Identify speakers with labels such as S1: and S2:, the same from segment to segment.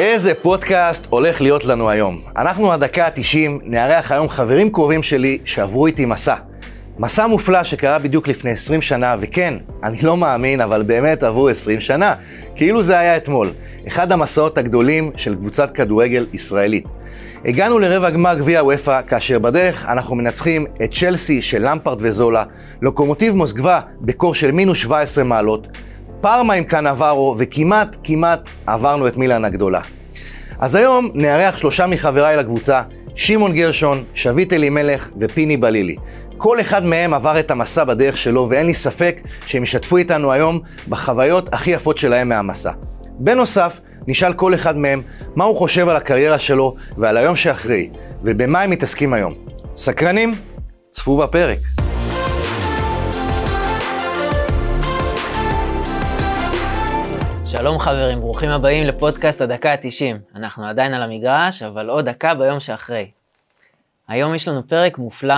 S1: איזה פודקאסט הולך להיות לנו היום. אנחנו הדקה ה-90, נארח היום חברים קרובים שלי שעברו איתי מסע. מסע מופלא שקרה בדיוק לפני 20 שנה, וכן, אני לא מאמין, אבל באמת עברו 20 שנה. כאילו זה היה אתמול. אחד המסעות הגדולים של קבוצת כדורגל ישראלית. הגענו לרבע גמר גביע וופא, כאשר בדרך אנחנו מנצחים את צ'לסי של למפרט וזולה, לוקומוטיב מוסקבה בקור של מינוס 17 מעלות, פארמה עם קנברו, וכמעט כמעט עברנו את מילאן הגדולה. אז היום נארח שלושה מחבריי לקבוצה, שמעון גרשון, שביט אלימלך ופיני בלילי. כל אחד מהם עבר את המסע בדרך שלו, ואין לי ספק שהם ישתפו איתנו היום בחוויות הכי יפות שלהם מהמסע. בנוסף, נשאל כל אחד מהם מה הוא חושב על הקריירה שלו ועל היום שאחרי, ובמה הם מתעסקים היום. סקרנים? צפו בפרק.
S2: שלום חברים, ברוכים הבאים לפודקאסט הדקה ה-90. אנחנו עדיין על המגרש, אבל עוד דקה ביום שאחרי. היום יש לנו פרק מופלא,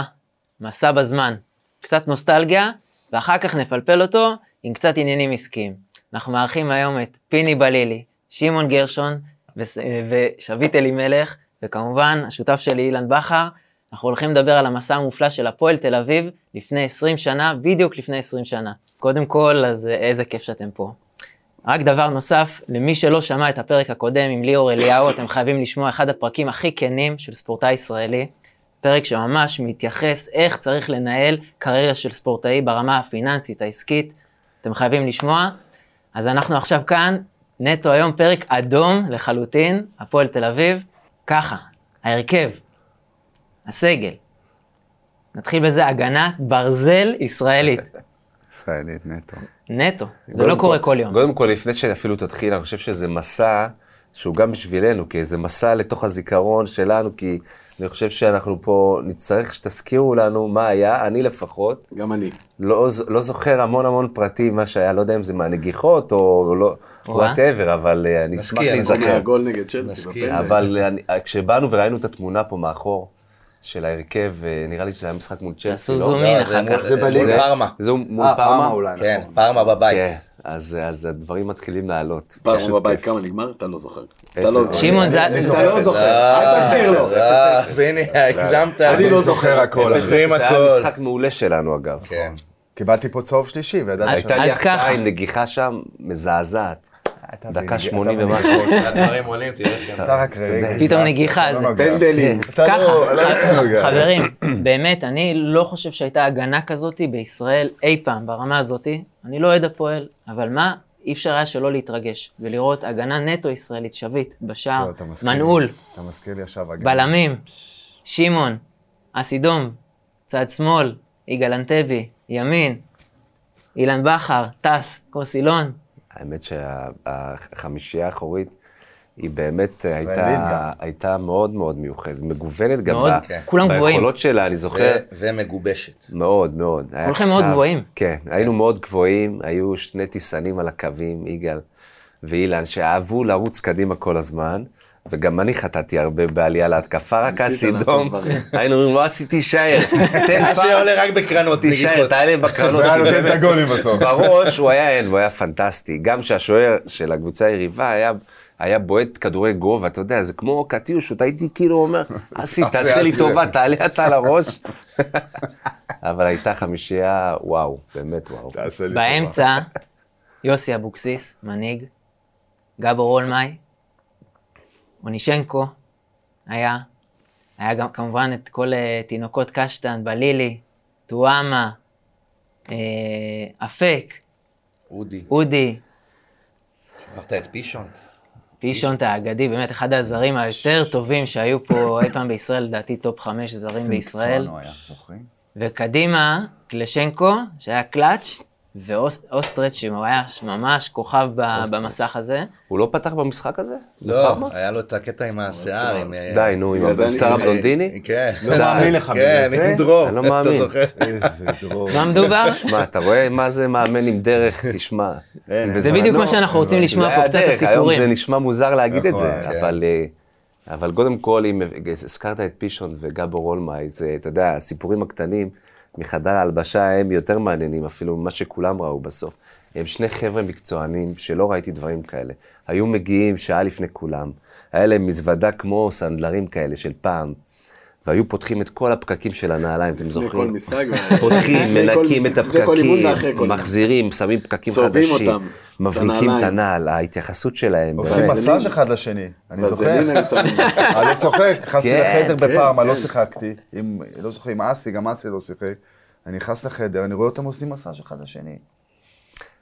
S2: מסע בזמן. קצת נוסטלגיה, ואחר כך נפלפל אותו עם קצת עניינים עסקיים. אנחנו מארחים היום את פיני בלילי, שמעון גרשון וס- ושביט אלימלך, וכמובן השותף שלי אילן בכר. אנחנו הולכים לדבר על המסע המופלא של הפועל תל אביב לפני 20 שנה, בדיוק לפני 20 שנה. קודם כל, אז אה, איזה כיף שאתם פה. רק דבר נוסף, למי שלא שמע את הפרק הקודם עם ליאור אליהו, אתם חייבים לשמוע אחד הפרקים הכי כנים של ספורטאי ישראלי. פרק שממש מתייחס איך צריך לנהל קריירה של ספורטאי ברמה הפיננסית, העסקית. אתם חייבים לשמוע. אז אנחנו עכשיו כאן, נטו היום פרק אדום לחלוטין, הפועל תל אביב. ככה, ההרכב, הסגל. נתחיל בזה הגנת ברזל ישראלית,
S3: ישראלית נטו.
S2: נטו. זה לא
S4: קודם
S2: קורה
S4: כל-
S2: כל יום.
S4: קודם כל, לפני שאפילו תתחיל, אני חושב שזה מסע שהוא גם בשבילנו, כי זה מסע לתוך הזיכרון שלנו, כי אני חושב שאנחנו פה נצטרך שתזכירו לנו מה היה, אני לפחות.
S5: גם אני.
S4: לא, ז- לא זוכר המון המון פרטים, מה שהיה, לא יודע אם זה מהנגיחות או לא,
S2: וואה.
S4: וואטאבר, אבל אה, אני אשמח
S1: נזכיר,
S4: להיזכר.
S5: הגול נגד צ'לסי.
S1: מסכים.
S5: בפנדל.
S4: אבל אה, אני- כשבאנו וראינו את התמונה פה מאחור של ההרכב, אה, נראה לי שזה היה משחק מול צ'לסי,
S2: עשו
S4: לא?
S2: זום אין
S1: זה
S2: אחר כך.
S1: מול- מול פארמה.
S4: זה מול
S3: אה,
S4: פארמה?
S3: פארמה אולי,
S1: כן,
S3: נכון.
S1: פארמה בבית.
S4: כן, אז אז הדברים מתחילים לעלות. פשוט
S5: פעם
S4: כיף.
S5: בבית כמה נגמר? אתה לא זוכר. אתה לא זוכר.
S2: שמעון, זה-
S5: אתה
S2: זה-
S5: לא זוכר. אל תסיר לו.
S1: אה, הנה, הגזמת.
S3: אני לא זוכר הכל.
S1: אפס. זוכרים
S4: זה
S1: הכל.
S4: היה משחק מעולה שלנו אגב.
S1: כן.
S3: קיבלתי פה צהוב שלישי, וידעתי
S4: הייתה
S2: אז
S4: לי החטאה
S2: ככה.
S4: עם נגיחה שם מזעזעת.
S3: אתה
S4: דקה
S3: בניגוד,
S4: 80
S3: אתה
S4: ומשהו.
S1: הדברים עולים, תראה.
S3: אתה רק רגע.
S2: פתאום
S3: זה-
S2: נגיחה,
S3: לא
S2: זה
S3: נוגע.
S5: פנדלים.
S3: אתה
S2: ככה,
S3: לא- לא נוגע.
S2: חברים, באמת, אני לא חושב שהייתה הגנה כזאת בישראל אי פעם ברמה הזאת. אני לא אוהד הפועל, אבל מה, אי אפשר היה שלא להתרגש ולראות הגנה נטו ישראלית, שביט,
S3: לא,
S2: בשער,
S3: אתה מזכיר לי.
S2: מנעול,
S3: אתה מזכיר לי עכשיו. הגנה.
S2: בלמים, שמעון, אסי דום, צד שמאל, יגאל אנטבי, ימין, אילן בכר, טס, קוסילון,
S4: האמת שהחמישייה האחורית היא באמת
S3: ישראלית
S4: הייתה,
S3: גם.
S4: הייתה מאוד מאוד מיוחדת, מגוונת גם
S2: מאוד,
S4: ב-
S2: כן. כולם גבוהים.
S4: ביכולות שלה, אני
S3: כן.
S4: זוכר.
S1: ומגובשת.
S4: מאוד, מאוד. היה
S2: כולכם מאוד
S4: קו-
S2: גבוהים.
S4: כן, היינו מאוד גבוהים, היו שני טיסנים על הקווים, יגאל ואילן, שאהבו לרוץ קדימה כל הזמן, וגם אני חטאתי הרבה בעלייה להתקפה, רק
S5: ניסית
S4: אסי
S5: לעשות
S4: דום,
S5: דברים.
S4: היינו אומרים, לא אסי תישאר, תן
S1: אסי
S4: פס,
S1: עולה רק בקרנות,
S4: תישאר,
S1: נגיחות.
S4: תעלה בקרנות.
S3: והיה
S4: כי
S3: נותן
S4: באמת,
S3: את הגולים בסוף.
S4: בראש הוא היה אין, הוא היה פנטסטי. גם שהשוער של הקבוצה היריבה היה... היה בועט כדורי גובה, אתה יודע, זה כמו קטיושות, הייתי כאילו אומר, אסי, תעשה לי
S3: זה.
S4: טובה, תעלה אתה על הראש. אבל הייתה חמישייה, וואו, באמת וואו.
S3: תעשה לי טובה.
S2: באמצע, יוסי אבוקסיס, מנהיג, גבור אולמאי, אונישנקו היה, היה גם כמובן את כל אה, תינוקות קשטן, בלילי, טועמה, אה, אפק,
S1: אודי,
S2: אודי,
S1: שכחת את פישון.
S2: פישונט האגדי, באמת אחד הזרים היותר טובים שהיו פה אי פעם בישראל, לדעתי טופ חמש זרים בישראל.
S3: צורנו היה, זוכרים?
S2: וקדימה, קלשנקו, שהיה קלאץ', ואוסטרץ', שהוא היה ממש כוכב ב- במסך הזה.
S4: הוא לא פתח במשחק הזה?
S1: לא,
S3: נכון.
S4: בפארמה?
S1: היה לו את הקטע עם השיער, עם... אה,
S4: די, נו, עם
S5: בגלל זה אני
S4: הבשר
S5: זוכר.
S4: הבלונדיני?
S1: כן.
S3: לא מאמין לך
S1: כן,
S3: בגלל זה.
S1: עם דרור.
S4: אני לא
S1: אתה
S4: מאמין.
S1: זוכר?
S3: איזה דרור.
S2: מה מדובר?
S4: תשמע, אתה רואה מה זה מאמן עם דרך, תשמע.
S3: אין,
S2: זה
S4: בזמנו-
S2: בדיוק מה שאנחנו רוצים לשמוע
S4: לא, זה
S2: פה,
S4: היה
S2: קצת
S4: הדרך, היום זה
S2: הסיפורים.
S4: נשמע מוזר להגיד את
S3: נכון,
S5: כן.
S4: זה, אבל... אה, אבל קודם כל, אם הזכרת את פישון וגבור אולמאי, זה, אתה יודע, הסיפורים הקטנים מחדר ההלבשה הם יותר מעניינים אפילו ממה שכולם ראו בסוף. הם שני חבר'ה מקצוענים שלא ראיתי דברים כאלה. היו מגיעים שעה לפני כולם, היה להם מזוודה כמו סנדלרים כאלה של פעם, והיו פותחים את כל הפקקים של הנעליים, אתם
S5: לפני
S4: זוכרים?
S5: כל משחק.
S4: פותחים,
S5: לפני כל
S4: מנקים
S5: משחק,
S4: את
S5: לפני כל אימון
S4: הפקקים,
S5: ואחרי כל אימון.
S4: מחזירים, שמים פקקים
S5: צובעים
S4: חדשים,
S5: אותם, את
S4: מבריקים את
S5: הנעליים.
S4: הנעל, ההתייחסות שלהם.
S6: עושים
S4: באמת.
S5: וזלין.
S6: מסאז' אחד לשני, אני זוכר.
S5: וזלין היו שמים.
S3: אה, לא
S6: אני צוחק, נכנסתי
S4: כן,
S6: לחדר
S5: כן,
S6: בפעם, אני לא
S5: כן.
S6: שיחקתי. עם- לא זוכר, עם אסי, גם אסי לא שיחק. אני נכנס לחדר, אני רואה אותם עושים מסאז' אחד לשני.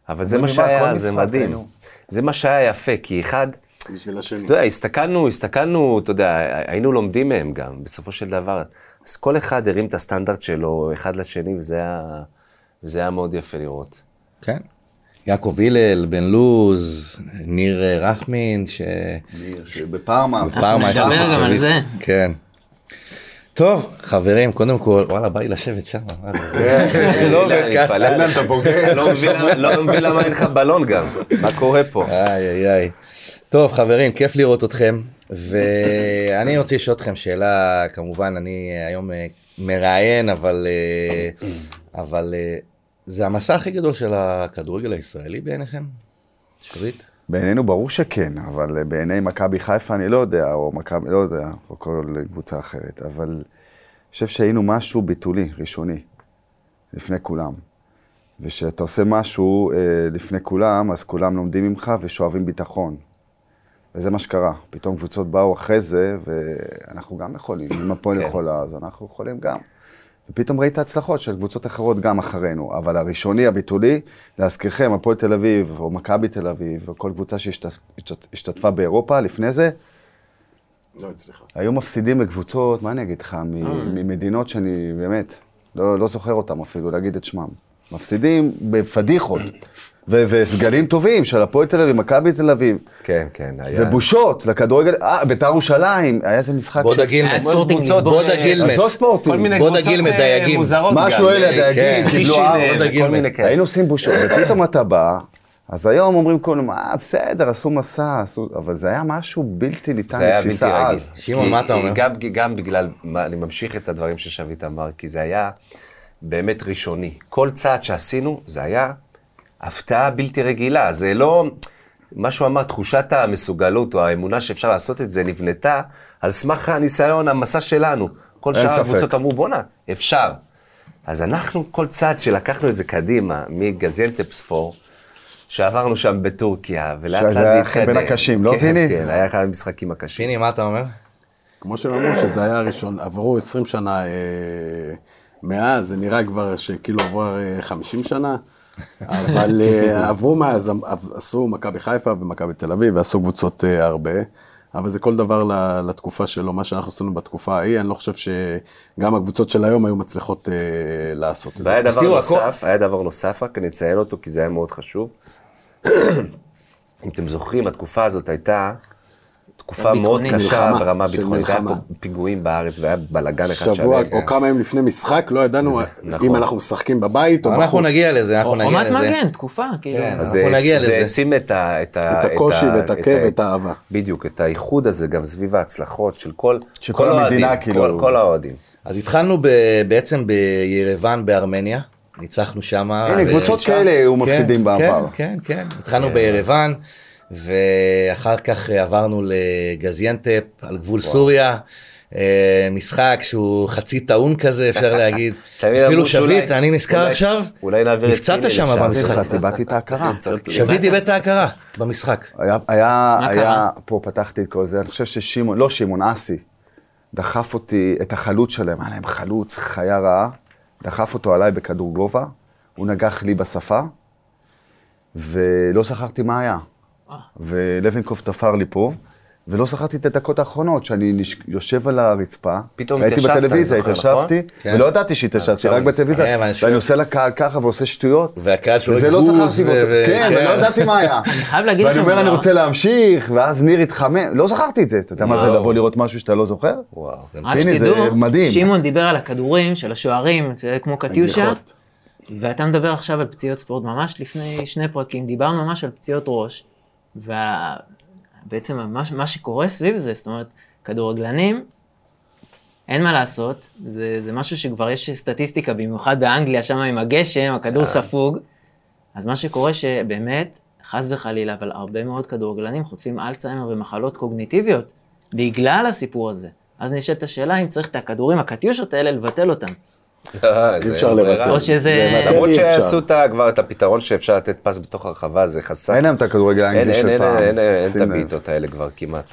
S4: אבל זה
S6: זה
S4: מה
S6: נגמר
S4: שהיה,
S6: כל
S4: זה
S6: משחק,
S4: מדהים.
S6: היינו.
S4: זה מה שהיה יפה, כי אחד,
S5: בשביל השני.
S4: אתה יודע, הסתכלנו, הסתכלנו, אתה יודע, היינו לומדים מהם גם, בסופו של דבר. אז כל אחד הרים את הסטנדרט שלו אחד לשני, וזה היה, וזה היה מאוד יפה לראות.
S1: כן. יעקב הלל, בן לוז, ניר אה, רחמין, ש...
S6: בפארמה.
S1: פעם הייתה
S2: נדבר גם על זה.
S1: כן. טוב, חברים, קודם כל, וואלה, בא לי לשבת שם. מה זה?
S3: כן.
S1: זה לא עובד ככה.
S4: אילן, אתה בוגר. לא מבין למה- לא מבין למה אין לך בלון גם, מה קורה פה?
S1: איי איי איי. טוב חברים, כיף לראות אתכם, ואני רוצה לשאול אתכם שאלה, כמובן אני אה, היום אה, מראיין, אבל, אה, אבל אה, זה המסע הכי גדול של הכדורגל הישראלי בעיניכם? שביט?
S6: בעינינו ברור שכן, אבל אה, בעיני מכבי חיפה אני לא יודע, או מכבי, לא יודע, או כל קבוצה אחרת, אבל אני חושב שהיינו משהו ביטולי, ראשוני, לפני כולם. וכשאתה עושה משהו אה, לפני כולם, אז כולם לומדים ממך ושואבים ביטחון. וזה מה שקרה. פתאום קבוצות באו אחרי זה, ואנחנו גם יכולים. אם הפועל
S4: כן.
S6: יכולה, אז אנחנו יכולים גם. ופתאום ראית הצלחות של קבוצות אחרות גם אחרינו. אבל הראשוני, הביטולי, להזכירכם, הפועל תל אביב, או מכבי תל אביב, או כל קבוצה שהשתתפה באירופה לפני זה,
S5: לא, סליחה.
S6: היו מפסידים לקבוצות, מה אני אגיד לך, מ- ממדינות שאני באמת לא, לא זוכר אותם אפילו, להגיד את שמם. מפסידים בפדיחות, ו- וסגלים טובים של הפועל תל אביב, מכבי תל אביב,
S4: כן, כן, היה.
S6: ובושות לכדורגל, אה, בית"ר ירושלים, היה איזה משחק.
S1: בודה
S6: ש-
S1: גילמס,
S2: היה ספורטינג
S1: קבוצות
S2: ליסבון,
S1: בודה
S2: אה,
S1: גילמס,
S6: עזוב ספורטים.
S4: כל מיני
S1: בוא
S4: קבוצות
S1: נגיל
S4: אה,
S1: מדייגים.
S4: מוזרות גם.
S6: משהו אלה, דייגים,
S4: כן,
S6: קיבלו
S4: קישינב,
S6: ארבע,
S4: וכל
S1: דייגים.
S4: מיני כאלה.
S6: היינו עושים בושות, ופתאום אתה בא, אז היום אומרים כולם, אה, בסדר, עשו מסע, עשו... אבל זה היה משהו בלתי ניתן
S4: זה היה בלתי
S6: לתפיסה
S4: רגיל.
S6: אז.
S1: שמעון,
S4: כי-
S1: מה אתה אומר?
S4: גם, גם בגלל, מה- אני ממשיך את הדברים ששביט אמר, כי זה היה באמת ראשוני. כל צעד שעשינו, זה היה הפתעה בלתי רגילה. זה לא, מה שהוא אמר, תחושת המסוגלות או האמונה שאפשר לעשות את זה נבנתה על סמך הניסיון, המסע שלנו. כל
S6: אין
S4: שאר
S6: ספק.
S4: הקבוצות אמרו, בואנה, אפשר. אז אנחנו, כל צעד שלקחנו את זה קדימה, מגזיינטפספור, שעברנו שם בטורקיה, ולאט לאט
S6: שזה
S4: זה
S6: היה
S4: התקדם.
S6: אחד בין הקשים, לא,
S4: כן,
S6: פיני?
S4: כן, היה אחד המשחקים הקשים.
S1: פיני, מה אתה אומר?
S5: כמו שהם אמרו, שזה היה הראשון, עברו 20 שנה אה, מאז, זה נראה כבר שכאילו עברו אה, 50 שנה, אבל אה, עברו מאז, עב- עשו מכבי חיפה ומכבי תל אביב, ועשו קבוצות אה, הרבה, אבל זה כל דבר ל- לתקופה שלו, מה שאנחנו עשינו בתקופה ההיא, אני לא חושב שגם הקבוצות של היום היו מצליחות אה, לעשות את זה.
S4: והיה
S1: אז
S4: דבר
S1: תראו,
S4: נוסף, היה דבר נוסף, רק אני אציין אותו כי זה היה מאוד חשוב. אם אתם זוכרים, התקופה הזאת הייתה תקופה מאוד
S2: ביטחונית.
S4: קשה
S5: מלחמה,
S4: ברמה
S5: של
S4: ביטחונית. היה פה
S5: מלחמה.
S4: פיגועים בארץ והיה בלאגן אחד
S5: שבוע
S4: שהיה.
S5: או כמה ימים לפני משחק, לא ידענו
S4: אה, נכון.
S5: אם אנחנו משחקים בבית או
S1: אנחנו
S5: בחוץ.
S1: נגיע לזה, אנחנו
S2: או-
S1: נגיע
S2: עומת
S1: לזה.
S2: מגן, תקופה, כאילו.
S1: כן.
S4: אז
S1: אנחנו
S4: זה-
S1: נגיע
S4: זה
S1: לזה.
S4: העצים את ה... את, ה,
S5: את הקושי
S4: ה-
S5: ואת הכאב ואת האהבה.
S4: בדיוק, את האיחוד הזה גם סביב ההצלחות של כל...
S6: של
S4: כל
S6: כל
S4: האוהדים,
S6: המדינה, כאילו.
S4: כל- כל האוהדים.
S1: אז התחלנו ב- בעצם בירבן בארמניה, ניצחנו שם.
S6: הנה,
S4: אה,
S6: קבוצות כאלה היו מפסידים בעבר.
S1: כן, כן, כן. התחלנו בירבן, ואחר כך אה, עברנו לגזיינטפ על גבול סוריה. אה, משחק שהוא חצי טעון כזה, אפשר להגיד.
S4: תמיד אמרו
S1: אפילו
S4: שאולי-
S1: שביט, אני נזכר
S4: אולי-
S1: עכשיו,
S4: אולי נעביר את
S1: נפצעת
S4: פיני
S1: שם
S4: לשם.
S1: במשחק.
S6: קצת איבדתי את ההכרה.
S4: צריך-
S1: שביט איבד את ההכרה במשחק.
S6: היה, היה,
S2: מה
S6: היה,
S2: קרה?
S6: פה פתחתי את כל זה, אני חושב ששמעון, לא שמעון, אסי, דחף אותי, את החלוץ שלהם, היה להם חלוץ, חיה רעה, דחף אותו עליי בכדור גובה, הוא נגח לי בשפה, ולא זכרתי מה היה.
S2: אה.
S6: ולוינקוף תפר לי פה, ולא זכרתי את הדקות האחרונות, שאני נש... יושב על הרצפה,
S4: פתאום
S6: הייתי
S4: התיישבת, אני
S6: בטלוויזיה,
S4: זוכר,
S6: התיישבתי,
S1: כן.
S6: ולא ידעתי שהתיישבתי,
S4: עכשיו
S6: רק
S4: אני נזכר.
S1: אה,
S6: בטלוויזיה,
S1: אבל אני שואל-
S6: ואני עושה לקהל ככה ועושה שטויות,
S1: והקהל שורק
S6: וזה לא
S1: בוז,
S6: זכרתי
S1: ו-
S6: אותו,
S1: ו-
S6: כן,
S1: כן.
S6: ולא ידעתי מה היה.
S2: אני חייב להגיד
S6: ואני
S2: לכם,
S6: אומר, אני
S2: לא?
S6: רוצה להמשיך, ואז ניר התחמם, לא זכרתי את זה. אתה יודע מה זה לבוא לראות משהו שאתה לא זוכר?
S4: וואו.
S2: רק
S6: הנה, זה
S2: אה, שתדעו,
S6: מדהים.
S2: שמעון דיבר על הכדורים של השוערים, זה כמו קטיושה,
S5: הגיחות.
S2: ואתה מדבר עכשיו על פציעות ספורט, ממש לפני שני פרקים, דיברנו ממש על פציעות ראש, ובעצם מה, ש- מה שקורה סביב זה, זאת אומרת, כדורגלנים, אין מה לעשות,
S6: כן.
S2: זה, זה משהו שכבר יש סטטיסטיקה, במיוחד באנגליה, שם עם הגשם, הכדור ספוג, אז מה שקורה שבאמת, חס וחלילה, אבל הרבה מאוד כדורגלנים חוטפים אלצהיימר ומחלות קוגניטיביות בגלל הסיפור הזה. אז נשאלת השאלה אם צריך את הכדורים, הקטיושות האלה, לבטל אותם.
S5: אי אפשר לבטל.
S4: כן,
S2: או שזה...
S5: באמת,
S4: לא למרות
S5: אי אפשר.
S4: שעשו את ה- כבר את הפתרון שאפשר לתת פס בתוך הרחבה, זה חסר.
S6: אין להם את הכדורגל
S4: אין-
S6: האנגלי
S4: אין-
S6: של
S4: אין-
S6: פעם.
S4: אין- אין את
S6: שים לב.
S4: הבעיטות האלה כבר כמעט.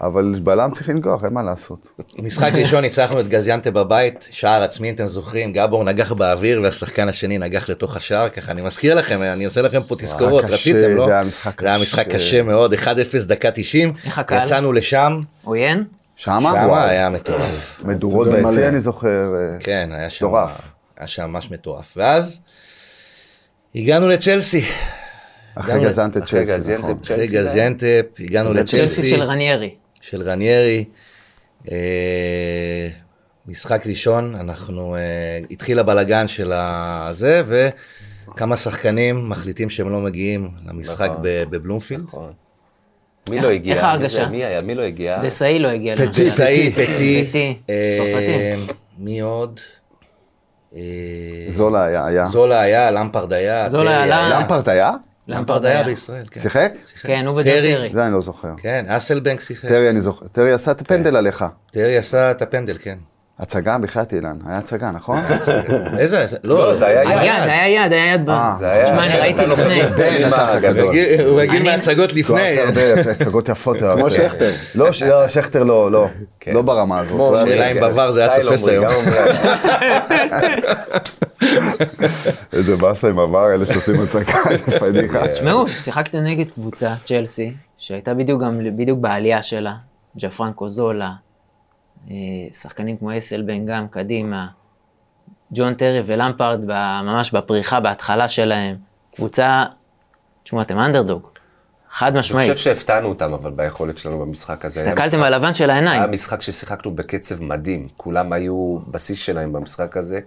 S6: אבל בלם צריך לנגוח, אין מה לעשות.
S1: משחק ראשון ניצחנו את גזיאנטה בבית, שער עצמי אם אתם זוכרים, גבור נגח באוויר והשחקן השני נגח לתוך השער, ככה אני מזכיר לכם, אני עושה לכם פה תזכורות,
S6: קשה,
S1: רציתם, לא?
S6: זה היה משחק
S1: זה היה משחק
S6: קשה.
S1: קשה מאוד, 1-0 דקה 90,
S2: איך הקהל?
S1: יצאנו לשם,
S2: עוין?
S6: שמה?
S1: שם
S6: וואו.
S1: היה מטורף,
S6: מדורות
S5: צודק מלא.
S6: ביציע, אני זוכר. אה,
S1: כן, היה שם,
S6: מטורף.
S1: היה שם ממש מטורף, ואז הגענו לצ'לסי,
S6: אחרי
S1: גם-
S6: גזנטה
S4: אחרי
S6: צ'לסי,
S4: גזיאנטה
S6: נכון.
S1: אחרי
S4: צ'לסי. זה היה?
S1: גזיאנטפ, הגענו
S6: זה צ'לסי
S1: לצ'לסי,
S2: צ'לסי של רניירי.
S1: של רניירי. אה, משחק ראשון, אנחנו, אה, התחיל הבלגן של הזה, וכמה שחקנים מחליטים שהם לא מגיעים למשחק
S4: נכון.
S1: ב- בבלומפילד.
S4: נכון. מי
S2: איך-
S4: לא הגיע?
S2: איך
S4: מי
S2: ההרגשה?
S4: זה? מי היה? מי לא הגיע?
S2: דסאי לא הגיע
S6: פטי.
S2: למשחק.
S1: סאי, פטי,
S2: פטי,
S1: אה,
S2: צרפתי.
S1: מי עוד? אה,
S6: זולה היה, היה.
S1: זולה היה, למפרד היה.
S2: זולה
S1: טרי
S2: עלה.
S6: למפרט היה?
S1: למפרד היה בישראל, כן.
S6: שיחק?
S2: כן, הוא וג'ון
S1: טרי.
S2: טרי.
S6: זה אני לא זוכר.
S1: כן, אסלבנק שיחק.
S6: טרי אני זוכר. טרי עשה
S4: כן.
S6: את הפנדל עליך.
S1: טרי עשה את הפנדל, כן.
S6: הצגה בכלל אילן, היה הצגה, נכון?
S4: כן.
S1: איזה?
S4: לא, זה היה
S2: היה יד,
S4: יד.
S2: היה יד, היה יד ב...
S6: אה,
S4: זה היה-
S2: שמע, אני ראיתי
S4: אתה לא
S2: לפני.
S4: מבין
S6: בן,
S4: מה
S6: אתה
S4: הגדול.
S1: רגיל- הוא רגיל
S2: אני-
S1: מהצגות
S6: הוא
S1: לפני.
S6: עשה לא, הרבה הצגות יפות. הוא
S5: כמו
S6: עשה.
S5: שכטר.
S6: לא, ש- לא, שכטר לא, לא.
S4: כן.
S6: לא ברמה הזאת.
S5: כמו-
S6: הוא היה-
S1: השאלה אם בוואר זה היה
S4: סטייל
S1: תופס
S4: אומרים,
S1: היום.
S4: גם אומרים.
S6: איזה באסה עם עבר, אלה שעושים הצגה, פדיחה.
S2: תשמעו, שיחקתם נגד קבוצה, צ'לסי, שהייתה בדיוק גם, בדיוק בעלייה שלה, ג'פרנקו זולה, אה, שחקנים כמו אסלבן גם קדימה, ג'ון טרי ולמפרד ב- ממש בפריחה, בהתחלה שלהם, קבוצה, תשמעו, אתם אנדרדוג, חד
S4: אני
S2: משמעית.
S4: חושב שהפתענו אותם, אבל ביכולת שלנו במשחק הזה. היה משחק-
S2: הסתכלתם על הלבן של
S4: היה
S2: העיניים,
S4: משחק ששיחקנו בקצב מדהים, כולם היו בשיא שלהם במשחק הזה.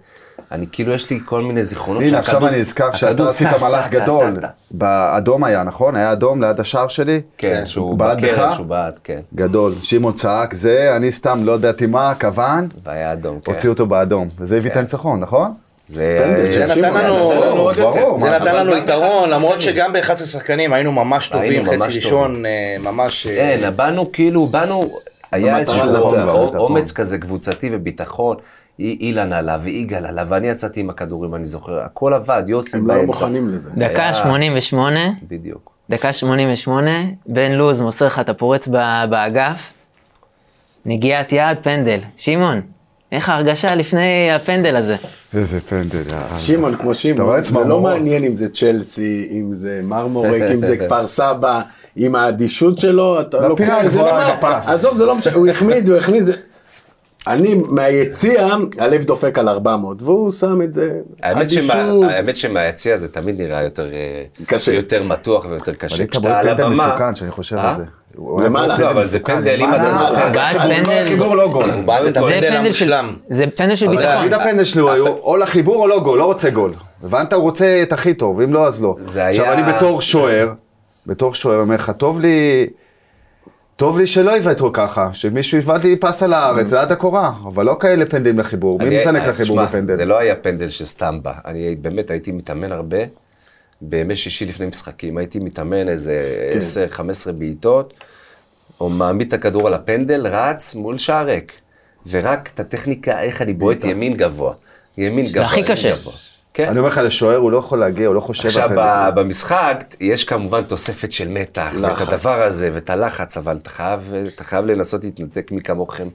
S4: אני כאילו, יש לי כל מיני זיכרונות
S6: הנה,
S4: שהכדור-
S6: עכשיו אני אזכר שאתה
S4: הכדור
S6: עשית
S4: טס,
S6: מהלך
S4: טה, טה,
S6: גדול.
S4: טה, טה.
S6: באדום היה, נכון? היה אדום ליד השער שלי?
S4: כן, שהוא
S6: בעט
S4: בקרן,
S6: בך?
S4: שהוא בעט, כן.
S6: גדול. שמעון צעק זה, אני סתם לא ידעתי מה, כוון,
S4: והיה אדום, כן.
S6: הוציאו אותו באדום. וזה הביא את הניצחון, נכון?
S4: זה
S6: פנדל,
S1: זה נתן לנו,
S6: ברור, ברור.
S1: זה
S6: מה,
S1: נתן
S4: אבל
S1: לנו
S4: גם
S1: יתרון,
S4: ב-11
S1: למרות
S4: שחקנים.
S1: שגם ב-11 שחקנים היינו ממש טובים,
S4: היינו
S1: חצי
S4: ממש
S1: ראשון אה, ממש... אה,
S4: אין, באנו כאילו, באנו, היה
S5: במטרה
S4: איזשהו
S5: לנצח.
S4: אומץ-
S6: נכון.
S4: אומץ כזה קבוצתי וביטחון. אי- אילן עלה ויגאל עלה, ואני יצאתי עם הכדורים, אני זוכר, הכל עבד, יוסי
S5: הם לא היו מוכנים לזה.
S2: דקה
S4: היה-
S2: 88,
S4: בדיוק.
S2: דקה 88, בן לוז מוסר לך את הפורץ ב- באגף, נגיעת יד, פנדל. שמעון, איך ההרגשה לפני הפנדל הזה?
S6: איזה פנדל. אה. יאללה.
S5: שמעון כמו
S6: אתה
S5: שמעון,
S6: רואה את
S5: זה לא
S6: צמרמורות.
S5: מעניין אם זה צ'לסי, אם זה מרמורק, אם זה כפר סבא, עם האדישות שלו, אתה
S6: לפינה
S5: לוקח, זה לא
S6: הגבוהה,
S5: מעניין.
S6: בפס.
S5: עזוב, זה לא משנה, הוא החמיץ, הוא הכניס, זה- אני מהיציע, הלב דופק על 400, והוא שם את זה,
S4: האמת, שמה,
S5: אדישות.
S4: האמת שמהיציע זה תמיד נראה יותר אה,
S5: קשה.
S4: יותר מתוח ויותר
S6: אבל
S4: קשה.
S6: היית בו פנדל מסוכן, שאני חושב על
S4: אה?
S6: זה. הוא היה
S5: למעלה.
S6: בו
S4: לא, אבל
S6: פנדל
S4: זה
S6: מסוכן,
S4: פנדל, אם אתה
S6: למעלה.
S4: זוכר.
S2: בעד
S6: הוא לא
S2: פנדל.
S6: חיבור לא גול.
S1: הוא בעט את
S4: זה
S1: הפנדל
S2: של,
S1: המושלם.
S2: זה פנדל של ביטחון.
S6: תגיד הפנדל אה,
S4: אה,
S6: שלו, היו או לחיבור או לא גול, לא רוצה גול. הבנת? הוא רוצה את הכי טוב, אם לא, אז לא.
S4: זה
S6: עכשיו,
S4: היה-
S6: אני בתור שוער, בתור שוער, אומר לך, טוב לי... טוב לי שלא יבעטו ככה, שמישהו יבעט לי פס על הארץ, ליד הקורה, אבל לא כאלה פנדלים לחיבור,
S4: אני-
S6: מי מזנק
S4: אה,
S6: לחיבור
S4: תשמע, זה
S6: בפנדל?
S4: לא היה פנדל שסתם בא. אני באמת הייתי מתאמן הרבה. בימי שישי לפני משחקים, הייתי מתאמן איזה
S6: כן.
S4: 10-15 בעיטות, או מעמיד את הכדור על הפנדל, רץ מול שער ריק. ורק את הטכניקה, איך אני בועט ימין גבוה. ימין גבוה.
S2: הכי
S4: ימין
S2: קשה.
S4: גבוה. כן.
S6: אני אומר לך, לשוער הוא לא יכול להגיע, הוא לא חושב על
S4: עכשיו,
S6: פנדל.
S4: ב- במשחק יש כמובן תוספת של מתח, ואת הדבר הזה, ואת הלחץ, אבל אתה חייב, אתה חייב לנסות להתנתק מי כמוכם.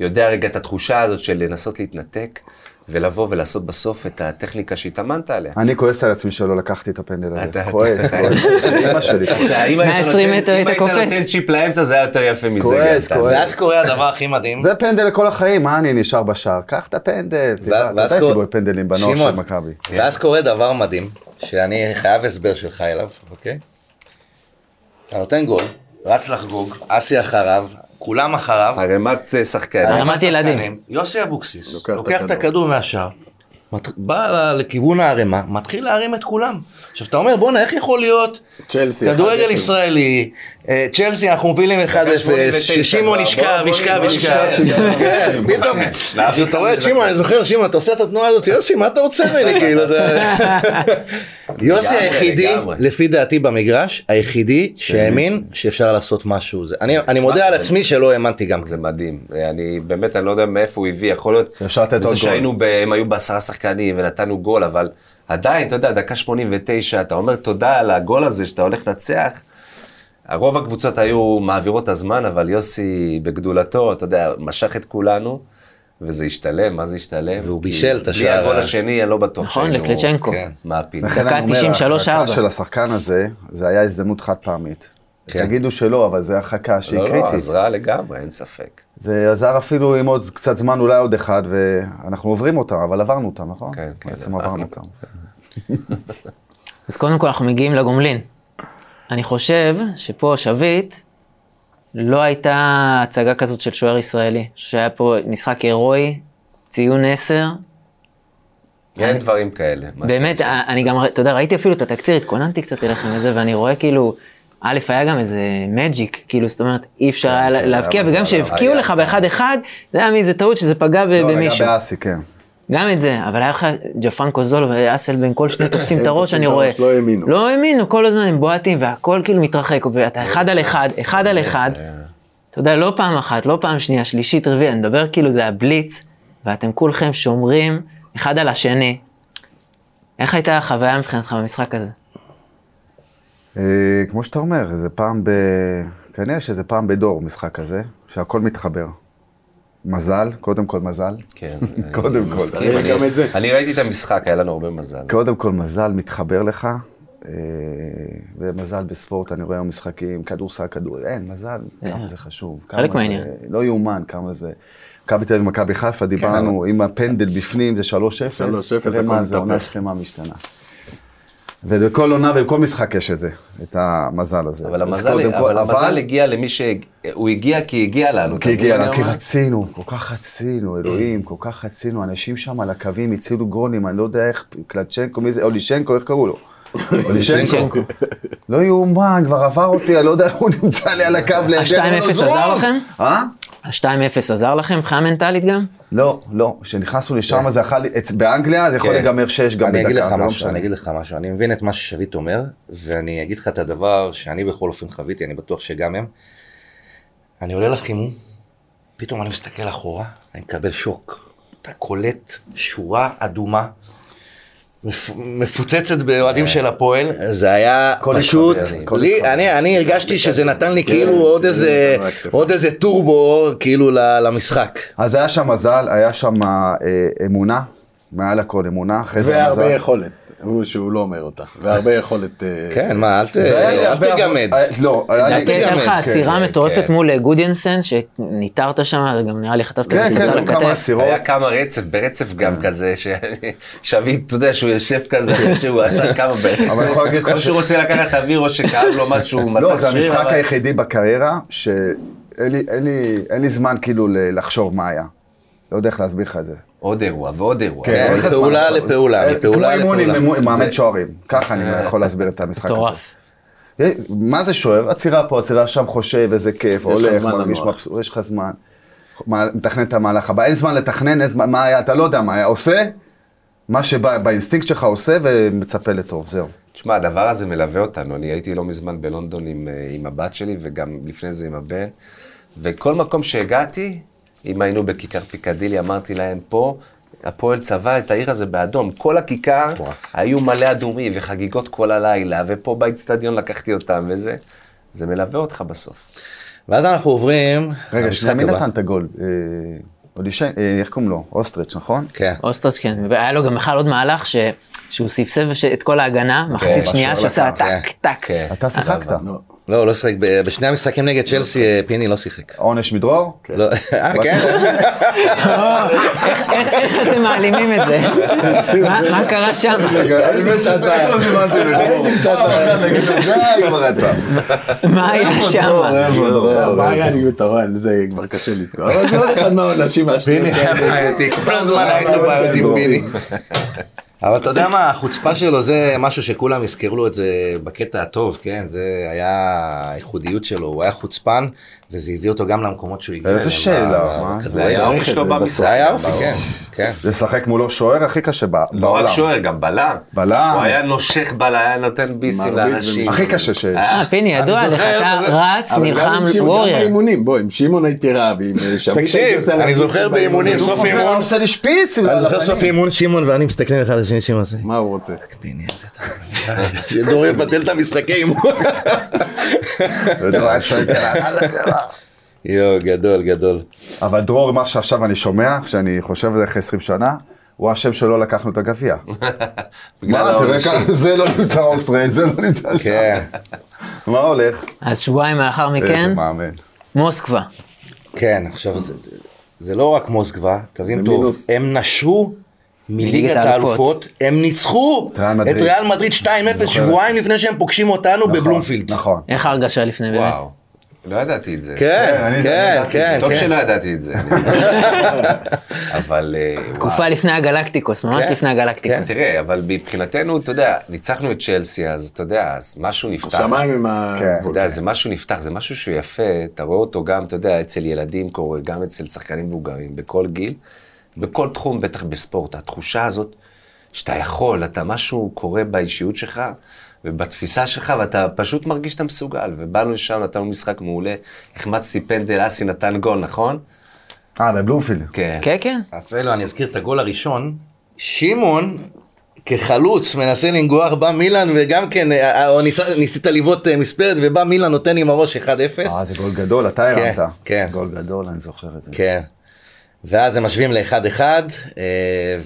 S4: יודע רגע את התחושה הזאת של לנסות להתנתק, ולבוא ולעשות בסוף את הטכניקה שהתאמנת עליה.
S6: אני כועס על עצמי שלא לקחתי את הפנדל הזה,
S4: אתה-
S6: כועס,
S4: אתה-
S6: כועס, אמא שלי.
S4: אם היית
S2: 120
S4: נותן-
S2: מטר היית
S4: אם
S2: קופץ.
S4: היית נותן צ'יפ לאמצע זה היה יותר יפה מזה.
S6: כועס,
S4: גם, אתה-
S6: כועס.
S1: ואז קורה הדבר הכי מדהים.
S6: זה פנדל לכל החיים, מה אני נשאר בשער? קח את הפנדל, תראה, אתה יודע, הייתי
S1: קורה-
S6: בו פנדלים בנוער של
S1: שמעון,
S6: מכבי.
S1: ואז קורה דבר מדהים, שאני חייב הסבר שלך אליו, אוקיי? אתה נותן גול, רץ לחגוג, אסי אחריו, כולם אחריו.
S4: ערימת אה, שחקנים.
S2: ערימת ילדים.
S1: יוסי אבוקסיס
S5: לוקח את
S1: לוקח את
S5: הכדור.
S1: הכדור מהשער, מת- בא לכיוון הערימה, מתחיל להרים את כולם. עכשיו, אתה אומר, בואנה, איך יכול להיות
S5: צ'לסי,
S1: כדורגל
S5: 1-0.
S1: ישראלי, אה, צ'לסי, אנחנו מובילים 1-0,
S4: 89,
S1: ששמעון
S4: כבר,
S1: ישכב,
S4: לא? בוא, בוא,
S1: ישכב,
S4: בוא,
S1: ישכב.
S4: נשכב.
S1: כן, פתאום, אז אתה רואה את שמעון, אני זוכר, שמעון, אתה עושה את התנועה הזאת, יוסי, מה אתה רוצה ממני, כאילו, אתה... יוסי
S4: לגמרי,
S1: היחידי,
S4: לגמרי. כן,
S1: לפי דעתי במגרש, היחידי שהאמין שאפשר לעשות משהו. זה- אני אני מודה על עצמי שלא האמנתי גם.
S4: זה מדהים. אני באמת, אני לא יודע מאיפה הוא הביא, יכול להיות...
S6: אפשר לתת עוד גול.
S4: זה שהיינו, ב- הם היו בעשרה שחקנים ונתנו גול, אבל עדיין, אתה יודע, דקה 89, אתה אומר תודה על הגול הזה שאתה הולך לנצח. רוב הקבוצות היו מעבירות את הזמן, אבל יוסי בגדולתו, אתה יודע, משך את כולנו, וזה השתלם, מה זה השתלם?
S1: והוא
S4: כי
S1: בישל את
S4: בלי
S1: השער
S4: הגול
S1: ה-
S4: השני, אני לא בטוח
S2: נכון, לקלצ'נקו.
S1: כן.
S4: מעפיל.
S6: לכן
S2: דקה
S6: אני אומר,
S2: 93,
S6: ההרחקה
S2: ארבע.
S6: של השחקן הזה, זה היה הזדמנות חד פעמית.
S1: כן.
S6: תגידו שלא, אבל זו הרחקה שהיא
S4: לא, לא,
S6: קריטית.
S4: עזרה לגמרי, אין ספק.
S6: זה עזר אפילו עם עוד קצת זמן, אולי עוד אחד, ואנחנו עוברים אותם, אבל עברנו אותם, נכון?
S4: כן, כן.
S6: בעצם עברנו אותם.
S2: אז קודם כל אנחנו מגיעים לגומלין. אני חושב שפה שביט, לא הייתה הצגה כזאת של שוער ישראלי. אני חושב שהיה פה משחק הירואי, ציון 10.
S4: אין דברים כאלה. מה
S2: באמת, אה,
S4: שיש.
S2: אני גם, אתה יודע, ראיתי אפילו את התקציר, התכוננתי קצת אליכם וזה, ואני רואה כאילו, א', היה גם איזה מג'יק, כאילו, זאת אומרת, אי אפשר היה
S6: כן,
S2: להבקיע,
S6: היה
S2: וגם
S6: מזל,
S2: כשהבקיעו
S4: היה.
S2: לך באחד אחד, זה היה מאיזה טעות שזה פגע ב-
S4: אה,
S6: לא,
S2: במישהו.
S6: רגע, באסי, כן.
S2: גם את זה, אבל היה לך ג'פנקו זול ואסל בן כל שני תופסים את
S5: הם
S2: הראש,
S5: תופסים
S2: אני
S5: את
S2: רואה.
S5: הראש, לא האמינו. אה,
S2: לא האמינו, כל הזמן הם בועטים והכל כאילו מתרחק, ואתה אחד על אחד, אחד על אחד. אתה יודע, לא פעם אחת, לא פעם שנייה, שלישית, רביעית, אני מדבר כאילו זה הבליץ, ואתם כולכם שומרים אחד על השני. איך הייתה החוויה מבחינתך במשחק הזה?
S6: אה, כמו שאתה אומר, זה פעם ב... כנראה שזה פעם בדור, משחק הזה, שהכל מתחבר. מזל, קודם כל מזל.
S4: כן.
S6: קודם כל.
S4: מסכים,
S5: גם
S4: אני-
S5: את זה.
S4: אני ראיתי את המשחק, היה לנו הרבה מזל.
S6: קודם כל, מזל מתחבר לך, אה, ומזל בספורט, אני רואה היום משחקים, כדורסל, כדור, אין, מזל, כמה זה חשוב. כמה
S2: חלק
S6: זה-
S2: מהעניין.
S6: לא יאומן כמה זה. מכבי תל אביב ומכבי
S5: כן,
S6: חיפה, דיברנו, אם הפנדל בפנים זה
S5: 3-0,
S6: 3-0, תראה
S5: הכל
S6: מה זה, עונה
S5: מתהפך.
S6: שלמה משתנה. ובכל עונה ובכל משחק יש את זה, את המזל הזה.
S4: אבל
S6: אז
S4: המזל,
S6: קודם
S4: אבל
S6: כל,
S4: המזל הגיע למי ש... הוא הגיע כי הגיע לנו. אתה
S6: כי
S4: מבין מה
S6: הגיע,
S4: אוקיי, אני
S6: כי
S4: אומר?
S6: רצינו, כל כך רצינו, אלוהים, כל כך רצינו, אנשים שם על הקווים הצילו גולים, אני לא יודע איך, קלצ'נקו, מי זה, אולישנקו, איך קראו לו? אולישנקו. לא יאומן, כבר עבר אותי, אני לא יודע איך הוא נמצא לי על הקו לידי.
S2: ה-2-0
S6: לא, זרום!
S2: עזר לכם?
S6: אה?
S2: ה-2-0 עזר לכם מבחינה מנטלית גם?
S5: אה,
S6: לא, לא, כשנכנסנו לשם זה יכול, אצ- באנגליה זה יכול
S4: כן.
S6: להיגמר 6 גם בדקה.
S1: אני אגיד לך
S6: זה לא
S1: משהו,
S6: משנה.
S1: אני אגיד לך משהו, אני מבין את מה ששביט אומר, ואני אגיד לך את הדבר שאני בכל אופן חוויתי, אני בטוח שגם הם. אני עולה לחימום, פתאום אני מסתכל אחורה, אני מקבל שוק. אתה קולט שורה אדומה, מפ- מפוצצת באוהדים של הפועל, אה, זה היה
S6: כל
S1: פשוט,
S6: אחד, אני- כל
S1: לי-
S6: אחד.
S1: אני אני הרגשתי שזה נתן לי כאילו
S5: זה
S1: עוד
S5: נתן
S1: איזה-
S5: רק כתף.
S1: עוד איזה טורבו כאילו ל- למשחק.
S6: אז היה שם מזל, היה שם אה, אמונה, מעל הכל אמונה, אחרי זה
S5: והרבה
S6: מזל.
S5: יכולת, הוא שהוא לא אומר אותה, והרבה יכולת. אה,
S1: כן, מה, אל ת-
S6: זה היה לי
S1: אל
S6: הרבה
S1: תגמד.
S6: אה, לא, היה לי-
S2: לדעתי הייתה לך
S1: כן,
S2: עצירה
S4: כן,
S2: מטורפת
S4: כן.
S2: מול גודיאנסן, שניטרת שם, גם נראה לי חטפת
S6: כן,
S2: את
S6: כן,
S2: על
S5: לא,
S6: היו כמה
S2: הכתף.
S6: עצירות.
S4: היה כמה רצף, ברצף גם
S6: כן.
S4: כזה, ששביט, אתה יודע, שהוא יושב כזה, אחרי שהוא עשה כמה ברצף.
S6: אבל אני יכול להגיד לך
S4: או
S6: ש-
S4: שהוא רוצה לקחת אוויר, או שכאב לו משהו.
S6: לא,
S4: מתח
S6: זה
S4: שריר,
S6: המשחק
S4: אבל-
S6: היחידי בקריירה שאין לי, אין לי, אין לי זמן כאילו ל- לחשוב מה היה. לא יודע איך להסביר לך את זה.
S4: עוד אירוע ועוד אירוע.
S6: אין
S1: כן,
S6: לך זמן
S1: פעולה
S6: לחשוב.
S1: לפעולה,
S6: אה,
S1: מפעולה
S6: כמו אימון
S1: לפעולה. אה,
S6: עם אימון- עם מאמן שוערים. ככה אני יכול להסביר את המשחק הזה.
S2: מטורף.
S6: אה, מה זה שוער? עצירה פה, עצירה שם, חושב, איזה כיף,
S5: לך
S6: הולך,
S5: זמן
S6: מרגיש
S5: לנוח.
S6: מבסוט, יש לך זמן. מה- מתכנן את המהלך הבא, אין זמן לתכנן, אין זמן, מה היה, אתה לא יודע מה היה, עושה, מה שבאינסטינקט שלך עושה ומצפה לטוב, זהו.
S4: תשמע, הדבר הזה מלווה אותנו. אני הייתי לא מזמן בלונדון עם, אה, עם הבת שלי, וגם לפני זה עם הבן, וכל מקום שהגעתי, אם היינו בכיכר פיקדילי, אמרתי להם פה, הפועל צבע את העיר הזה באדום. כל הכיכר היו מלא אדומים, וחגיגות כל הלילה, ופה באיצטדיון לקחתי אותם, וזה... זה מלווה אותך בסוף.
S1: ואז אנחנו עוברים...
S6: רגע,
S1: למשחק
S6: שנייה, מי
S1: הבא.
S6: נתן את הגול? אה, אולישן, אה, איך קוראים לו? אוסטריץ', נכון?
S1: כן.
S2: אוסטרץ' כן, והיה לו גם בכלל עוד מהלך ש... שהוא סבסב ש... את כל ההגנה, מחצית שנייה
S6: משהו
S2: שעשה
S6: על הקו,
S2: טק, טק.
S4: כן.
S6: אתה שיחקת.
S5: לא.
S1: לא, לא שיחק. ב- בשני המשחקים נגד צ'לסי אה, פיני לא שיחק.
S6: עונש מדרור?
S1: לא- אה, כן?
S2: אה, איך- איך איך אתם מעלימים את זה? מה- מה קרה שם?
S6: אני משתף, לא זימנתי לדרור. פעם אחת נגיד לו, די כבר אתה.
S2: מה היה שם?
S6: איפה דרור?
S5: מה היה לי אתה רואה, זה כבר קשה לזכור. אבל זה עוד אחד מהעונשים
S1: פיני
S5: השניים.
S1: היה בעייתי, כל הזמן היינו בעייתי אה, עם פיני. לא, אבל אתה יודע מה, החוצפה שלו זה משהו שכולם יזכרו לו את זה בקטע הטוב, כן? זה היה הייחודיות שלו, הוא היה חוצפן, וזה הביא אותו גם למקומות שהוא הגיע.
S6: איזה
S1: אליהם,
S6: שאלה,
S1: ב-
S6: מה?
S1: בכדורגל.
S4: זה היה האופי
S5: צריך את
S4: שלו
S5: זה
S4: במשחק.
S1: זה היה אופי, כן, כן.
S6: לשחק מולו שוער הכי קשה ב-
S4: לא רק
S6: בעולם.
S4: שוער, גם בלם.
S6: בלם.
S4: הוא היה נושך בלם, היה נותן ביסים
S5: מרביץ
S4: לאנשים.
S6: הכי קשה שיש.
S2: אה, פיני, ידוע לך, אתה רץ,
S5: אבל גם
S2: נלחם
S5: עם שמעון, גם
S2: וורייר.
S5: באימונים, בוא, עם שמון הייתי רב, עם אה, שביט הייתי עושה להגיד
S6: הוא
S1: סוף
S6: חוזר,
S1: אימון.
S6: הוא עושה לי שפיץ. עם
S1: אני זוכר
S6: הלבנים.
S1: סוף אימון שמעון ואני מסתכלים אחד על השני, שמעון עושה,
S5: מה הוא רוצה?
S1: פיני, איזה אתה... שדור יבטל את המשחקי אימון.
S6: אתה יודע, הוא
S1: אה,
S6: היה צועק עליו.
S1: יואו, גדול, גדול.
S6: אבל דרור, מה שעכשיו אני שומע, כשאני חושב על זה אחרי 20 שנה, הוא אשם שלא לקחנו את הגביע.
S4: בגלל העונשים.
S6: זה לא נמצא אוסטרי, זה לא נמצא
S1: כן,
S6: מה הולך?
S2: אז שבועיים לאחר
S6: איזה
S2: מכן,
S6: מאמן.
S2: מוסקבה.
S1: כן, עכשיו, זה- זה לא רק מוסקבה, תבין
S5: זה
S1: טוב,
S5: מינוס.
S1: הם נשרו מליגת
S2: מליגת האלופות.
S1: האלופות, הם ניצחו
S6: ריאל
S1: את
S6: מדריד.
S1: ריאל מדריד 2-0 שבועיים לפני שהם פוגשים אותנו בבלומפילד.
S6: נכון.
S2: איך ההרגשה לפני באמת?
S4: וואו, לא ידעתי את זה.
S1: כן,
S6: אני-
S1: כן,
S6: אני-
S1: כן,
S4: טוב
S1: כן.
S4: שלא ידעתי את זה. אבל אה, וואו.
S2: תקופה לפני הגלקטיקוס, ממש
S1: כן,
S2: לפני הגלקטיקוס.
S4: תראה, אבל מבחינתנו, אתה יודע, ניצחנו את צ'לסי, אז אתה יודע, אז משהו נפתח.
S5: השמיים עם
S6: כן.
S5: הגבול.
S4: אתה יודע, זה משהו נפתח, זה משהו שהוא יפה, אתה רואה אותו גם, אתה יודע, אצל ילדים קורה, גם אצל שחקנים מבוגרים, בכל גיל, בכל תחום, בטח בספורט. התחושה הזאת שאתה יכול, אתה, משהו קורה באישיות שלך ובתפיסה שלך, ואתה פשוט מרגיש שאתה מסוגל. ובאנו לשם, נתנו משחק מעולה, החמצתי פנדל, אסי נתן גול, נכון?
S6: אה, בבלומפילד.
S4: כן.
S2: כן, כן.
S1: אפילו אני אזכיר את הגול הראשון, שמעון כחלוץ מנסה לנגוח, בא מילן וגם כן, אה, אה, או ניסה- ניסית לבעוט אה, מספרת ובא מילן נותן עם הראש 1-0.
S6: אה, זה גול גדול, אתה
S1: כן,
S6: הרמת.
S1: כן.
S6: גול גדול, אני זוכר את זה.
S1: כן. ואז הם משווים ל-1-1, אה,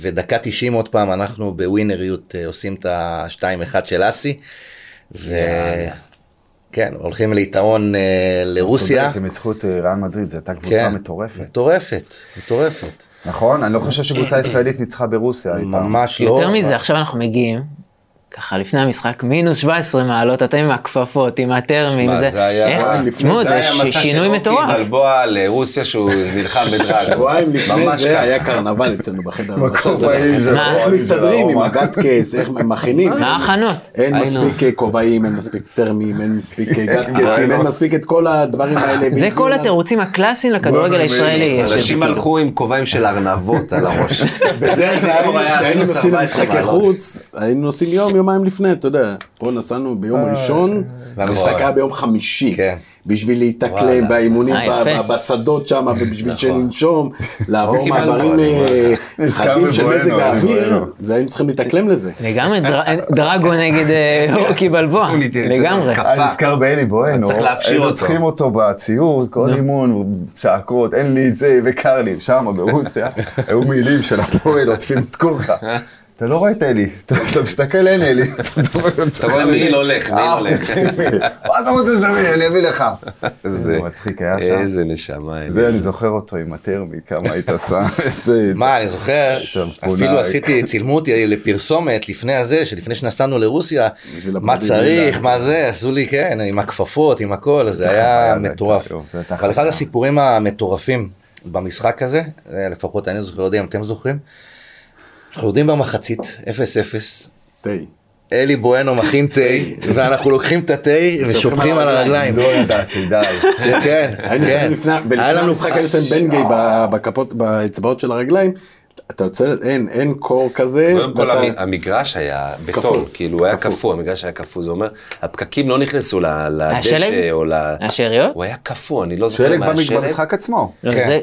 S1: ודקה 90 עוד פעם, אנחנו בווינריות אה, עושים את ה-2-1 של אסי. ו... כן, הולכים ליתרון אה, לרוסיה.
S6: צודק, הם ניצחו את אה, ריאל מדריד, זו הייתה קבוצה
S1: כן.
S6: מטורפת.
S1: מטורפת, מטורפת.
S6: נכון? אני לא חושב שקבוצה ישראלית ניצחה ברוסיה אי פעם.
S1: אה, ממש לא.
S2: יותר מזה, עכשיו אנחנו מגיעים, ככה לפני המשחק, מינוס 17 מעלות, אתם עם הכפפות, עם הטרמין,
S4: מה,
S2: זה...
S4: זה היה-
S2: איך?
S4: וואי,
S2: תשמעו, זה
S4: היה
S2: ש-
S4: מסע
S2: שינוי
S4: של רוקי
S2: מטורף.
S4: בלבוע לרוסיה שהוא נלחם בדרג.
S5: שבועיים לפני
S4: ממש
S5: זה
S4: ככה.
S5: היה קרנבל אצלנו בחדר. הלבשה, אתה יודע.
S6: כובעים של
S2: מה?
S5: איך
S6: רומי,
S5: מסתדרים
S6: של
S5: עם
S6: רומא.
S5: הגת כס, איך הם מכינים.
S2: מה ההכנות?
S5: אין
S2: היינו.
S5: מספיק אה, כובעים, אין מספיק טרמים, אין מספיק אה, גת כסים, אין
S6: רעיונות.
S5: מספיק את כל הדברים האלה.
S2: זה
S5: בדיוק.
S2: כל התירוצים הקלאסיים לכדורגל
S6: בואנה,
S2: הישראלי. יש
S4: אנשים
S2: הבדל.
S4: הלכו עם כובעים של ארנבות על הראש.
S5: בדרך
S4: זה
S5: כלל
S4: היה
S5: כשהיינו
S4: מינוס
S5: נוסעים
S4: 14
S5: למשחקי
S4: מעלות.
S5: חוץ, היינו נוסעים יום, יומיים לפני, אתה יודע. פה נסענו ביום ראשון, המשחק היה ביום חמישי.
S1: אה, נכון. כן.
S5: בשביל להתאקלם
S4: וואלה.
S5: באימונים
S2: אה,
S5: ב-
S2: יפה.
S5: ב- בשדות שם,
S1: נכון.
S5: ובשביל שננשום, לעבור
S4: רוקי
S5: מעברים
S4: בלבוע,
S5: אה,
S6: נזכר
S5: חדים של
S6: בבואנו,
S5: מזג האוויר,
S6: בבואנו.
S5: זה היינו צריכים להתאקלם לזה.
S2: לגמרי, דר- דרגו נגד אה, רוקי בלבוע.
S4: הוא ניתן-
S2: לגמרי.
S4: כפה.
S6: אני נזכר באלי בואנו,
S4: צריך להפשיר
S6: היינו
S4: אותו.
S6: צריכים אותו בציוד, כל אימון, צעקות, אין לי את זה, וקר לי, שם ברוסיה, היו מילים של הפועל, עוטפים את כולך. אתה לא רואה את אלי, אתה אתה מסתכל, אין אלי. אתה
S4: רואה מי לא הולך, מי לא
S6: אה,
S4: הולך.
S6: חוצים מי. מה אתה רוצה שאני אני אביא לך?
S4: איזה
S6: איזה מצחיק היה שם.
S4: איזה נשמה. איזה-
S6: זה, אני זוכר אותו עם הטרמי, כמה היית שם, איזה...
S1: מה, אני זוכר,
S6: טמפונאי.
S1: אפילו עשיתי, צילמו אותי לפרסומת לפני הזה, שלפני שנסענו לרוסיה,
S5: בשביל
S1: מה
S5: הפרדיגמה.
S1: צריך, מה זה, עשו לי, כן, עם הכפפות, עם הכל, זה היה
S6: חוויה,
S1: מטורף.
S6: זה הייתה- זה הייתה
S1: אבל אחד
S6: חוויה.
S1: הסיפורים המטורפים במשחק הזה, זה לפחות אני זוכר, לא יודע אם אתם זוכרים, אנחנו יורדים במחצית, 0-0,
S5: תה.
S1: אלי בואנו מכין תה, ואנחנו לוקחים את התה ושופכים על הרגליים.
S6: לא ידעתי, די.
S1: כן,
S5: היינו
S1: כן.
S5: שמים לפני,
S1: היה
S5: ולפני
S1: לנו אה.
S5: המשחק היינו שמים בן גיי ב- בכפות, באצבעות של הרגליים, אתה יוצא, אין, אין קור כזה,
S4: קודם כל
S5: ואתה-
S4: המ- המגרש היה בטון,
S5: קפוא.
S4: כאילו הוא היה
S5: קפוא.
S4: קפוא, המגרש היה קפוא, זה אומר, הפקקים לא נכנסו ל-
S2: אה, שלג?
S4: לדשא או ל...
S2: היה שאריות?
S4: הוא היה קפוא, אני לא זוכר
S6: שלג
S4: אם היה
S6: במג-
S4: שלג,
S6: במשחק עצמו.
S2: לא,
S1: כן.
S2: זה-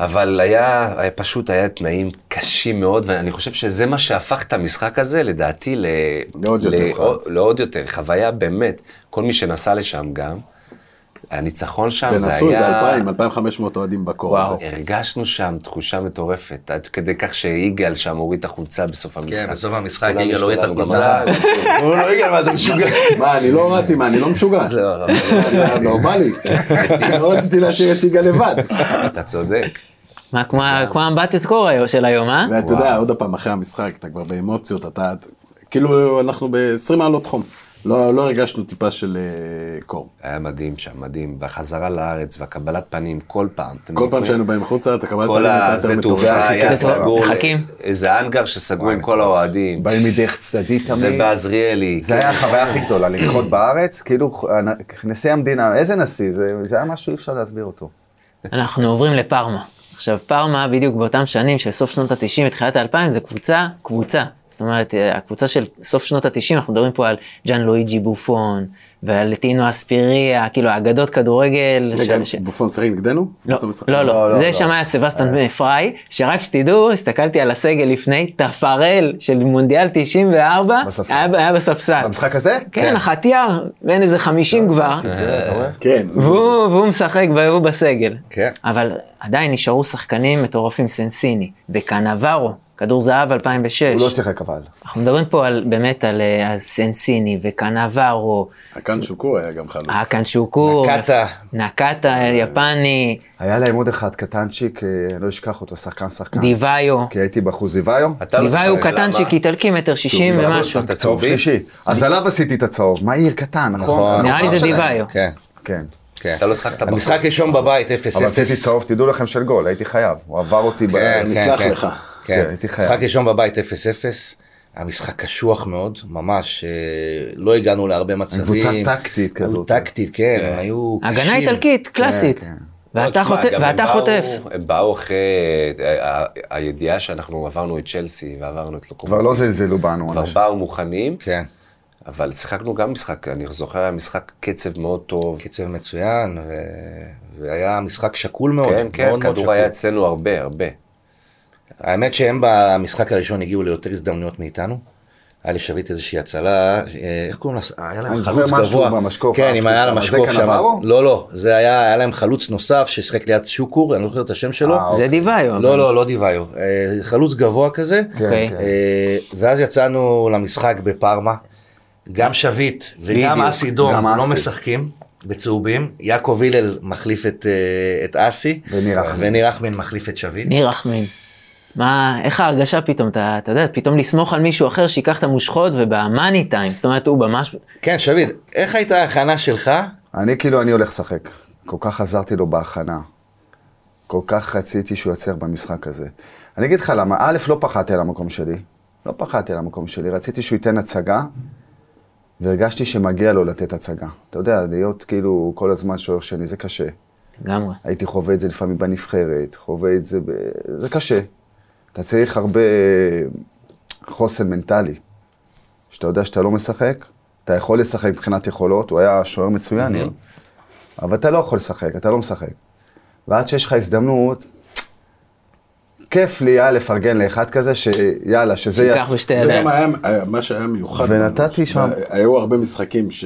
S4: אבל היה, היה פשוט, היה תנאים קשים מאוד, ואני חושב שזה מה שהפך את המשחק הזה, לדעתי, ל...
S5: לעוד יותר
S4: ל-
S5: חוויה.
S4: לעוד יותר, חוויה באמת, כל מי שנסע לשם גם, הניצחון שם זה
S5: ונסעו
S4: היה...
S5: כן, איזה 2,000, 2,500 אוהדים בקור.
S4: הרגשנו שם תחושה מטורפת, עד כדי כך שיגאל שם הוריד את החולצה בסוף המשחק.
S1: כן, בסוף המשחק
S4: כולם
S1: יגאל
S4: ישבו
S1: הוריד את
S4: על
S1: החולצה.
S4: הבמה.
S1: הוא לא יגאל, מה אתה משוגע?
S5: מה, אני לא הורדתי, מה, אני לא משוגע?
S4: לא, לא,
S5: נורמלי. לא רציתי להשאיר את יגאל לבד.
S4: אתה צודק.
S2: מה, כמו ה- כמו האמבטיות קור היום- של היום, אה?
S5: ואתה יודע, עוד פעם, אחרי המשחק, אתה כבר באמוציות, אתה... כאילו, אנחנו ב-20 מעלות חום. לא לא הרגשנו טיפה של אה, קור.
S4: היה מדהים שם, מדהים. והחזרה לארץ והקבלת פנים כל פעם. אתם
S5: כל פעם
S4: זוכרים?
S5: שהיינו באים חוצה, אתה קבל
S4: אוקיי. כל השדה
S5: כן,
S4: תעופה היה
S2: הכי כיף.
S4: סגור,
S2: מחכים.
S4: איזה האנגר שסגרו עם כל האוהדים,
S6: באים מדרך צדדית תמיד.
S4: ובעזריאלי. כן.
S6: זה היה החוויה הכי גדולה, לנחות בארץ, כאילו נשיא המדינה, איזה נשיא, זה, זה היה משהו אי אפשר להסביר אותו.
S2: אנחנו עוברים לפארמה. עכשיו, פארמה, בדיוק באותם שנים של סוף שנות ה-90 ותחילת ה-2000, זה קבוצה, קבוצה. זאת אומרת, אה, הקבוצה של סוף שנות ה-90, אנחנו מדברים פה על ג'אן לואיג'י בופון, ועל טינו אספיריה, כאילו, אגדות כדורגל.
S5: רגע,
S2: של-
S5: בופון צריך נגדנו?
S2: לא,
S5: אותו משחק?
S2: לא,
S6: לא,
S2: לא,
S6: לא,
S2: זה
S6: לא.
S2: שם היה סבסטן פריי, שרק שתדעו, הסתכלתי על הסגל לפני, טפרל של מונדיאל 94,
S6: בספסל.
S2: היה היה בספסל.
S6: במשחק לא, הזה?
S2: כן, החטיאר, בין איזה 50 כבר,
S5: כן.
S2: והוא והוא משחק והוא בסגל.
S1: כן.
S2: אבל עדיין נשארו שחקנים מטורפים, סנסיני, וקנברו, כדור זהב 2006.
S6: הוא לא שיחק אבל.
S2: אנחנו מדברים פה על, באמת על אה, על סנסיני וקנברו,
S4: לא,
S5: הקאן כן, שוקו היה גם חלוץ.
S2: האקן שוקור,
S1: נקטה.
S2: נקטה, יפני,
S6: היה להם עוד אחד קטנצ'יק, אה, לא אשכח אותו, שחקן שחקן.
S2: דיוויו.
S6: כי הייתי בחוזיוויו,
S4: אתה לא
S2: ליוואי הוא
S4: שיחק,
S2: קטנצ'יק
S4: למה?
S2: איטלקי מטר שישים
S4: כי הוא
S2: ומשהו.
S4: בחוץ, אתה
S6: צהוב
S4: צהובי?
S6: שלישי. אז עליו עשיתי את הצהוב, מהיר קטן, נכון?
S2: נראה לי זה דיוויו.
S1: כן,
S6: כן.
S1: כן.
S4: אתה לא שחקת בחוץ.
S1: המשחק ראשון בבית, 0-0.
S6: אבל עשיתי אה, צהוב, תדעו לכם, של גול, הייתי חייב. הוא עבר אותי ב...
S1: כן, כן,
S5: נסלח
S1: כן.
S5: לך.
S1: כן,
S6: כן, הייתי חייב.
S1: משחק ראשון בבית 0-0, היה משחק קשוח מאוד, ממש, אה, לא הגענו להרבה מצבים.
S6: קבוצה טקטית כזאת.
S1: טקטית, כן, הם היו קשים.
S2: הגנה איטלקית, קלאסית.
S4: לא,
S2: ואתה
S4: תשמע,
S2: חוטף-
S4: גם
S2: ואתה
S4: הם
S2: חוטף.
S4: באו- הם באו אחרי אה, ה- הידיעה שאנחנו עברנו את צ'לסי ועברנו את לוקומטי.
S6: כבר לא זלזלו בנו.
S4: כבר
S6: אנשים.
S4: באו מוכנים,
S1: כן,
S4: אבל שיחקנו גם משחק, אני זוכר היה משחק קצב מאוד טוב.
S1: קצב מצוין, ו- והיה משחק שקול מאוד.
S4: כן, כן,
S1: מאוד מאוד
S4: כדור היה
S1: שקול.
S4: אצלנו הרבה, הרבה.
S1: האמת שהם במשחק הראשון הגיעו ליותר הזדמנויות מאיתנו. היה לשביט איזושהי הצלה, אה, איך קוראים לה? היה להם
S6: אני
S1: חלוץ
S6: זוכר משהו
S1: גבוה.
S6: במשקוף,
S1: כן,
S6: אהבתי
S1: אם היה
S6: שם.
S1: להם
S6: זה
S1: משקוף שם.
S6: קנברו?
S1: לא, לא, זה היה, היה להם חלוץ נוסף ששיחק ליד שוקור, אני לא זוכר את השם שלו.
S6: אה,
S4: אוקיי.
S2: זה דיוויו. אבל-
S1: לא, לא, לא דיוויו. אה, חלוץ גבוה כזה.
S2: אוקיי.
S6: כן.
S1: אה, ואז יצאנו למשחק בפארמה. גם שביט וגם
S2: בדיוק.
S1: אסי דום
S6: גם
S1: לא
S6: אסי.
S1: משחקים בצהובים. יעקב הלל מחליף את, אה, את אסי.
S6: וניר אחמד.
S1: וניר אחמין מחליף את שביט.
S2: ניר רחמים. מה, איך ההרגשה פתאום, אתה אתה יודע, פתאום לסמוך על מישהו אחר שייקח את המושכות ובמאני טיים, זאת אומרת, הוא ממש...
S1: כן, שביט, איך הייתה ההכנה שלך?
S6: אני כאילו, אני הולך לשחק. כל כך עזרתי לו בהכנה. כל כך רציתי שהוא יצליח במשחק הזה. אני אגיד לך למה, א', לא פחדתי על המקום שלי. לא פחדתי על המקום שלי, רציתי שהוא ייתן הצגה, והרגשתי שמגיע לו לתת הצגה. אתה יודע, להיות כאילו כל הזמן שוער שני, זה קשה.
S2: לגמרי.
S6: הייתי חווה את זה לפעמים בנבחרת, חווה את זה, ב... זה קשה. אתה צריך הרבה אה, חוסן מנטלי. שאתה יודע שאתה לא משחק, אתה יכול לשחק מבחינת יכולות, הוא היה שוער מצוין, ניר, אבל אתה לא יכול לשחק, אתה לא משחק. ועד שיש לך הזדמנות, כיף לי היה לפרגן לאחד כזה, שיאללה, שזה
S2: שייקח
S6: יעשה-
S2: בשתי
S5: זה
S2: ידיים.
S5: גם היה, היה- מה שהיה מיוחד.
S6: ונתתי
S5: ממש.
S6: שם.
S5: היו הרבה משחקים ש...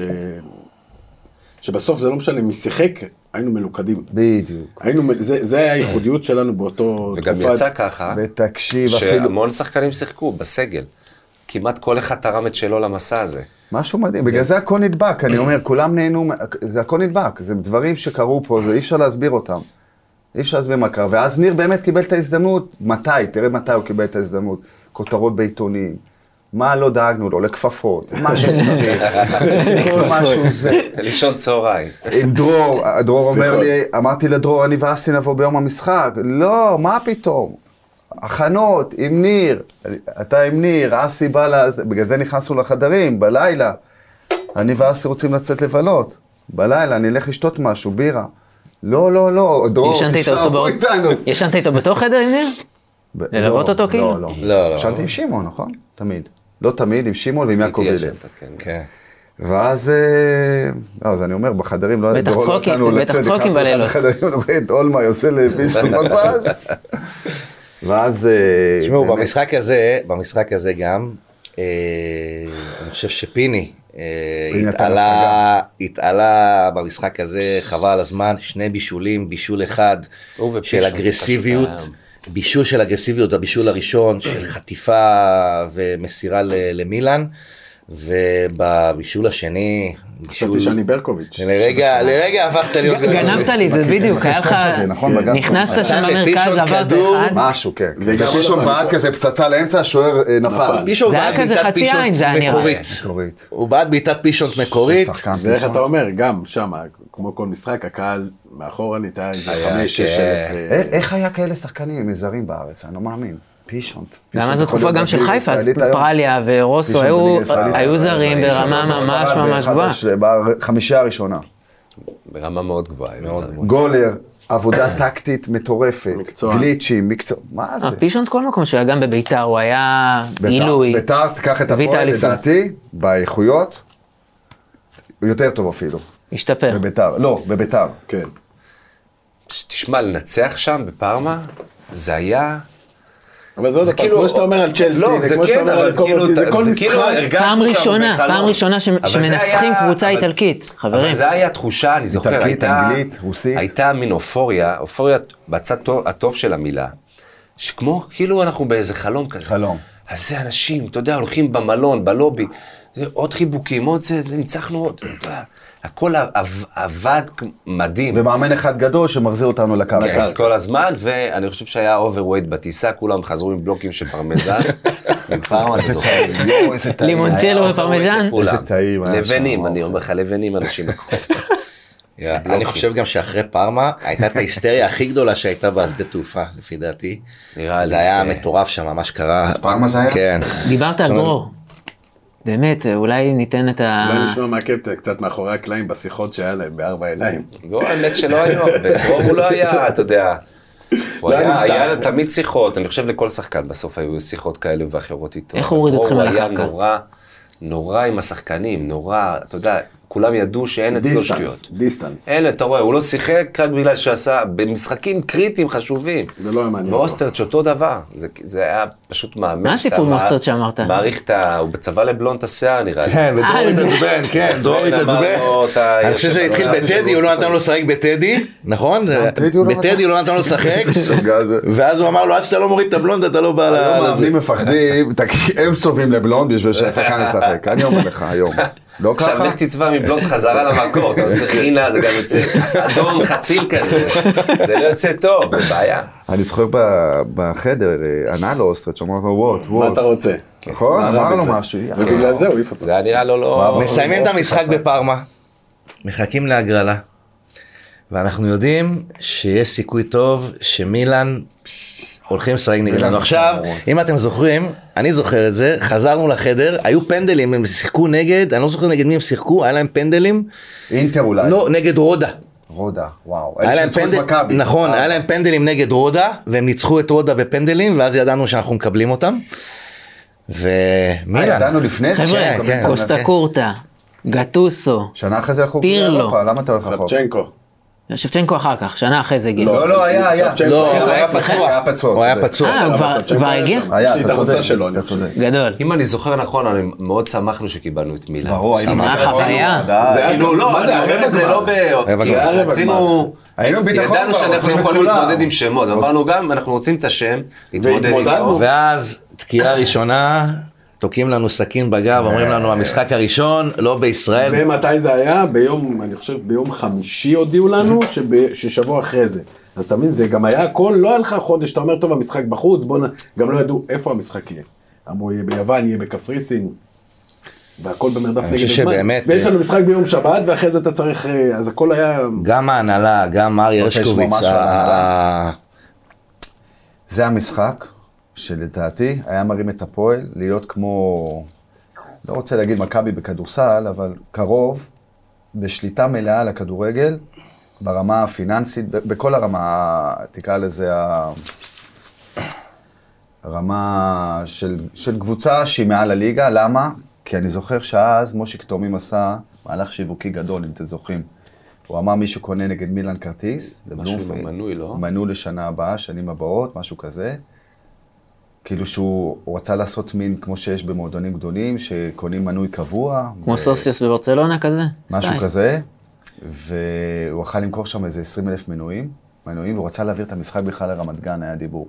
S5: שבסוף זה לא משנה מי שיחק, היינו מלוכדים.
S6: בדיוק.
S5: היינו, מ- זה, זה היה הייחודיות שלנו באותו
S4: וגם יצא ככה,
S6: ותקשיב, אפילו...
S4: שהמון שחקנים שיחקו בסגל. כמעט כל אחד תרם את שלו למסע הזה.
S6: משהו מדהים, בגלל זה הכל נדבק, אני אומר, כולם נהנו, מה- זה הכל נדבק, זה דברים שקרו פה, זה אי אפשר להסביר אותם. אי אפשר להסביר מה קרה, ואז ניר באמת קיבל את ההזדמנות, מתי, תראה מתי הוא קיבל את ההזדמנות, כותרות בעיתונים, מה לא דאגנו לו, לכפפות, מה שצריך, כל משהו זה.
S4: לישון צהריים.
S6: עם דרור, דרור אומר
S5: שיחות.
S6: לי, אמרתי לדרור, אני ואסי נבוא ביום המשחק. לא, מה פתאום? הכנות, עם ניר, אתה עם ניר, אסי בא לזה, בגלל זה נכנסנו לחדרים, בלילה. אני ואסי רוצים לצאת לבלות. בלילה, אני אלך לשתות משהו, בירה. לא, לא, לא, דרור,
S2: ישנת איתו
S6: תישאר
S2: אותו
S6: פה
S2: בא-
S6: איתנו.
S2: ישנת איתו בתוך חדר עם ניר?
S6: ב-
S2: ללוות
S6: לא,
S2: אותו, כאילו?
S6: לא, לא.
S1: לא, לא.
S6: ישנתי עם שמעון, נכון? תמיד. לא תמיד, עם שמעון ועם יעקב
S4: איתי
S6: הלל.
S4: ישנת, כן.
S1: כן.
S6: ואז, אה, לא, אז אני אומר, בחדרים לא...
S2: בטח
S6: דורון לא
S2: צחוקים,
S6: נתנו
S2: בטח
S6: לצאת,
S2: צחוקים
S6: נכנסנו לאחד
S2: בלילות.
S6: החדרים, אני רואה את אולמר יוצא למישהו מסאז' ואז... אה,
S1: תשמעו,
S6: באמת,
S1: במשחק הזה, במשחק הזה גם, אה, אני חושב שפיני אה,
S6: פיני נתן
S1: התעלה, התעלה במשחק הזה, חבל על הזמן, שני בישולים, בישול אחד
S4: הוא ופישון,
S1: של אגרסיביות,
S4: פשוט
S1: בישול של אגרסיביות, הבישול הראשון של חטיפה ומסירה ל- למילן, ובבישול השני,
S5: חשבתי שאני ברקוביץ'.
S1: לרגע, לרגע הפכת להיות...
S2: גנבת לי את זה בדיוק, היה לך...
S6: כזה, נכון, בגב שלך.
S2: נכנסת שם
S1: נתן
S2: למרכז,
S1: לפישון
S2: עברת
S1: כדור.
S2: אחד.
S6: משהו, כן. ופישון בעט כזה פצצה לאמצע, השוער אה, נפל.
S5: נפל.
S1: פישון
S2: זה היה
S1: בעט
S2: כזה
S1: בעיטת
S2: חצי עין,
S1: פישון
S2: זה היה נראה.
S1: מקורית.
S6: מקורית.
S1: הוא בעט בעיטת פישונט מקורית.
S6: שחקן
S5: ואיך
S6: פישון.
S5: אתה אומר, גם שם, כמו כל משחק, הקהל מאחורה ניתן איזה חמש, שש
S4: כן.
S5: אלף. אה,
S6: איך- איך היה כאלה שחקנים מזרים בארץ? אני לא מאמין. פישונט. פישונט
S2: למה זו
S6: יכול
S2: תקופה
S6: להיות
S2: גם של
S6: בליגה
S2: חיפה, אז
S6: הישראלית היום.
S2: פרליה ורוסו
S6: פישונט
S2: היו-
S6: בליגה הישראלית
S2: היו
S6: היום.
S2: זרים
S4: זרים
S2: ברמה
S6: פישונט
S2: ממש
S6: בספרד
S2: ממש
S6: באחד
S2: גבוהה.
S6: הש- בחמישייה אה, הראשונה.
S4: ברמה מאוד גבוהה. מאוד.
S6: גולר, עבודה טקטית מטורפת.
S5: מקצוען.
S6: גליצ'ים, מקצוע...
S2: אה,
S6: מה זה?
S2: פישונט כל מקום שהיה גם בביתר, הוא היה
S6: ביתר-
S2: עילוי.
S6: ביתר תיקח את
S2: הביא את
S6: הפועל,
S2: האליפות.
S6: לדעתי, באיכויות, יותר טוב אפילו.
S2: אה. השתפר.
S6: בביתר, לא, בביתר.
S5: כן.
S4: תשמע, לנצח שם בפארמה, זה היה...
S5: אבל לא, זה עוד
S4: זה
S5: פעם,
S4: כאילו-
S5: כמו שאתה אומר על צ'לסי,
S4: לא,
S5: זה
S4: זה
S5: כמו
S4: כן,
S5: שאתה אומר
S4: אבל
S5: על
S4: כאילו,
S5: קובלטי, זה
S4: אתה-
S5: כל
S4: זה כאילו
S5: משחק.
S4: הרגשנו
S2: פעם
S4: שם
S2: ראשונה,
S4: בחלום.
S2: פעם ראשונה ש-
S4: אבל זה
S2: שמנצחים
S4: היה-
S2: קבוצה
S4: אבל-
S2: איטלקית, חברים.
S4: אבל זה היה תחושה, אני זוכר,
S6: איטלקית,
S4: הייתה...
S6: אנגלית, רוסית.
S4: הייתה מין אופוריה, אופוריה בצד טוב- הטוב של המילה. שכמו, כאילו אנחנו באיזה חלום כזה.
S6: חלום.
S4: אז זה אנשים, אתה יודע, הולכים במלון, בלובי, זה עוד חיבוקים, עוד זה, זה, ניצחנו עוד. הכל עב- עבד כמו- מדהים.
S6: ומאמן אחד גדול שמחזיר אותנו לקרקע.
S4: כן, כל הזמן, ואני חושב שהיה אוברווייט בטיסה, כולם חזרו עם בלוקים של פרמזן. מפעם אתה זוכר.
S6: יואו, איזה טעים.
S2: לימונצ'לו ופרמיז'ן.
S4: כולם.
S6: איזה טעים היה שם,
S4: לבנים, אני
S6: אוקיי.
S4: אומר לך, לבנים אנשים לקחו.
S1: יאללה, אני חושב גם שאחרי פארמה הייתה את ההיסטריה הכי גדולה שהייתה בשדה תעופה, לפי דעתי.
S4: נראה לי,
S1: זה היה
S4: כן.
S1: מטורף שם, ממש קרה.
S6: פארמה זה היה?
S1: כן.
S2: דיברת על
S1: זאת אומרת-
S2: דרור. באמת, אולי ניתן את ה...
S5: אולי נשמע מהקפטן קצת מאחורי הקלעים בשיחות שהיה להם, בארבע עיניים.
S4: לא, האמת שלא היו הרבה. רוב הוא לא היה, אתה יודע. הוא
S5: לא
S4: היה,
S5: נפתח.
S4: היה לו תמיד שיחות, אני חושב לכל שחקן בסוף היו שיחות כאלה ואחרות איתו.
S2: איך הוריד
S4: אבל
S2: אתכם
S4: הוא היה
S2: לקרקע?
S4: נורא, נורא עם השחקנים, נורא, אתה יודע, כולם ידעו שאין אצלו שטויות.
S5: דיסטנס, דיסטנס.
S4: אין, אתה רואה, הוא לא שיחק רק בגלל שעשה, במשחקים קריטיים חשובים.
S5: זה לא היה מעניין אותו.
S4: ואוסטרץ' אותו דבר, זה, זה היה פשוט מאמן.
S2: מה
S4: שאתה
S2: הסיפור עם
S4: מע-
S2: אוסטרץ' שאמרת?
S4: מעריך את ה... הוא בצבא לבלונד את השיער נראה לי.
S1: כן, ודרור
S2: אה, זה-
S1: התעצבן, כן, דרור
S4: אמר
S1: התעצבן.
S4: לו, אתה-
S1: אני חושב שזה
S4: אתה-
S1: התחיל
S4: אתה-
S1: בטדי, הוא לא נתן לו לשחק בטדי, נכון? זה-
S6: בטדי הוא לא
S1: בטדי
S6: נתן.
S1: הוא לא נתן לו לשחק,
S6: משוגע זה.
S1: ואז הוא אמר לו, עד שאתה לא מוריד את הבלונד אתה לא בא ל-
S6: היום
S1: לזה.
S6: מאמנים מפחדים, תקשיב, הם סובבים לבלונד בשביל שהשחקן ישחק. אני אומר לך, היום. לא
S4: עכשיו
S6: ככה?
S4: לך תצבע מבלונד חזרה למקור, אתה עושה חינה, זה גם יוצא אדום חציל כזה, זה לא יוצא טוב, זה בעיה.
S6: אני זוכר ב- בחדר, אה, ענה לו אוסטרץ', אמר לו וואט,
S5: מה
S6: וואט.
S5: אתה רוצה?
S6: נכון?
S5: מה רע
S6: אמר לו
S5: בזה?
S6: משהו.
S5: ובגלל זה הוא העיף אותו.
S4: זה היה נראה לו לא...
S1: מסיימים את המשחק בפארמה, מחכים להגרלה, ואנחנו יודעים שיש סיכוי טוב שמילאן הולכים לשחק נגדנו. עכשיו, אם אתם זוכרים, אני זוכר את זה, חזרנו לחדר, היו פנדלים, הם שיחקו נגד, אני לא זוכר נגד מי הם שיחקו, היה להם פנדלים,
S6: אינטר אולי.
S1: לא, נגד רודה.
S6: רודה, וואו.
S1: היה
S6: אלה
S1: להם
S6: שניצחו את
S1: פנדל,
S6: מכבי.
S1: נכון,
S6: אה,
S1: היה להם פנדלים נגד רודה, והם ניצחו את רודה בפנדלים, ואז ידענו שאנחנו מקבלים אותם.
S6: אה,
S1: ומילן,
S6: ידענו לפני זה.
S2: חבר'ה,
S6: שאנחנו מקבלים
S1: כן.
S6: את
S2: קוסטה
S6: המנצח.
S2: קורטה, גטוסו,
S6: שנה אחרי זה הלכו
S2: פירלו.
S6: לאירופה, למה אתה הולך רחוק?
S5: סבצ'נקו.
S2: שבצ'נקו אחר כך, שנה אחרי זה הגיע.
S6: לא, לא, היה, היה.
S5: סבצ'נקו.
S1: לא, הוא היה
S6: סבצ'נקו
S1: פצוע,
S6: היה פצוע,
S1: הוא היה
S6: צודק.
S1: פצוע.
S2: אה, הוא כבר-
S5: אבל סבצ'נקו
S2: כבר
S5: היה
S2: הגיע?
S5: שם.
S6: היה,
S5: יש לי
S6: אתה
S5: את החולצה
S6: צודק,
S5: שלו, אני
S6: אתה
S5: חושב.
S6: צודק.
S2: גדול.
S4: אם אני זוכר נכון, אני מאוד שמחנו שקיבלנו את מילה.
S6: ברור, היינו
S2: מה
S6: בביטחון,
S2: החוויה?
S6: ודאי.
S5: זה היה-
S4: כאילו לא,
S5: מה
S4: אני
S5: זה,
S4: אומר
S5: הרבע
S4: את זה
S5: גמר?
S4: לא ב...
S1: רבע
S4: כי
S1: גמר.
S4: רצינו...
S6: היינו בביטחון
S4: ידענו
S6: כבר,
S4: שאנחנו
S6: רוצים את
S4: יכולים
S6: כולם.
S4: להתמודד עם שמות,
S6: רוצ-
S4: אמרנו גם, אנחנו רוצים את השם, להתמודד
S5: והתמודדנו.
S4: איתו.
S1: ואז, תקיעה ראשונה, תוקעים לנו סכין בגב, אומרים לנו, המשחק הראשון, לא בישראל.
S5: ומתי זה היה? ביום, אני חושב, ביום חמישי הודיעו לנו, שב- ששבוע אחרי זה. אז אתה מבין, זה גם היה הכל, לא היה לך חודש, אתה אומר, טוב, המשחק בחוץ, בוא נ... גם לא ידעו איפה המשחק יהיה. אמרו, יהיה ביוון, יהיה בקפריסין, והכל במרדף נגד
S1: חושב
S5: הזמן.
S1: שבאמת-
S5: ויש
S6: אה,
S5: לנו משחק ביום שבת, ואחרי זה אתה צריך... אה, אז הכל היה...
S1: גם ההנהלה, גם מרי
S6: רוצה לשמוע
S1: הרשקוביץ,
S6: לא משהו על
S1: ה-
S6: ההנהלה?
S1: ה-
S6: זה המשחק שלדעתי היה מרים את הפועל להיות כמו, לא רוצה להגיד מכבי בכדורסל, אבל קרוב, בשליטה מלאה על הכדורגל, ברמה הפיננסית, ב- בכל הרמה, תקרא לזה, ה- הרמה של, של קבוצה שהיא מעל הליגה, למה? כי אני זוכר שאז מושיק תומים עשה מהלך שיווקי גדול, אם אתם זוכרים. הוא אמר מישהו קונה נגד מילאן כרטיס,
S4: משהו עם
S6: לבלומפילד.
S4: המנוי, לא?
S6: מנעו לשנה הבאה, שנים הבאות, משהו כזה. כאילו שהוא הוא רצה לעשות מין כמו שיש במועדונים גדולים, שקונים מנוי קבוע.
S2: כמו
S6: ו-
S2: סוסיוס בברצלונה כזה?
S6: אה, משהו
S2: סטייל.
S6: כזה, והוא יכל למכור שם איזה 20 אלף מנויים, מנויים, והוא רצה להעביר את המשחק בכלל לרמת גן, היה דיבור.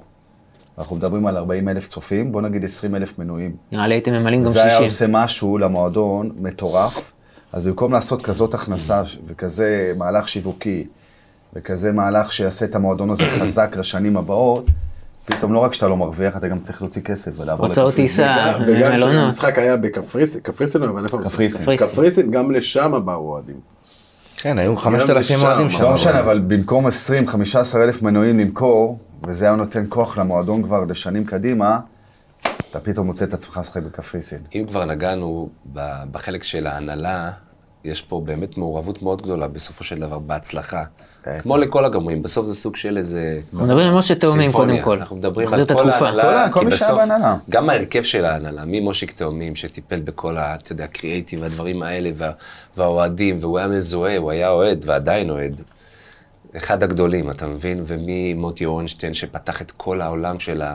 S6: אנחנו מדברים על 40 אלף צופים, בוא נגיד 20 אלף מנויים.
S2: נראה לי הייתם ממלאים גם
S6: זה היה
S2: 60.
S6: עושה משהו למועדון מטורף, אז במקום לעשות כזאת הכנסה ש- וכזה מהלך שיווקי, וכזה מהלך שיעשה את המועדון הזה חזק לשנים הבאות, פתאום לא רק שאתה לא מרוויח, אתה גם צריך להוציא כסף ולעבור
S2: הוצאות
S6: לקפריסין.
S2: טיסה. אה,
S5: וגם
S2: מלונות.
S5: כשהמשחק היה בקפריסין, קפריסין, אבל איפה? המשחק?
S6: קפריסין.
S2: קפריסין.
S5: קפריסין, גם לשם באו אוהדים.
S1: כן, היו 5,000
S5: לשם,
S1: אוהדים שם.
S6: לא משנה, אבל במקום 20-15 אלף מנויים למכור, וזה היה נותן כוח למועדון כבר לשנים קדימה, אתה פתאום מוצא את עצמך לשחק בקפריסין.
S4: אם כבר נגענו ב- בחלק של ההנהלה, יש פה באמת מעורבות מאוד גדולה בסופו של דבר בהצלחה.
S6: כן.
S4: כמו לכל הגורמים, בסוף זה סוג של איזה...
S2: אנחנו מדברים על משה תאומים קודם
S4: סימפוניה.
S2: כל.
S4: אנחנו מדברים
S2: נחזיר את
S4: על כל
S2: התקופה.
S4: ההנהלה,
S6: כל ה-
S4: כי
S6: כל מי שהיה
S4: בסוף
S6: בהנהלה.
S4: גם ההרכב של ההנהלה, ממושיק תאומים שטיפל בכל ה... אתה יודע, קריאייטיב והדברים האלה, וה, והאוהדים, והוא היה מזוהה, הוא היה אוהד ועדיין אוהד. אחד הגדולים, אתה מבין? וממוטי אורנשטיין שפתח את כל העולם של, ה,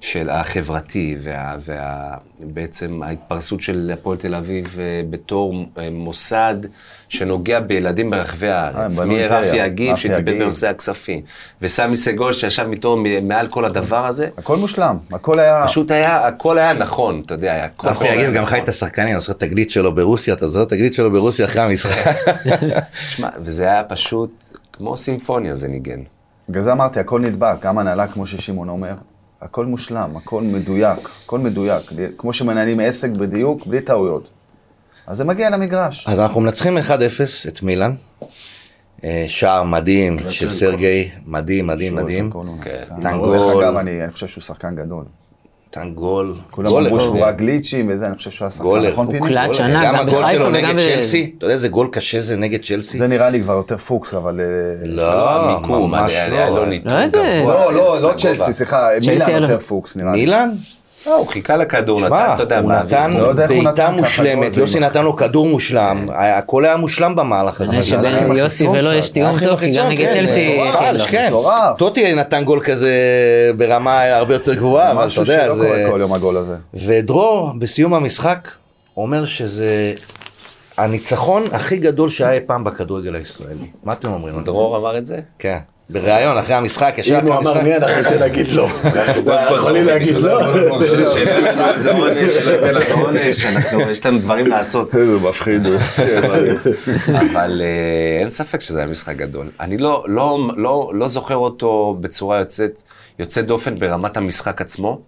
S4: של החברתי, וה, וה, בעצם ההתפרסות של הפועל תל אביב אה, בתור אה, מוסד שנוגע בילדים ברחבי הארץ.
S6: אה, בנו
S4: מי רפי
S6: אימפריה,
S4: יגיב
S6: רפי
S4: שטיפל
S6: יגיב.
S4: בנושא הכספים, וסמי סגול שישב איתו מ- מעל כל הדבר הזה,
S6: הכל מושלם, הכל היה...
S4: פשוט היה, הכל היה נכון, אתה יודע, היה הכל
S1: רפי
S4: היה
S1: יגיב גם חי את
S4: נכון.
S1: השחקנים, אני זוכר את התגלית שלו ברוסיה, אתה זוכר את התגלית שלו ברוסיה אחרי המשחק.
S4: שמע, וזה היה פשוט כמו סימפוניה זה ניגן.
S6: בגלל זה אמרתי, הכל נדבק, גם הנהלה, כמו ששמעון אומר, הכל מושלם, הכל מדויק, הכל מדויק, כמו שמנהלים עסק בדיוק, בלי טעויות. אז זה מגיע למגרש.
S1: אז אנחנו מנצחים 1-0 את מילאן. אה, שער מדהים
S6: לא
S1: של סרגי, מדהים, מדהים, מדהים.
S6: כל עונה.
S4: כן.
S1: טנגול.
S6: דרך אגב, אני אני חושב שהוא שחקן גדול.
S1: נתן גול.
S6: כולם
S1: גולר.
S6: אמרו שהוא רק גליצ'ים וזה, אני חושב שהוא היה שחקן
S1: גולר.
S6: נכון
S1: הוא
S6: פיני?
S2: קלט
S1: גולר.
S2: שנה,
S1: גם
S2: גם
S1: הגול
S2: בחיפה
S1: שלו
S2: וגם
S1: נגד
S2: ב-
S1: צ'לסי, אתה יודע איזה גול קשה זה נגד צ'לסי?
S6: זה נראה לי כבר יותר פוקס, אבל... אה,
S1: לא,
S4: המיקום,
S1: ממש
S4: היה- היה לו
S1: לא.
S4: ניתוק
S2: לא, איזה-
S4: גבוה,
S6: לא, לא, לא
S4: לגובה.
S6: צ'לסי, סליחה,
S2: צ'לסי
S6: מילאן
S2: היה לו-
S6: יותר פוקס נראה לי.
S1: מילאן?
S4: לא, הוא חיכה לכדור, נתן,
S1: שמע,
S4: אתה יודע,
S1: הוא
S4: באוויר.
S1: נתן
S6: לא יודע איך הוא נתן
S1: בעיטה
S6: ככה גול,
S1: מושלמת,
S6: זה
S1: יוסי
S6: עם-
S1: נתן לו כדור מושלם, היה- הכל היה מושלם במהלך הזה.
S2: זה
S1: אבל
S6: הלך עם
S2: שבין יוסי
S6: החיצון
S2: ולא
S6: קצת,
S2: יש תיאום
S1: הלך עם
S2: טוב, כי גם
S1: החיצון,
S2: נגד
S1: כן,
S2: צ'לסי...
S1: מטורף,
S2: כן, לא.
S1: כן.
S6: מטורף.
S1: טוטי נתן גול כזה ברמה הרבה יותר גבוהה, אבל אתה
S6: משהו
S1: יודע,
S6: שלא
S1: זה...
S6: קורה כל יום הגול הזה.
S1: ודרור, בסיום המשחק, אומר שזה הניצחון הכי גדול שהיה אי פעם בכדורגל הישראלי. מה אתם אומרים? על זה?
S4: דרור אמר את זה?
S1: כן. בריאיון, אחרי המשחק, ישר
S5: אם
S1: אחרי
S5: הוא אמר
S1: המשחק.
S5: מי אנחנו שנגיד לא.
S1: נכון.
S5: אנחנו יכולים
S1: כן.
S5: להגיד לא.
S6: נכון.
S4: זה עונש, שלא ייתן לנו עונש, אנחנו- יש לנו דברים לעשות.
S6: איזה מפחיד הוא.
S4: אבל אה, אין ספק שזה היה משחק גדול. אני לא, לא, לא, לא זוכר אותו בצורה יוצאת, יוצאת דופן ברמת המשחק עצמו,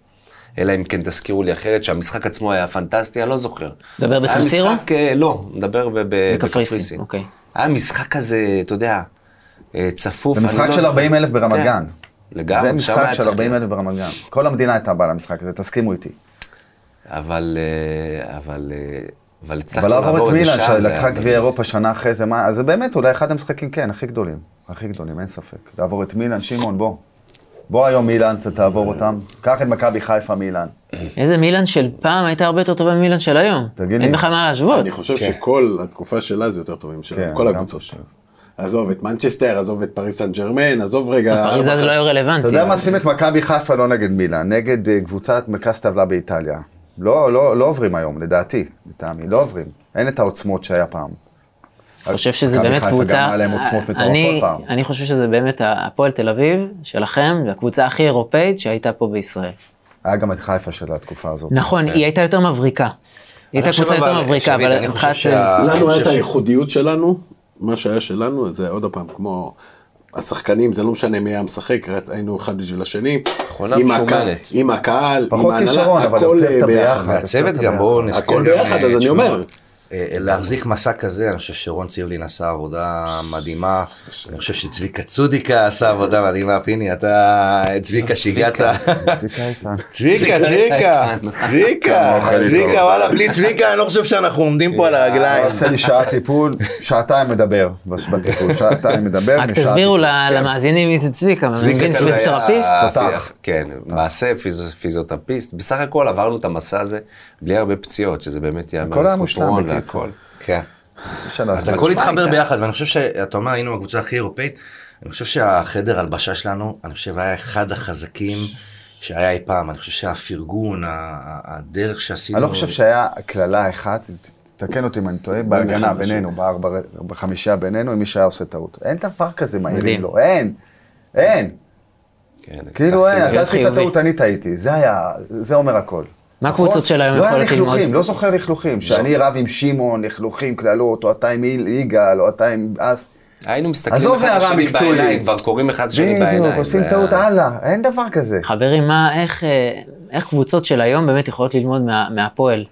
S4: אלא אם כן תזכירו לי אחרת, שהמשחק עצמו היה פנטסטי, אני לא זוכר.
S2: מדבר
S4: היה
S2: בסן סירו?
S4: משחק, אה, לא, מדבר ב- ב-
S2: בקפריסין,
S4: בקפריסין.
S2: אוקיי.
S4: היה משחק כזה, אתה יודע, אה, צפוף.
S6: זה
S4: אני
S6: משחק
S4: לא
S6: של
S4: זוכר.
S6: 40 אלף ברמת
S4: כן,
S6: גן.
S4: לגמרי,
S6: זה
S4: שם
S6: משחק
S4: היה
S6: של
S4: צריך
S6: 40 אלף ברמת גן. כל המדינה הייתה באה למשחק הזה, תסכימו איתי.
S4: אבל, אה, אבל, אה, אבל הצלחנו
S6: אבל לעבור את
S4: זה
S6: מילאן,
S4: שם, זה
S6: שלקחה
S4: היה
S6: גביע אירופה שנה אחרי זה, מה- אז זה באמת אולי אחד המשחקים, כן, הכי גדולים. הכי גדולים, אין ספק. לעבור את מילאן, שמעון, בוא. בוא היום מילאן, ת- תעבור אותם. קח את מכבי חיפה מילאן.
S2: איזה מילאן של פעם הייתה הרבה יותר טובה ממילאן של היום.
S6: תגיד לי.
S2: אין בכלל מה להשוות.
S5: לא, אני חושב שכל התקופה שלה זה יותר טובים
S6: כן,
S5: שלנו, כל
S6: גם
S5: הקבוצות.
S6: חושב.
S5: עזוב את מנצ'סטר, עזוב את פריס סן ג'רמן, עזוב רגע... אה,
S2: פריז אז לא היה רלוונטי.
S6: אתה יודע מה, שים את מכבי חיפה לא נגד מילאן, נגד אה, קבוצת מרכז טבלה באיטליה. לא, לא, לא עוברים היום, לדעתי, לטעמי, לא עוברים. אין את העוצמות שהיה פעם.
S2: אני חושב שזה
S6: מכבי
S2: באמת
S6: חיפה
S2: קבוצה, אה,
S6: גם היה להם עוצמות מטורפות
S2: אני-
S6: פעם.
S2: אני חושב שזה באמת הפועל תל אביב שלכם, והקבוצה הכי אירופאית שהייתה פה בישראל.
S6: היה גם את חיפה של התקופה הזאת.
S2: נכון, היא הייתה יותר מבריקה. היא הייתה
S1: אני חושב
S2: קבוצה יותר
S1: אבל,
S2: מבריקה,
S1: שביט,
S2: אבל
S1: אני חושב
S2: מבחינת-
S1: שה- אני
S5: אה, לנו היה את
S1: חושב ש-
S5: הייחודיות שלנו, מה שהיה שלנו, זה עוד פעם כמו השחקנים, זה לא משנה מי היה משחק, רצ- היינו אחד בשביל השני.
S4: מכונה
S5: עם
S4: משומנת.
S5: הקהל- עם הקהל, עם
S6: פחות כישרון, אבל
S5: הכל
S6: יותר את
S5: אה,
S6: הביחד.
S5: ביחד.
S1: והצוות
S6: אתה
S1: גם,
S6: יודע.
S1: בואו נזכיר.
S5: הכל
S1: גם,
S5: ביחד,
S1: אה,
S5: אז אני
S1: תשמע,
S5: אומר.
S1: אה, להחזיק מסע כזה, אני חושב שרון ציבלין עשה עבודה מדהימה, אני חושב שצביקה צודיקה עשה עבודה מדהימה, פיני, אתה, צביקה שהגעת,
S6: צביקה איתן.
S1: צביקה, צביקה, אוקיי, צביקה, צביקה, וואלה, בלי צביקה, אני לא חושב שאנחנו עומדים פה על
S6: היה
S1: הרגליים.
S6: עושה לי שעה טיפול, שעתיים מדבר בש- בטיפול, שעתיים מדבר.
S2: רק
S6: משעה
S2: תסבירו
S6: טיפול.
S2: ל- למאזינים מי זה צביקה, אני מבין
S1: כזה היה-
S2: פיזיותרפיסט?
S6: תותח.
S4: כן, מעשה פיז- פיזיותרפיסט. בסך הכל עברנו את המסע הזה בלי הרבה פציעות, שזה באמת יהיה
S6: הכל היה מושלם בקיצור.
S4: והכל.
S1: כן.
S6: אפשר לעשות.
S1: אז הכל התחבר
S4: הייתה.
S1: ביחד, ואני חושב שאתה אומר, היינו הקבוצה הכי אירופאית, אני חושב שהחדר הלבשה שלנו, אני חושב היה אחד החזקים שהיה אי פעם. אני חושב שהפרגון, ה- ה- הדרך שעשינו...
S2: כאילו-
S6: אני לא חושב שהיה קללה אחת, תקן אותי אם אני
S2: לא,
S6: טועה, בהגנה
S5: אחד
S6: בינינו, בארבע- בחמישייה בינינו, אם מישהו היה עושה טעות. אין דבר כזה
S2: מדהים.
S6: מעירים לו, אין, אין.
S4: כן,
S6: כאילו אין,
S4: הבטחתי
S6: אתה
S4: לו.
S6: עשית
S2: לא חיובי.
S6: טעות, אני טעיתי, זה היה, זה אומר הכל.
S2: מה
S6: נכון?
S2: הקבוצות של היום
S6: לא היה
S2: יכולות ללמוד?
S6: לכלוכים, לא זוכר לכלוכים, שאני רב עם שמעון, לכלוכים, קללות, או אתה עם איל- יגאל, או אתה עם אס.
S4: היינו מסתכלים
S6: עזוב
S4: אחד
S6: הערה
S4: לשני
S6: מקצועית.
S4: בעיניים, כבר קוראים אחד לשני בעיניים.
S6: בדיוק, עושים
S4: זה היה-
S6: טעות, הלאה, אין דבר כזה.
S2: חברים, מה, איך, אה, איך קבוצות של היום באמת יכולות ללמוד מה, מהפועל?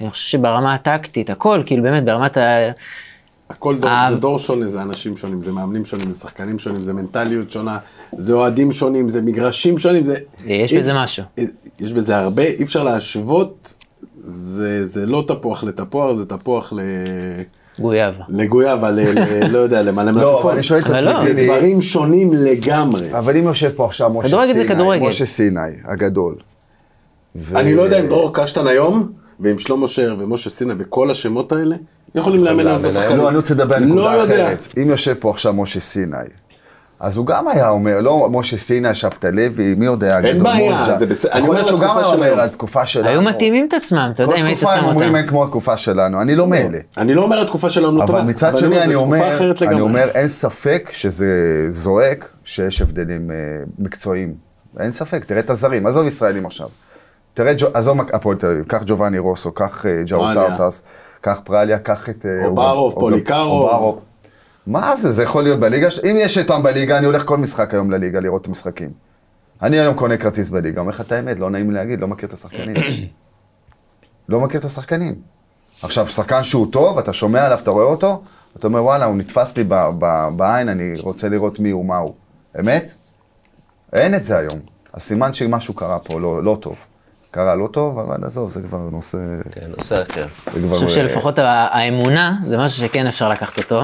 S2: אני חושב שברמה הטקטית, הכל, כאילו באמת ברמת ה...
S5: הכל דור,
S2: אה.
S5: זה דור שונה, זה אנשים שונים, זה מאמנים שונים, זה שחקנים שונים, זה מנטליות שונה, זה אוהדים שונים, זה מגרשים שונים, זה...
S2: יש
S5: אי-
S2: בזה משהו.
S5: אה, יש בזה הרבה, אי אפשר להשוות, זה, זה לא תפוח לתפוח, זה תפוח ל...
S2: גויאב.
S5: לגויה, אבל ל- ל- לא יודע, למלא
S6: לא, אבל אני שואל את
S2: אבל לא.
S5: זה
S6: עצמי,
S5: דברים שונים לגמרי.
S6: אבל אם יושב פה עכשיו משה
S2: כדורגל זה
S6: סיני,
S2: כדורגל.
S6: משה סיני הגדול. ו-
S5: אני לא יודע אם דרור קשטן היום, ועם שלמה שר ומשה סינה וכל השמות האלה, יכולים לאמן היום את השחקנים.
S6: לא, אני רוצה לדבר על נקודה
S5: לא יודע.
S6: אחרת. אם יושב פה עכשיו משה סיני, אז הוא גם היה אומר, לא משה סיני, שבתלוי, מי יודע,
S5: אין
S6: הגדול,
S5: בעיה,
S6: מולז'ה.
S5: זה בסדר, אני
S6: יכול להיות
S5: אומר
S6: שהוא גם
S5: לתקופה
S6: היה
S5: של
S6: אומר,
S5: היום.
S6: התקופה שלנו.
S2: היו מתאימים את עצמם, אתה יודע, אם
S6: לא כל
S2: היית
S6: תקופה
S2: שם
S6: הם אומרים
S2: אותם.
S6: אין כמו התקופה שלנו, אני לא מאלה.
S5: אני לא אומר התקופה שלנו לא טובה,
S6: אבל מצד
S5: לא,
S6: שני
S5: זה
S6: אני
S5: תקופה
S6: אומר,
S5: אחרת
S6: אני
S5: לגמרי.
S6: אומר, אין ספק שזה זועק שיש הבדלים אה, מקצועיים. אין ספק, תראה את הזרים, עזוב ישראלים עכשיו. תראה, ג'ו- עזוב הפועל תל אביב, קח ג'ובאני רוסו, קח אה, ג'או
S5: פרליה.
S6: טאוטס, קח פרליה, קח את... אה,
S5: אוברוב,
S6: אובר-
S5: פוליקרוב.
S6: אוברוב. מה זה, זה יכול להיות בליגה? ש- אם יש אותם בליגה, אני הולך כל משחק היום לליגה לראות את המשחקים. אני היום קונה כרטיס בליגה, אומר לך את האמת, לא נעים לי להגיד, לא מכיר את השחקנים. לא מכיר את השחקנים. עכשיו, שחקן שהוא טוב, אתה שומע עליו, אתה רואה אותו, אתה אומר, וואלה, הוא נתפס לי ב- ב- בעין, אני רוצה לראות מי הוא, מה הוא. אמת? אין את זה היום. אז סימן שמשהו קרה פה, לא, לא טוב. קרה לא טוב, אבל עזוב, זה כבר נושא...
S4: כן, נושא אחר.
S6: זה כבר... אה,
S2: אני חושב שלפחות ה- האמונה, זה משהו שכן אפשר לקחת אותו.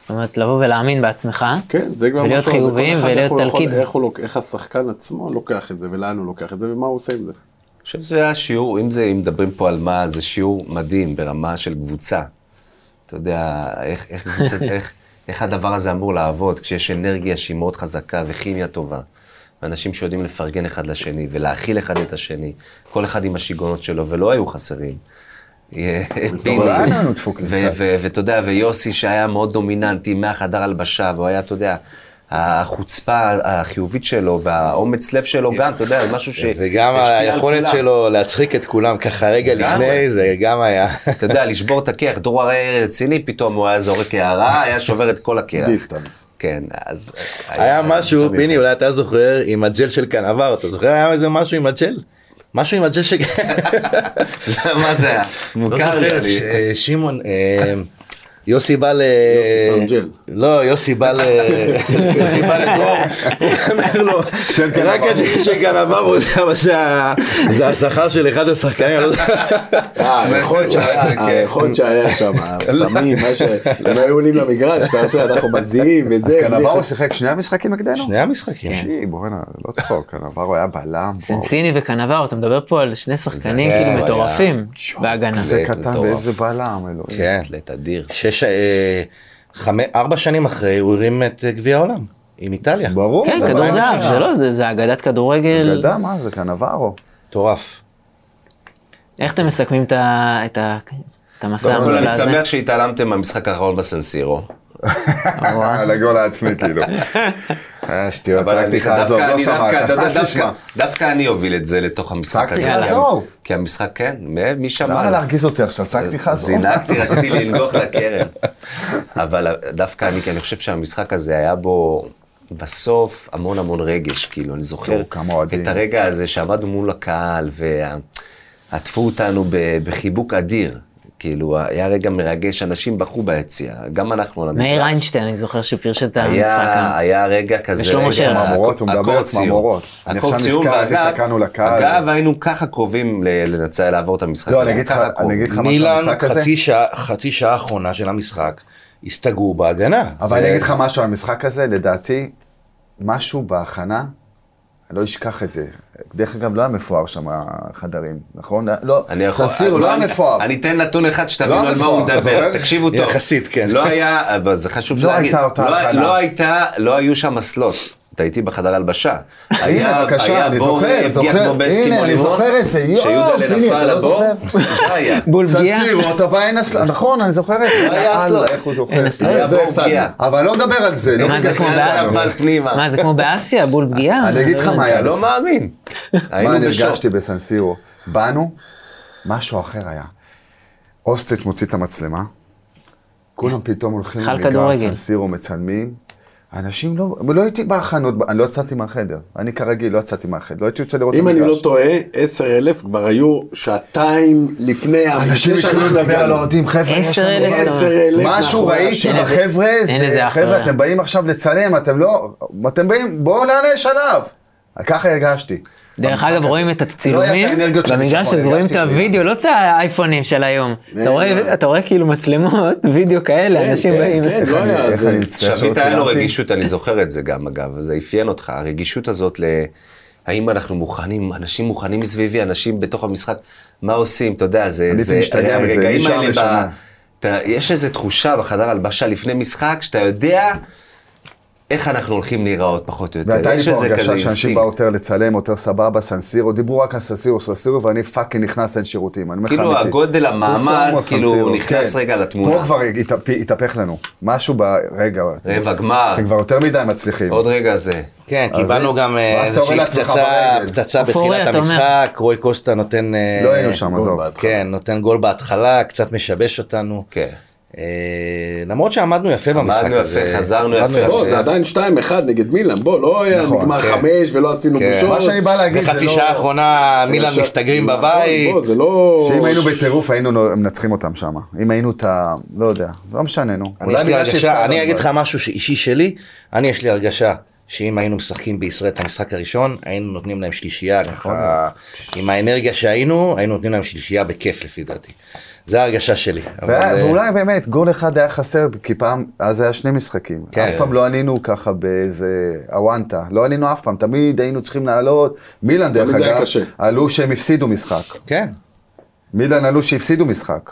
S2: זאת אומרת, לבוא ולהאמין בעצמך.
S5: כן, זה כבר
S2: ולהיות
S5: משהו, זה כל
S2: חיוביים
S5: אחד
S2: ולהיות
S5: איך הוא יכול-
S2: תלכיד.
S5: איך הוא לוק- איך השחקן עצמו לוקח את זה, ולאן הוא לוקח את זה, ומה הוא עושה עם זה.
S4: אני חושב שזה היה שיעור, אם זה, אם מדברים פה על מה, זה שיעור מדהים ברמה של קבוצה. אתה יודע, איך, איך, קבוצת, איך, איך הדבר הזה אמור לעבוד, כשיש אנרגיה שהיא מאוד חזקה וכימיה טובה. ואנשים שיודעים לפרגן אחד לשני ולהכיל אחד את השני, כל אחד עם השיגעונות שלו, ולא היו חסרים.
S6: אולי היינו דפוקים
S4: ו-
S6: קצת.
S4: ו- ואתה יודע, ויוסי שהיה מאוד דומיננטי מהחדר הלבשה, והוא היה, אתה יודע, החוצפה החיובית שלו והאומץ לב שלו גם, אתה יודע, זה משהו ש...
S1: וגם
S4: השפיע על
S1: היכולת
S4: כולם.
S1: שלו להצחיק את כולם ככה רגע
S4: לגמרי.
S1: לפני, זה גם היה.
S4: אתה יודע, לשבור את הקרח, דרור הרי רציני, פתאום הוא היה זורק הערה, היה שובר את כל הקרח.
S5: דיסטנס.
S4: כן, אז...
S1: היה משהו,
S4: מצב
S1: פיני,
S4: מיוחד.
S1: אולי אתה זוכר, עם הג'ל של קנבר, אתה זוכר היה איזה משהו עם הג'ל? משהו עם הג'ל ש...
S4: מה זה היה? מוכר
S1: לא
S4: לי.
S1: זוכר,
S4: אני-
S1: ש- שמעון, אה, יוסי בא ל...
S5: יוסי סרג'ל.
S1: לא, יוסי בא ל... יוסי בא לדרור, הוא אומר לו, רק הג'ל של קנבר, הוא יודע, אבל זה ה- זה השכר של אחד השחקנים, אני לא יודע.
S5: אה,
S6: כן.
S5: היכולת שהיה- היכולת שהיה שם, הסמים, מה ש... הם היו עולים למגרש, אתה חושב, אנחנו מזיעים
S6: אז
S5: וזה. בלי-
S6: קנברו שיחק שני המשחקים נגדנו?
S1: שני המשחקים.
S6: שני. בואנה, לא צחוק, קנברו היה בלם. וואו.
S2: סנסיני וקנבר, אתה מדבר פה על שני שחקנים
S4: זה היה-
S2: כאילו מטורפים
S4: היה-
S2: בהגנה.
S6: איזה קטן
S4: מטורף.
S6: ואיזה בלם, אלוהים.
S1: כן.
S4: אתלט אדיר.
S1: שש... אה, חמ... ארבע שנים אחרי הוא הרים את אה, גביע העולם עם איטליה.
S6: ברור.
S2: כן,
S6: זה
S2: כדור
S6: בלם
S2: זהב,
S6: שלנו.
S2: זה לא זה, זה אגדת
S4: לא-
S2: כדורגל.
S6: גדע, מה זה, קנברו.
S1: מטורף.
S2: איך אתם מסכמים את ה- את ה- את המסע
S4: קודם כל,
S2: המעולה
S4: אני
S2: הזה?
S4: שמח שהתעלמתם מהמשחק האחרון בסנסירו.
S6: על הגול העצמי, כאילו. אה, שטויות,
S4: אבל
S6: רק
S4: אני-
S6: תיכה, עזוב,
S4: דווקא
S6: לא
S4: אני- דווקא-
S6: שמעת,
S4: דווקא-
S6: אל תשמע.
S4: דווקא אני אוביל את זה לתוך המשחק
S6: צעקתי
S4: הזה.
S6: לך,
S4: כי-
S6: עזוב.
S4: כי המשחק, כן, מ- מי שמע?
S6: למה להרגיז אותי עכשיו? צעקתי לך, עזוב.
S4: זינקתי, רציתי לנגוח לקרן. אבל דווקא אני, כי אני חושב שהמשחק הזה היה בו בסוף המון המון רגש, כאילו, אני זוכר
S6: תראו כמה אוהדים.
S4: את הרגע הזה שעמדנו מול הקהל ועטפו אותנו ב- בחיבוק אדיר. כאילו, היה רגע מרגש, אנשים בכו ביציע, גם אנחנו על
S2: מאיר איינשטיין, אני זוכר שהוא פרשת את המשחק.
S4: היה, היה רגע כזה,
S2: ושלמה
S4: רגע,
S2: שר.
S6: צמרמורות, הוא
S4: הקור-
S6: מדבר על
S4: הקור ציון.
S6: צמרמורות. אני
S4: הקור
S6: עכשיו
S4: ציון,
S6: נזכר,
S4: ואגב-
S6: הסתכלנו לקהל.
S4: אגב, היינו ככה קרובים ל- לנצל, לעבור את המשחק.
S6: לא, אני
S4: הזה,
S6: אגיד לך-
S4: ככה קרובים.
S6: אני אגיד לך משהו על
S1: מילאן,
S6: המשחק הזה.
S1: חצי שעה, חצי שעה האחרונה של המשחק, הסתגרו בהגנה.
S6: אבל
S1: זה-
S6: אני אגיד לך משהו על המשחק הזה, לדעתי, משהו בהכנה, אני לא אשכח את זה. דרך אגב, לא היה מפואר שם החדרים, נכון? לא,
S4: אני יכול...
S6: סנסירו, לא היה
S4: אני-
S6: מפואר.
S4: אני אתן נתון אחד שתבינו
S6: לא
S4: על מה הוא
S6: מפואר, אתה
S4: מדבר,
S6: זוכר?
S4: תקשיבו טוב.
S1: יחסית, כן.
S4: לא היה, אבל זה חשוב
S6: לא
S4: להגיד.
S6: הייתה אותה
S4: לא-
S6: הכנה.
S4: לא הייתה, לא היו שם אסלות. אתה איתי בחדר הלבשה.
S6: הנה, בבקשה, אני זוכר, זוכר. הנה, אני זוכר את זה. יואו,
S4: שיהודה
S6: פיני,
S4: נפל
S6: אתה לא
S4: לבור,
S6: זוכר?
S4: זה היה.
S2: בול פגיעה.
S6: סנסירו, אתה בא אין אסלה, נכון, אני זוכר את זה.
S4: לא היה
S6: יאללה,
S4: אסלות.
S6: איך הוא זוכר?
S2: אין
S6: את
S2: אסלות.
S6: זה.
S4: היה
S6: זה
S4: בור
S6: הפסדנו.
S4: פגיעה. אה,
S6: אבל לא נדבר על זה. לא
S2: מה, זה
S6: נתווכח
S2: כמו
S6: על
S2: בעד?
S6: אבל-
S4: נפל פנימה.
S2: מה, זה כמו באסיה, בול פגיעה?
S6: אני אגיד לך מה היה
S4: אתה לא
S6: לס-
S4: מאמין.
S6: מה
S4: היינו
S6: אני
S4: בשוק.
S6: הרגשתי בסנסירו? באנו, משהו אחר היה. אוסטריץ' מוציא את המצלמה, כולם פתאום הולכים
S2: חל כדורגל.
S6: סנסירו מצלמים. אנשים לא, לא הייתי בהכנות, אני לא יצאתי מהחדר. אני כרגיל לא יצאתי מהחדר, לא הייתי יוצא לראות את
S5: אם אני לא
S6: המגרש.
S5: טועה, 10,000 כבר היו שעתיים לפני...
S6: אנשים התחילו לדבר על האוהדים, חבר'ה, יש לנו...
S2: 10,000.
S6: משהו ראיתי
S2: אין איזה-
S6: בחבר'ה,
S2: אין איזה
S6: זה-
S2: אח
S6: חבר'ה,
S2: ורע.
S6: אתם באים עכשיו לצלם, אתם לא... אתם באים, בואו נענש עליו. ככה הרגשתי.
S2: דרך אגב, רואים את
S6: לא היה
S2: הצילומים
S6: את האנרגיות של
S2: במגרש,
S6: ניצחון,
S2: אז רואים את
S6: הרגשתי כאילו.
S2: הוידאו, לא את האייפונים של היום. אתה
S6: לא-
S2: רואה- אתה רואה כאילו מצלמות, וידאו כאלה, אנשים באים.
S5: כן, לא היה
S6: איך אני
S5: זה.
S6: מצטער שלא
S4: שביט היה לו
S6: צילמתי.
S4: רגישות, אני זוכר את זה גם אגב, זה אפיין אותך, הרגישות הזאת ל... האם אנחנו מוכנים, אנשים מוכנים מסביבי, אנשים בתוך המשחק, מה עושים, אתה יודע, זה...
S6: אני
S4: זה-
S6: משתגע
S4: הרי
S6: מזה,
S4: הרגעים
S6: משעה
S4: האלה ב-
S6: לשעה.
S4: אתה- יש איזו תחושה בחדר הלבשה לפני משחק, שאתה יודע איך אנחנו הולכים להיראות, פחות או יותר.
S6: והייתה לי
S4: יש
S6: פה
S4: איזה כזה
S6: הרגשה שאנשים
S4: אינסטינקט.
S6: באו יותר לצלם, יותר סבבה, סנסירו, דיברו רק על סנסירו, סנסירו, ואני פאקינג נכנס, אין שירותים. אני אומר לך
S4: כאילו,
S6: אמיתי.
S4: הגודל, המעמד,
S6: קוסומו,
S4: כאילו,
S6: סנסירו,
S4: נכנס
S6: כן.
S4: רגע לתמונה.
S6: פה כבר התהפ- התהפך לנו, משהו ב... רגע,
S4: רבע גמר,
S6: אתם כבר יותר מדי מצליחים.
S4: עוד רגע זה.
S1: כן,
S6: אז
S1: קיבלנו
S6: זה-
S1: גם אה,
S6: ואז אתה יורה
S1: איזושהי
S6: לעצמך
S1: פצצה,
S6: ברגל.
S1: פצצה
S2: אופוריה,
S1: בתחילת
S2: אתה אומר.
S1: המשחק, רוי קוסטה נותן... אה,
S6: לא היינו שם,
S5: גול
S6: עזוב.
S5: בהתחלה.
S1: כן, נותן גול בהתחלה, קצת משבש אותנו.
S4: כן.
S1: אה, למרות שעמדנו יפה במשחק
S4: עמדנו
S1: הזה.
S4: יפה, חזרנו יפה.
S6: לא,
S5: בוא,
S4: הפסד.
S5: זה עדיין 2-1 נגד מילאן, בוא, לא היה
S6: נכון,
S5: נגמר
S1: כן.
S5: 5 ולא עשינו
S1: כן.
S5: בושות.
S6: מה שאני בא להגיד זה לא...
S1: בחצי שעה האחרונה מילאן
S5: עכשיו-
S1: מסתגרים
S5: נכון,
S1: בבית.
S5: בוא, זה לא...
S6: שאם היינו בטירוף היינו נו- מנצחים אותם שם. אם היינו את ה... לא יודע, לא משנה, נו.
S1: אני
S6: אולי
S1: יש לי
S6: בגלל
S1: הרגשה,
S6: שהפסדנו,
S1: אני אגיד
S6: אבל-
S1: לך משהו אישי שלי, אני יש לי הרגשה שאם היינו משחקים בישראל את המשחק הראשון, היינו נותנים להם שלישייה,
S6: נכון.
S1: ככה, עם האנרגיה שהיינו, היינו נותנים להם שלישייה בכיף לפי דעתי. זה ההרגשה שלי. אבל,
S6: והיה-
S1: אה,
S6: ואולי באמת, גול אחד היה חסר, כי פעם, אז היה שני משחקים.
S1: כן.
S6: אף פעם לא עלינו ככה באיזה אוונטה. לא עלינו אף פעם, תמיד היינו צריכים לעלות. מילאן, דרך
S5: תמיד זה היה
S6: אגב,
S5: קשה.
S6: עלו שהם הפסידו משחק.
S1: כן,
S6: מילאן עלו שהפסידו משחק.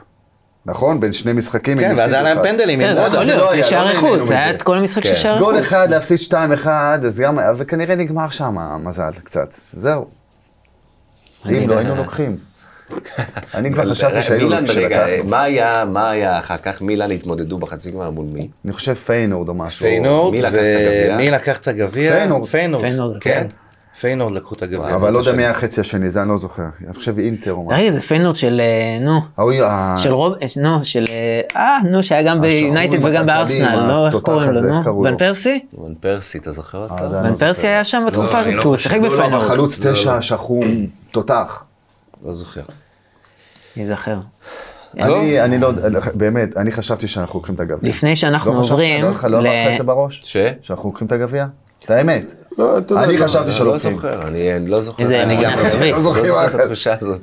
S6: נכון? בין שני משחקים
S1: כן,
S6: הם
S1: ואז היה
S6: הפסידו
S1: להם
S6: אחד.
S1: פנדלים.
S2: בסדר,
S1: אם
S2: זה
S1: לא
S2: יכול
S1: יודע,
S6: זה
S2: להיות,
S6: לא היה,
S2: יש
S6: לא
S2: שערי
S6: נהנינו
S2: חוץ, היה
S6: מזה.
S2: את כל המשחק של
S4: כן.
S2: שערי
S6: גול
S2: חוץ.
S6: אחד, להפסיד 2-1, אז גם, וכנראה נגמר שם המזל קצת. זהו.
S2: אני
S6: אם לא,
S2: לא-
S6: היינו לוקחים. אני כבר
S4: רגע,
S6: חשבתי שהיינו
S4: מילאן, אה, רגע,
S6: לקחנו.
S4: מה היה, מה היה אחר כך? מילאן התמודדו בחצי גמר מול מי?
S6: אני חושב פיינורד או משהו.
S1: פיינורד,
S4: מי לקח את הגביע?
S1: ומי לקח את הגביע?
S6: פיינורד.
S1: פיינורד,
S2: פיינורד,
S1: כן.
S2: כן.
S1: פיינורד לקחו את הגביע.
S6: אבל לא יודע מי היה החצי השני, זה אני לא זוכר. אני חושב אינטר או משהו.
S2: רגע, זה פיינורד של, אה, נו,
S6: ההוא- ה-
S2: של רוב, אה, נו, של, אה, אה, נו, שהיה גם
S6: השחור
S2: ביונייטד
S6: עם
S2: וגם
S6: הכלכלים,
S2: בארסנל, לא, איך
S6: התותח
S2: קוראים לו,
S6: הזה, איך
S2: נו?
S6: קראו
S2: ון
S6: לו?
S2: פרסי?
S4: ון פרסי, אתה זוכר אותו?
S6: אה, זה אני
S2: ון
S6: לא
S2: פרסי היה שם בתקופה הזאת, כי הוא שיחק
S6: לא, לא, אבל
S2: בפיינורד.
S6: חלוץ תשע, שחום, תותח.
S1: לא זוכר.
S2: ייזכר.
S6: אני, אני לא, באמת, אני חשבתי שאנחנו לוקחים את הגביע.
S2: לפני שאנחנו
S6: לא חשבת,
S2: עוברים
S6: לא היה לך- לא
S2: ל-
S6: עבר לך את זה בראש?
S4: ש?
S6: שאנחנו לוקחים את הגביע? את האמת.
S5: לא, אתה יודע,
S6: אני
S5: לא.
S6: חשבתי
S4: אני לא
S6: שלוקחים.
S4: זוכר, אני אני לא זוכר.
S2: איזה
S4: אני
S2: אמונה
S4: גם
S2: קרבית.
S4: לא
S6: לא
S4: זוכר
S6: זוכר
S4: את התחושה הזאת.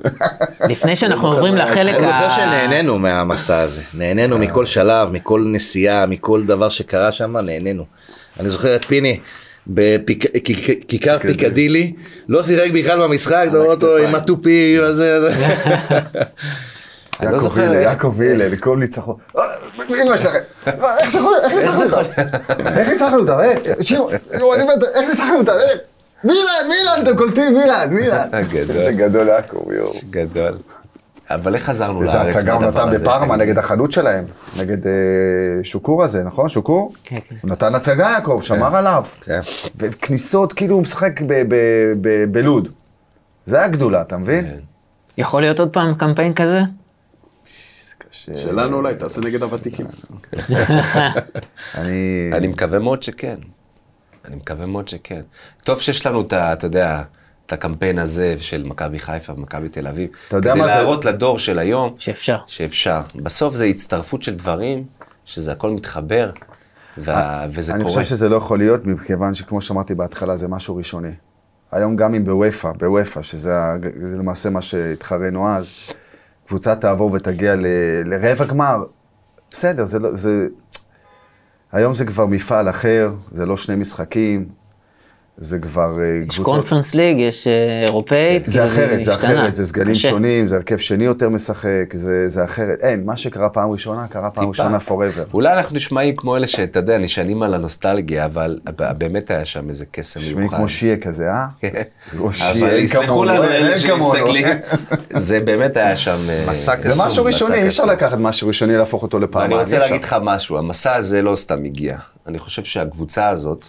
S2: לפני
S6: לא
S2: שאנחנו עוברים לחלק
S1: אני זוכר
S2: ה...
S1: שנהנינו מהמסע הזה, נהנינו מכל שלב, מכל נסיעה, מכל דבר שקרה שם, נהנינו. אני זוכר את פיני. בכיכר פיקדילי, לא שיחק בכלל במשחק, אתה רואה אותו עם התופים, הזה, זה.
S4: אני לא
S6: יעקב
S4: זוכר.
S6: הילל, יעקב הילל, כל ניצחון. אה, אמא שלכם, מה, איך ניצחנו איך ניצחנו אותה? איך ניצחנו אותה? אה, שירו, יואו, אני מת, איך ניצחנו אותה? אה, מילן, מילן, אתם קולטים, מילן, מילן.
S4: גדול.
S6: זה גדול יעקב, יואו.
S4: גדול. אבל איך חזרנו לארץ?
S6: איזה הצגה הוא
S4: מהדבר
S6: נתן
S4: הזה?
S6: בפארמה נגד החלוץ שלהם, נגד אה, שוקור הזה, נכון? שוקור?
S2: כן, כן.
S6: הוא נתן הצגה יעקב, שמר עליו.
S1: כן.
S6: וכניסות, כאילו הוא משחק ב- ב- ב- בלוד. זה היה גדולה, אתה מבין?
S2: יכול להיות עוד פעם קמפיין כזה?
S5: שלנו אולי, תעשה נגד
S6: אה,
S5: הוותיקים.
S6: אני...
S4: אני מקווה מאוד שכן. אני מקווה מאוד שכן. טוב שיש לנו את ה... אתה יודע... את הקמפיין הזה של מכבי חיפה ומכבי תל אביב.
S6: אתה יודע מה זה-
S4: כדי להראות לדור של היום
S2: שאפשר.
S4: שאפשר. בסוף זה הצטרפות של דברים, שזה הכל מתחבר, וה- וזה
S6: אני
S4: קורה.
S6: חושב שזה לא יכול להיות, מכיוון שכמו שאמרתי בהתחלה, זה משהו ראשוני. היום גם אם בוופא, בוופא, שזה ה- זה למעשה מה שהתחרנו אז, קבוצה תעבור ותגיע ל, לרבע גמר, בסדר, זה לא, זה... היום זה כבר מפעל אחר, זה לא שני משחקים, זה כבר אה,
S2: יש
S6: קבוצות... כן,
S2: קונפרנס ליג, יש אה, אירופאית.
S6: זה
S2: כאילו,
S6: אחרת, זה
S2: השתנה.
S6: אחרת, זה סגלים
S2: קשה.
S6: שונים, זה הרכב שני יותר משחק, זה- זה אחרת. אין, מה שקרה פעם ראשונה, קרה פעם ראשונה forever.
S4: אולי אנחנו נשמעים כמו אלה שאתה יודע, נשענים על הנוסטלגיה, אבל ב- באמת היה שם איזה קסם
S6: נשמעים
S4: מיוחד.
S6: כמו שיה כזה,
S2: כן.
S6: אה? כמו שיה,
S4: אבל
S6: אין
S4: יסלחו
S6: כמוהו,
S4: לנו
S6: אין
S4: אלה
S6: כמוהו.
S4: שמסתכלים. זה באמת היה שם... אה,
S1: מסע
S6: זה
S1: קסום,
S6: משהו ראשוני, אי אפשר
S4: קסום.
S6: לקחת משהו ראשוני להפוך אותו לפעמיים.
S4: ואני רוצה
S6: אי אפשר.
S4: להגיד לך משהו, המסע הזה לא סתם הגיע. אני חושב שהקבוצה הזאת,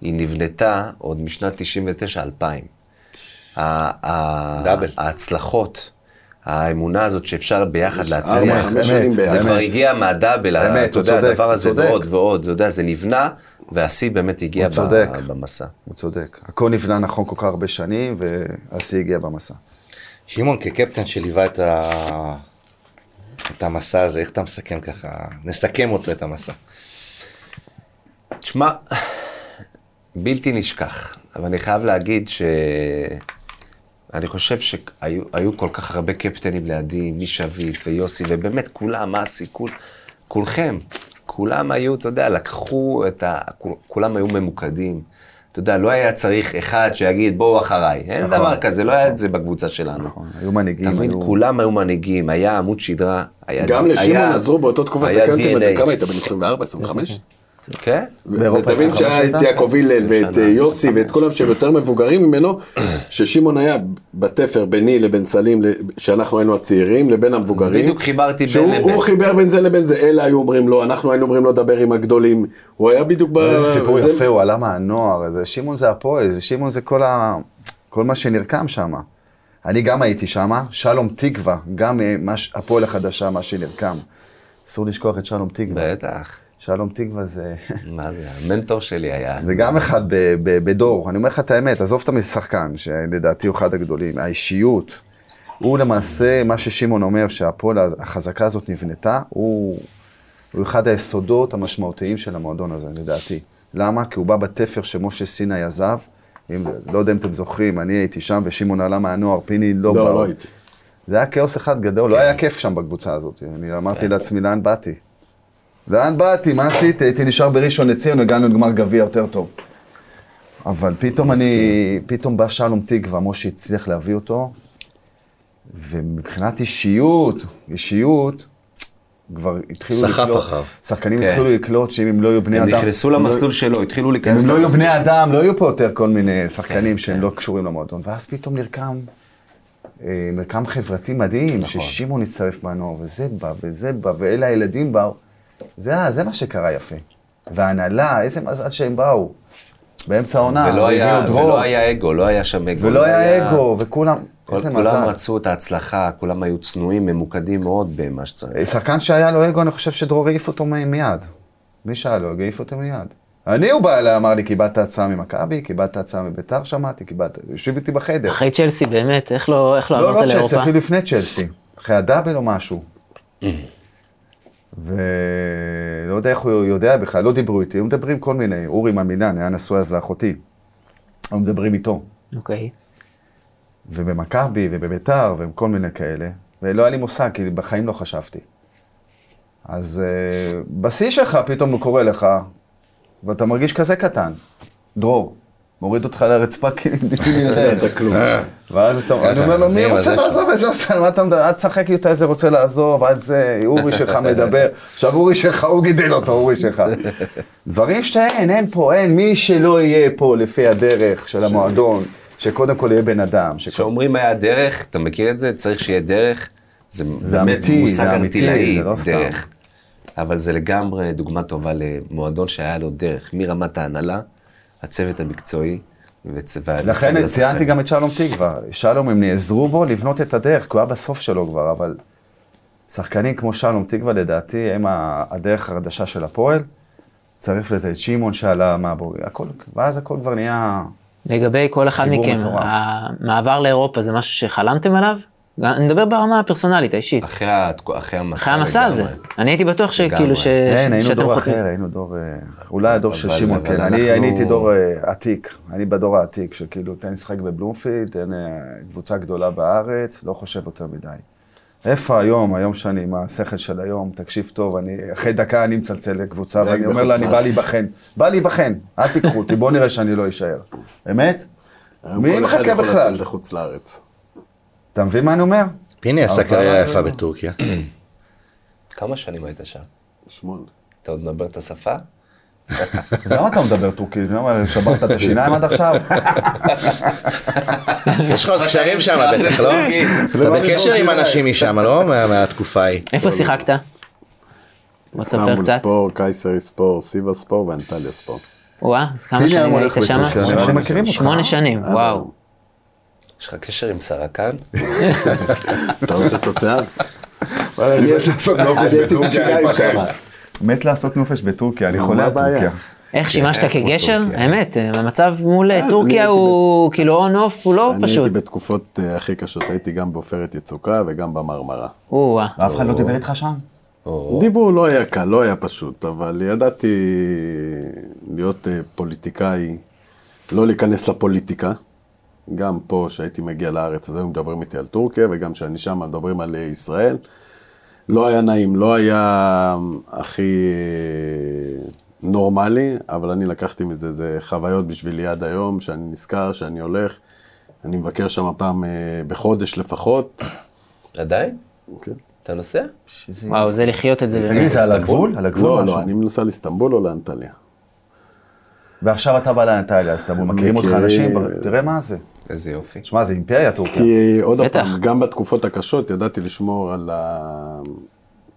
S4: היא נבנתה עוד משנת 99-2000. ה- ה-
S1: דאבל.
S4: ההצלחות, האמונה הזאת שאפשר
S6: אה,
S4: ביחד להצליח.
S5: ארבע, חמש שנים
S6: אמת,
S4: זה
S5: ביחד.
S4: כבר הגיע מהדאבל, ה-
S6: אמת,
S4: אתה
S6: הוא
S4: יודע,
S6: צודק,
S4: הדבר
S6: הוא
S4: הזה
S6: צודק.
S4: ועוד ועוד, אתה יודע, זה נבנה, והשיא באמת הגיע
S6: הוא
S4: ב-
S6: צודק.
S4: במסע.
S6: הוא צודק. הכל נבנה נכון כל כך הרבה שנים, והשיא הגיע במסע.
S1: שמעון, כקפטן שליווה את, ה... את המסע הזה, איך אתה מסכם ככה? נסכם אותו, את המסע.
S4: תשמע, בלתי נשכח, אבל אני חייב להגיד ש... אני חושב שהיו היו כל כך הרבה קפטנים לידי, מישה ויט ויוסי, ובאמת כולם, אסי, כול, כולכם, כולם היו, אתה יודע, לקחו את ה... כול- כולם היו ממוקדים. אתה יודע, לא היה צריך אחד שיגיד, בואו אחריי. אין
S6: נכון,
S4: דבר כזה, לא היה את זה בקבוצה שלנו.
S6: נכון, היו מנהיגים,
S4: אתה מבין,
S6: היו-
S4: כולם היו מנהיגים, היה עמוד שדרה.
S6: אה,
S4: היה-
S5: גם לשמעון
S4: היה-
S5: עזרו באותה תקופה,
S4: היה
S5: אתה קיים אותי,
S4: DNA.
S5: כמה היית? בן 24, 25?
S4: כן?
S6: באירופה
S5: אתה מבין
S6: עשרים
S5: שהיה את
S6: וחמש
S5: יעקב הלל ואת
S4: שנה,
S5: אה, יוסי ואת כולם שהם יותר מבוגרים ממנו, ששמעון היה בתפר ביני לבין סלים, ל- שאנחנו היינו הצעירים, לבין המבוגרים.
S4: בדיוק חיברתי בין
S5: שהוא-
S4: לבין.
S5: הוא חיבר בין זה לבין זה, אלה היו אומרים לו, אנחנו היינו אומרים לו לדבר עם הגדולים. הוא היה בדיוק ב...
S6: איזה סיפור
S5: זה-
S6: יפה, הוא עלה מהנוער, זה שמעון זה הפועל, זה שמעון זה כל, ה... כל מה שנרקם שם. אני גם הייתי שם, שלום תקווה, גם אה, מה ש- הפועל החדשה, מה שנרקם. אסור לשכוח את שלום תקווה.
S4: בטח.
S6: שלום תקווה זה,
S4: מה זה, המנטור שלי היה.
S6: זה גם אחד ב, ב, בדור. אני אומר לך את האמת, עזוב את המשחקן, שלדעתי הוא אחד הגדולים, האישיות. הוא למעשה, מה ששמעון אומר, שהפועל החזקה הזאת נבנתה, הוא, הוא אחד היסודות המשמעותיים של המועדון הזה, לדעתי. למה? כי הוא בא בתפר שמשה סיני עזב. אם, לא יודע אם אתם זוכרים, אני הייתי שם ושמעון עלה מהנוער, פיני לא בא.
S5: לא, לא הייתי.
S6: זה היה כאוס אחד גדול, לא היה כיף שם בקבוצה הזאת. אני אמרתי לעצמי, לאן באתי? לאן באתי? מה עשיתי? הייתי נשאר בראשון לציון, הגענו לגמר גביע יותר טוב. אבל פתאום אני, פתאום בא שלום תקווה, משה הצליח להביא אותו, ומבחינת אישיות, אישיות, כבר התחילו
S1: סחף
S6: לקלוט,
S1: אחריו.
S6: שחקנים
S4: כן.
S6: התחילו לקלוט שאם הם לא יהיו בני
S4: הם
S6: אדם,
S4: נכנסו
S6: הם לא-
S4: למסלול שלו, התחילו
S6: אם
S4: להיכנס
S6: הם לא יהיו
S4: למסלול.
S6: בני אדם, לא יהיו פה יותר כל
S4: כן,
S6: מיני שחקנים שהם לא קשורים למועדון. ואז פתאום נרקם אה, מרקם חברתי מדהים,
S4: נכון.
S6: ששמעון הצטרף בנוער, וזה בא, וזה בא, ואלה הילדים באו. זה, ה- זה מה שקרה יפה. וההנהלה, איזה מזל שהם באו. באמצע העונה,
S4: ולא היה-
S6: הביאו דרור,
S4: ולא היה אגו, לא היה שם אגו.
S6: ולא היה אגו, וכולם,
S4: כל-
S6: איזה
S4: כולם
S6: מזל.
S4: רצו את ההצלחה, כולם היו צנועים, ממוקדים מאוד במה שצריך.
S6: שחקן שהיה לו אגו, אני חושב שדרור העיף אותו מ- מיד. מי שהיה לו אגו, העיף אותו מיד. אני, הוא בא אליי, אמר לי, קיבלת הצעה ממכבי, קיבלת הצעה מביתר, שמעתי, קיבלת, יושב איתי בחדר.
S2: אחרי צ'לסי, באמת, איך לא איך לא
S6: לא,
S2: עברת
S6: לא צ'לסי,
S2: לאירופה? Mm-hmm.
S6: אפילו לפני צ'לסי. אחרי הדאבל או משהו. ולא יודע איך הוא יודע בכלל, לא דיברו איתי, היו מדברים כל מיני, אורי מהמילן, היה נשוי אז לאחותי. היו מדברים איתו.
S2: אוקיי.
S6: ובמכבי ובביתר וכל מיני כאלה, ולא היה לי מושג, כי בחיים לא חשבתי. אז אה, בשיא שלך פתאום הוא קורא לך, ואתה מרגיש כזה קטן. דרור, מוריד אותך לרצפה כי אתה לא כלום. ואז אתה אני אומר לו, מי
S1: זה, זה
S6: רוצה לעזוב איזה רוצה, מה אתה מדבר, אל תשחק איתה איזה רוצה לעזוב, עד זה, אורי שלך מדבר. עכשיו אורי שלך, הוא גידל אותו, אורי שלך. דברים שאין, אין פה, אין מי שלא יהיה פה לפי הדרך של המועדון, שקודם כל יהיה בן אדם, שקודם
S4: כשאומרים היה דרך, אתה מכיר את זה? צריך שיהיה דרך. זה
S6: זה
S4: באמת
S6: אמיתי,
S4: מושג
S6: זה אמיתי,
S4: ארטילאי,
S6: זה לא סתם.
S4: דרך. אבל זה לגמרי דוגמה טובה למועדון שהיה לו דרך, מרמת ההנהלה, הצוות המקצועי. וצ- והסגל
S6: לכן
S4: השחקנים.
S6: ציינתי גם את שלום תקווה. שלום, הם נעזרו בו לבנות את הדרך, כי הוא היה בסוף שלו כבר, אבל שחקנים כמו שלום תקווה, לדעתי, הם ה- הדרך החדשה של הפועל. צריך לזה את שמעון שעלה מהבוגר, הכל, ואז הכל כבר נהיה...
S2: לגבי כל אחד
S6: חיבור
S2: מכם,
S6: מטורף.
S2: המעבר לאירופה זה משהו שחלמתם עליו? אני מדבר ברמה הפרסונלית, האישית.
S4: אחרי התק- אחרי המסע.
S2: אחרי המסע הזה.
S4: לגמרי.
S2: אני הייתי בטוח
S4: לגמרי.
S2: שכאילו ש...
S6: אין, כן, היינו
S2: שאתם
S6: דור
S2: חותמים.
S6: אחר, היינו דור... אה, אולי הדור של
S4: אבל-
S6: שמעון,
S4: אבל
S6: כן. אני
S4: אנחנו-
S6: אני הייתי דור אה, עתיק, אני בדור העתיק, שכאילו, תן לשחק בבלומפילד, תן אה, קבוצה גדולה בארץ, לא חושב יותר מדי. איפה היום, היום שאני עם השכל של היום, תקשיב טוב, אני, אחרי דקה אני מצלצל לקבוצה
S5: רגע,
S6: ואני אומר לה, אני
S5: בחוץ.
S6: בא להיבחן. בא להיבחן, אל תיקחו אותי, בואו נראה שאני לא אשאר. אמת?
S5: היום
S6: מי
S5: אה, כל אחד
S6: מחכה
S5: יכול
S6: בכלל?
S5: לצאת לחוץ לארץ.
S6: אתה מבין מה אני אומר?
S1: פיני עשה
S6: אבל-
S1: קריירה יפה בטורקיה.
S4: כמה שנים היית שם?
S5: שמונה.
S4: אתה עוד מדבר את השפה?
S6: אז למה אתה מדבר טורקית? למה שברת את השיניים עד עכשיו?
S1: יש לך עוד קשרים שם בטח, לא? אתה בקשר עם אנשים משם, לא? מה- מהתקופה ההיא.
S6: לא,
S2: איפה שיחקת? בוא תספר
S5: איסטנבול
S2: קצת.
S5: ספור, קייסרי ספור, סיבה ספור ואנטליה ספור.
S2: וואה, אז כמה
S6: הנה,
S2: שנים
S6: הוא
S2: היית
S6: הולך
S2: שמה?
S6: לטורקיה,
S5: שמונה
S6: אנשים מכירים אותך. אה,
S2: שמונה שנים, וואו.
S4: יש לך קשר עם סרקן?
S5: אתה רוצה תוצאה?
S6: וואלה, אני מת לעשות נופש כן,
S5: אני עשיתי
S6: בטורקיה, אני
S5: שיניים
S6: מפחד.
S5: שם.
S6: מת לעשות נופש בטורקיה, אני
S5: מה
S6: חולה על
S5: הבעיה?
S6: טורקיה.
S2: איך שימשת
S4: איפה
S2: כגשר?
S6: כן.
S4: טורקיה?
S2: האמת, אה, המצב מול אה, טורקיה
S5: הייתי
S2: הוא כאילו און אוף, הוא לא
S5: אני
S2: פשוט.
S5: הייתי בתקופות אה, הכי קשות, הייתי גם בעופרת יצוקה וגם במרמרה.
S2: או-אה.
S6: ואף אחד לא דיבר איתך שם?
S5: דיבור לא היה קל, לא היה פשוט, אבל ידעתי להיות אה, פוליטיקאי, לא להיכנס לפוליטיקה. גם פה, כשהייתי מגיע לארץ, אז היו מדברים איתי על טורקיה, וגם כשאני שם מדברים על אה, ישראל. לא היה נעים, לא היה הכי אה, נורמלי, אבל אני לקחתי מזה, זה חוויות בשבילי עד היום, שאני נזכר, שאני הולך, אני מבקר שם פעם אה, בחודש לפחות.
S4: עדיין?
S5: כן.
S4: אתה נוסע?
S2: וואו, זה לחיות את זה
S6: תגיד לי,
S2: באמת.
S6: זה על הגבול? על הגבול
S5: לא, לא,
S6: משהו?
S5: אני מנוסע לאיסטנבול או לאנטליה.
S6: ועכשיו אתה בא לאנטליה, אז אתה מכירים אותך
S5: מכירים.
S6: אנשים, תראה מה זה.
S4: איזה יופי.
S6: שמע, זה אימפריה טורקיה.
S5: כי עוד
S2: בטח.
S5: פעם, גם בתקופות הקשות ידעתי לשמור על ה...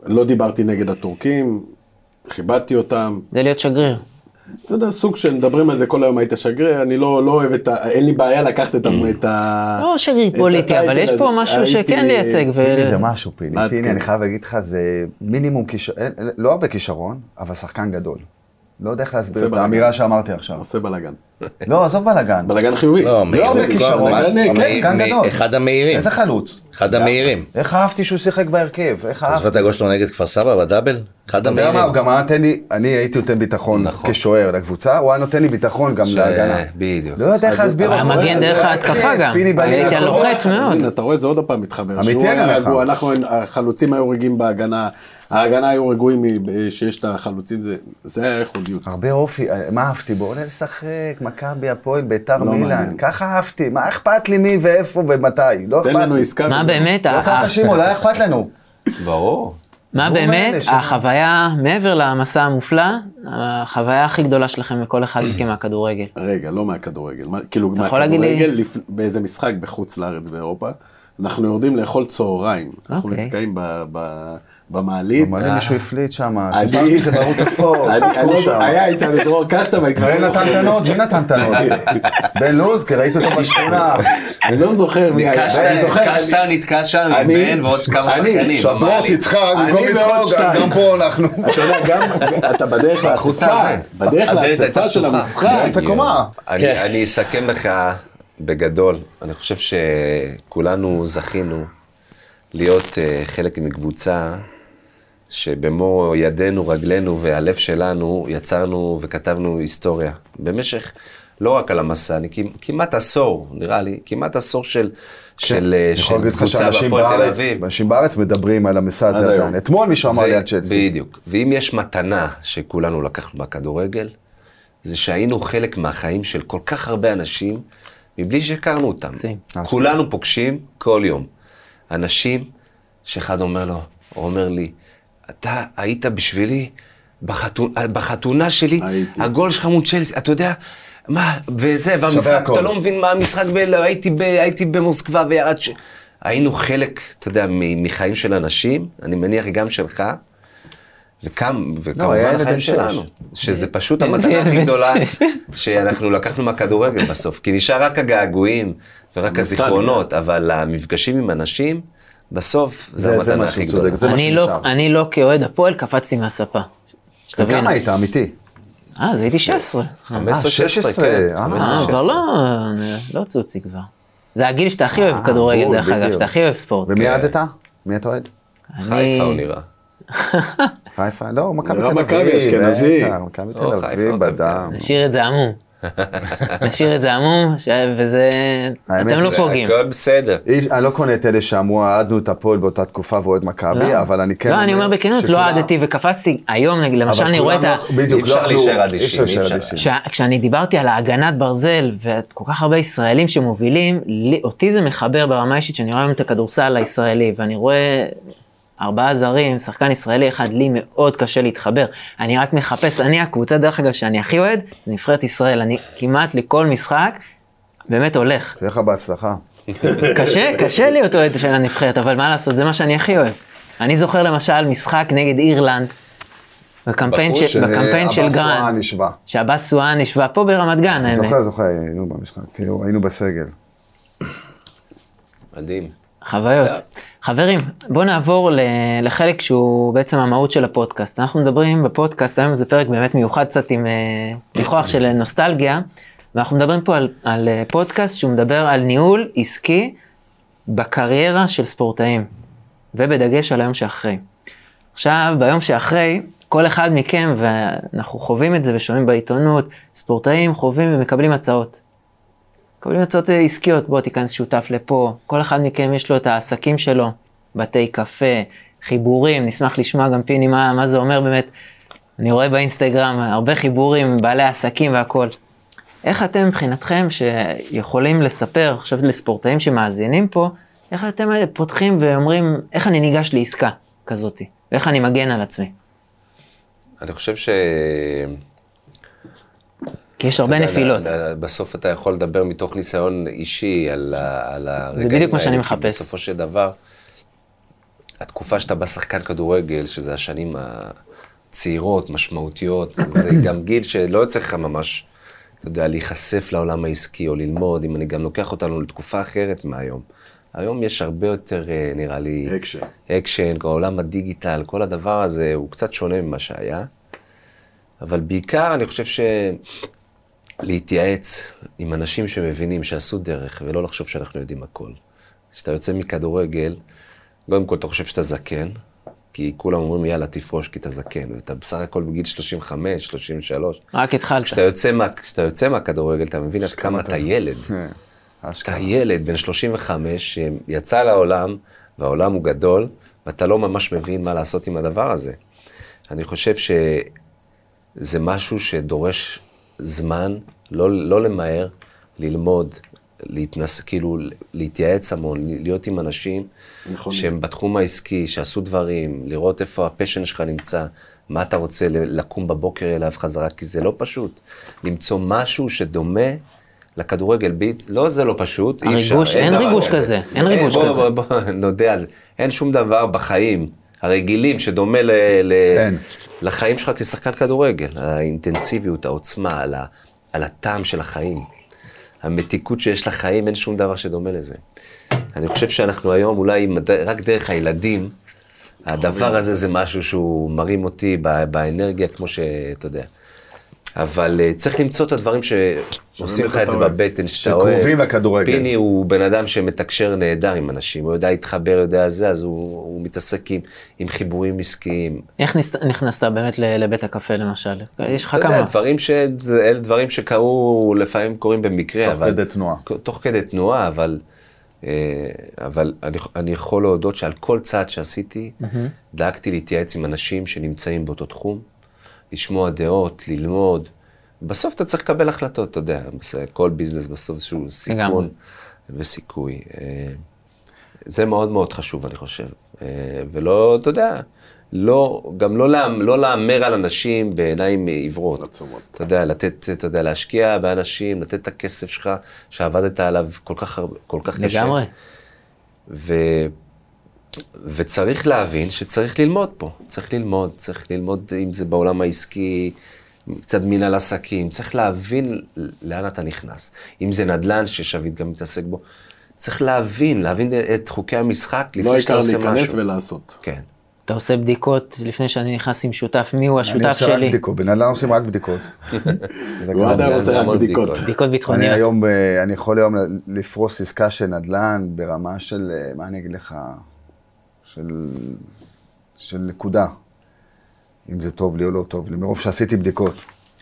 S5: לא דיברתי נגד הטורקים, כיבדתי אותם.
S2: זה להיות שגריר.
S5: אתה יודע, סוג של מדברים על זה כל היום היית שגריר, אני לא, לא אוהב את ה... אין לי בעיה לקחת את,
S6: Mm.
S5: ה- את ה...
S2: לא שגריר
S5: את
S2: פוליטי, אבל
S5: הטייטל
S2: יש פה
S5: הזה.
S2: משהו
S5: הייתי-
S2: שכן לייצג. ו-
S6: פיני זה משהו, פיני.
S5: מה,
S6: פיני,
S5: כן.
S6: אני חייב להגיד לך, זה מינימום כישרון, לא הרבה כישרון, אבל שחקן גדול. לא יודע איך
S5: זה
S6: להסביר את
S5: בלגן.
S6: האמירה שאמרתי עכשיו.
S5: עושה בלאגן.
S6: לא, עזוב בלאגן.
S5: בלאגן חיובי.
S1: לא, מאיר
S6: הרבה
S1: זה-
S6: כישרון,
S1: מה-
S5: בלאגן,
S1: מה-
S5: כן.
S6: כאן
S1: מה-
S6: גדול.
S1: אחד המהירים.
S6: איזה חלוץ.
S1: אחד המהירים.
S6: איך אהבתי שהוא שיחק בהרכב, איך
S1: אתה זוכר
S6: אהבתי.
S1: את הגול שלו נגד כפר סבא בדאבל? אחד
S6: אתה יודע
S1: המהירים.
S6: מה, הוא גם היה נותן לי, אני הייתי נותן ביטחון כשוער לקבוצה, הוא היה נותן לי ביטחון גם
S4: ש-
S6: להגנה.
S4: בדיוק.
S6: לא יודע איך
S5: אז-
S6: להסביר
S5: אבל
S6: אותו. אה,
S5: המגן
S6: זה
S5: דרך
S6: היה
S2: ההתקפה
S6: כיף,
S2: גם.
S6: פיני בא לי
S2: הייתי
S6: מהכל.
S2: הלוחץ מאוד.
S5: אז הנה, אתה רואה, זה עוד פעם מתחבר.
S6: אמיתי
S5: שהוא היה
S6: אני אומר לך.
S5: רגוע, אנחנו, החלוצים היו רגועים בהגנה, ההגנה היו רגועים מ- שיש את החלוצים, זה- זה היה ייחודיות.
S6: הרבה אופי, אה, מה אהבתי בו? עולה לשחק, מכבי, הפועל, ביתר,
S5: לא
S6: מילאן.
S5: מעניין.
S6: ככה אהבתי, מה אכפת לי מי ואיפה ומתי? לא
S5: תן
S6: אכפת
S5: לנו
S6: לי.
S5: עסקה.
S2: מה
S5: וזהו.
S2: באמת,
S6: לא
S2: ה- ה-
S6: ככה שמעון, לא היה אכפת לנו.
S4: ברור.
S2: מה
S6: והוא
S2: באמת,
S6: מאלה ש-
S2: החוויה, מעבר למסע המופלא, החוויה הכי גדולה שלכם לכל אחד מכם מהכדורגל.
S5: רגע, לא מהכדורגל. מה, כאילו,
S2: אתה יכול להגיד
S5: מהכדורגל,
S2: לי-
S5: לפ... באיזה משחק בחוץ לארץ באירופה, אנחנו יורדים לאכול צהריים. אנחנו
S2: אוקיי.
S5: נתקעים ב... ב... במעלית.
S6: לא מעניין מישהו הפליט שם,
S5: אני-
S6: סיפרתי את זה בערוץ הספורט.
S5: אני- אני- היה איתנו דרור קשטה, ואני כבר
S6: מי
S5: לא
S6: נתן
S5: זוכר.
S6: תנות? מי נתן תנות? בן לוז, כי ראיתי אותו בשכונה.
S5: אני לא זוכר מי היה. אני זוכר, אני-
S4: קשטה נתקע שם עם
S5: אני-
S4: בן ועוד כמה
S5: אני-
S4: שחקנים.
S5: שבוע
S4: אמר לי.
S6: תצחק,
S5: אני ועוד שתיים.
S6: פה אנחנו.
S5: אתה יודע, גם אתה בדרך לאספה,
S4: החוצה, זה.
S5: בדרך
S4: הדלת
S5: לאספה
S4: הייתה
S5: של
S4: פתוחה.
S5: המשחק.
S2: לא
S6: באמצע קומה.
S4: אני-
S1: כן.
S4: אני אסכם לך בגדול, אני חושב שכולנו זכינו להיות אה, חלק מקבוצה שבמו ידינו, רגלינו והלב שלנו יצרנו וכתבנו היסטוריה. במשך, לא רק על המסע, אני כמעט- כמעט עשור, נראה לי, כמעט עשור של... של, אה,
S6: אני כן. יכול
S4: של
S6: להגיד לך
S4: קבוצה
S6: שאנשים
S4: בהפועל תל
S6: בארץ,
S4: אביב.
S6: אנשים בארץ מדברים על המסע
S5: עד
S6: הזה
S5: היום.
S6: עדיין. אתמול מישהו אמר לי על צ'לסי.
S4: בדיוק. ואם יש מתנה שכולנו לקחנו בכדורגל, זה שהיינו חלק מהחיים של כל כך הרבה אנשים, מבלי שהכרנו אותם.
S2: מקסים.
S4: כולנו פוגשים כל יום. אנשים שאחד אומר לו, או אומר לי, אתה היית בשבילי בחתונה, בחתונה שלי,
S5: הייתי.
S4: הגול שלך מול צ'לסי, אתה יודע, מה, וזה, והמשחק,
S6: הכל.
S4: אתה לא מבין מה המשחק, ב- הייתי, ב, הייתי במוסקבה וירד ש... היינו חלק, אתה יודע, מ- מחיים של אנשים, אני מניח גם שלך, וכם,
S6: לא, היה
S4: וכמובן
S6: ילד בן
S4: החיים
S6: שש.
S4: שלנו, שזה פשוט המתנה הכי גדולה שאנחנו לקחנו מהכדורגל בסוף, כי נשאר רק הגעגועים ורק הזיכרונות, אבל המפגשים עם אנשים, בסוף
S6: זה-
S4: זה
S6: זה
S4: המתנה
S6: מה
S4: הכי
S6: שהוא
S4: גדולה.
S6: צודק, זה מה
S2: אני לא-
S6: שנשאר.
S2: אני לא כאוהד הפועל קפצתי מהספה. שתבין.
S6: כמה היית אמיתי?
S2: אה, אז הייתי 16.
S4: 15,
S6: 16,
S4: 16, כן.
S6: אה,
S2: אה,
S4: 15,
S2: כבר
S4: 16.
S2: לא, לא צוצי כבר. זה הגיל שאתה הכי אוהב כדורגל,
S6: אה, בול,
S2: דרך אגב,
S6: בדיוק.
S2: שאתה הכי אוהב ספורט.
S6: ומי
S4: כן.
S6: עדת? מי אתה אוהד?
S4: חיפה הוא
S2: אני-
S4: נראה.
S6: חיפה? לא, מכבי
S5: לא,
S6: תל אביב.
S5: מכבי, אשכנזי.
S6: בטח, מכבי
S4: או,
S6: תל
S4: חיפה,
S6: אביב
S4: מכבי תל
S6: בדם.
S2: אוקיי. נשאיר את זה עמום. נשאיר את זה עמום, ש- וזה...
S6: האמת,
S2: אתם לא
S4: זה
S2: פוגעים.
S4: הכל בסדר.
S6: אי- אני לא קונה את אלה שאמרו, אהדנו את הפועל באותה תקופה ואוהד מכבי,
S2: לא.
S6: אבל אני כן...
S2: לא, אני אומר בכנות, לא
S6: שכולם-
S2: אהדתי וקפצתי. היום, נגיד,
S6: אבל
S2: למשל, אני רואה את
S6: כולם
S2: ה...
S6: לא- בדיוק,
S4: אי אפשר
S6: לא אכלו-
S4: להישאר אדישים,
S6: אי אפשר
S4: אי
S6: להישאר
S4: אפשר.
S6: אדישים.
S2: כשה- כשאני דיברתי על ההגנת ברזל, וכל כך הרבה ישראלים שמובילים, לי- אותי זה מחבר ברמה האישית, שאני רואה היום את הכדורסל הישראלי, ואני רואה ארבעה זרים, שחקן ישראלי אחד, לי מאוד קשה להתחבר. אני רק מחפש, אני הקבוצה, דרך אגב, שאני הכי אוהד, זה נבחרת ישראל. אני כמעט לכל משחק, באמת הולך.
S6: שיהיה לך בהצלחה.
S2: קשה, קשה להיות אוהד של הנבחרת, אבל מה לעשות, זה מה שאני הכי אוהב. אני זוכר למשל משחק נגד אירלנד, בקמפיין
S4: בחוץ,
S2: של- בקמפיין של
S6: הבא
S2: גרנד,
S6: נשבע.
S2: שעבאס סואן ישבה פה ברמת גן, האמת.
S6: זוכר, זוכר, היינו במשחק, כאילו, היינו בסגל.
S4: מדהים.
S2: חוויות. חברים, בואו נעבור ל- לחלק שהוא בעצם המהות של הפודקאסט. אנחנו מדברים בפודקאסט, היום זה פרק באמת מיוחד קצת עם אה, ניחוח של נוסטלגיה, ואנחנו מדברים פה על, על אה, פודקאסט שהוא מדבר על ניהול עסקי בקריירה של ספורטאים, ובדגש על היום שאחרי. עכשיו, ביום שאחרי, כל אחד מכם, ואנחנו חווים את זה ושומעים בעיתונות, ספורטאים חווים ומקבלים הצעות. מקבלים הצעות אה, עסקיות, בוא תיכנס שותף לפה, כל אחד מכם יש לו את העסקים שלו, בתי קפה, חיבורים, נשמח לשמוע גם פיני מה, מה זה אומר באמת. אני רואה באינסטגרם הרבה חיבורים, בעלי עסקים והכול. איך אתם מבחינתכם שיכולים לספר עכשיו לספורטאים שמאזינים פה, איך אתם אה, פותחים ואומרים, איך אני ניגש לעסקה כזאתי, ואיך אני מגן על עצמי?
S4: אני חושב ש...
S2: כי יש הרבה
S4: אתה יודע,
S2: נפילות.
S4: אתה- בסוף אתה יכול לדבר מתוך ניסיון אישי על, ה- על הרגעים
S2: בדיוק מה שאני
S4: האלה, כי
S2: מחפש.
S4: בסופו של דבר, התקופה שאתה בא שחקן כדורגל, שזה השנים הצעירות, משמעותיות, זה גם גיל שלא יוצא לך ממש, אתה יודע, להיחשף לעולם העסקי או ללמוד, אם אני גם לוקח אותנו לתקופה אחרת מהיום. היום יש הרבה יותר, אה, נראה לי,
S5: אקשן.
S4: אקשן, כל עולם הדיגיטל, כל הדבר הזה הוא קצת שונה ממה שהיה. אבל בעיקר אני חושב שלהתייעץ עם אנשים שמבינים שעשו דרך, ולא לחשוב שאנחנו יודעים הכל. כשאתה יוצא מכדורגל, קודם כל אתה חושב שאתה זקן, כי כולם אומרים יאללה תפרוש כי אתה זקן, ואתה בסך הכל בגיל 35, 33.
S2: רק התחלת.
S4: כשאתה יוצא, מה, כשאתה יוצא מהכדורגל, אתה מבין עד כמה אתה ילד. אתה ילד בן 35 שיצא לעולם, והעולם הוא גדול, ואתה לא ממש מבין מה לעשות עם הדבר הזה. אני חושב שזה משהו שדורש זמן, לא, לא למהר, ללמוד, להתנס, כאילו להתייעץ המון, להיות עם אנשים
S5: נכון.
S4: שהם בתחום העסקי, שעשו דברים, לראות איפה הפשן שלך נמצא, מה אתה רוצה ל- לקום בבוקר אליו חזרה, כי זה לא פשוט. למצוא משהו שדומה לכדורגל ביט, לא, זה לא פשוט, אי אפשר.
S2: הריגוש- אין
S4: דבר
S2: ריגוש כזה, אין ריגוש
S4: בוא,
S2: כזה.
S4: בוא, בוא, נודה על זה. אין שום דבר בחיים הרגילים שדומה ל, ל,
S6: אין.
S4: לחיים שלך כשחקן כדורגל. האינטנסיביות, העוצמה, על, ה, על הטעם של החיים. המתיקות שיש לחיים, אין שום דבר שדומה לזה. אני חושב שאנחנו היום אולי עם הד- רק דרך הילדים, הדבר הזה זה משהו שהוא מרים אותי ב- באנרגיה, כמו שאתה יודע. אבל אה, צריך למצוא את הדברים שעושים לך את זה בבטן, שאתה אוהב.
S6: שקרובים לכדורגל.
S4: פיני הוא בן אדם שמתקשר נהדר עם אנשים, הוא יודע להתחבר, יודע זה, אז הוא, הוא מתעסק עם, עם חיבורים עסקיים.
S2: איך נכנס- נכנסת באמת ל- לבית הקפה למשל? יש לך
S4: אתה יודע,
S2: כמה.
S4: דברים ש... אלה דברים שקרו, לפעמים קורים במקרה,
S6: תוך
S4: אבל...
S6: כדי תנועה.
S4: תוך כדי תנועה, אבל... אה, אבל אני, אני יכול להודות שעל כל צעד שעשיתי, דאגתי להתייעץ עם אנשים שנמצאים באותו תחום, לשמוע דעות, ללמוד. בסוף אתה צריך לקבל החלטות, אתה יודע, בסדר, כל ביזנס בסוף שהוא
S2: לגמרי.
S4: סיכון וסיכוי. אה, זה מאוד מאוד חשוב, אני חושב. אה, ולא, אתה יודע, לא, גם לא, לה- לא להמר על אנשים בעיניים עיוורות.
S5: עצומות.
S4: אתה יודע, לתת, אתה יודע, להשקיע באנשים, לתת את הכסף שלך, שעבדת עליו כל כך הרבה, כל כך קשה.
S2: לגמרי.
S4: ו... וצריך להבין שצריך ללמוד פה, צריך ללמוד, צריך ללמוד אם זה בעולם העסקי, קצת מנהל עסקים, צריך להבין לאן אתה נכנס. אם זה נדל"ן ששביט גם מתעסק בו, צריך להבין, להבין את חוקי המשחק
S5: לא
S4: לפני שאתה
S5: העיקר
S4: עושה משהו.
S5: להיכנס ולעשות.
S4: כן.
S2: אתה עושה בדיקות לפני שאני נכנס עם שותף, מי הוא
S6: אני
S2: השותף
S6: עושה רק
S2: שלי?
S6: בדיקות, בן אדם עושים רק בדיקות.
S5: הוא עד היום
S4: זה
S5: עושה רק
S4: המון
S5: בדיקות.
S4: בדיקות.
S2: בדיקות
S6: אני
S2: ביטחוניות.
S6: היום, אה, אני יכול היום לפרוס עסקה של נדל"ן ברמה של, אה, מה אני אגיד לך, של, של נקודה, אם זה טוב לי או לא טוב לי, מרוב שעשיתי בדיקות.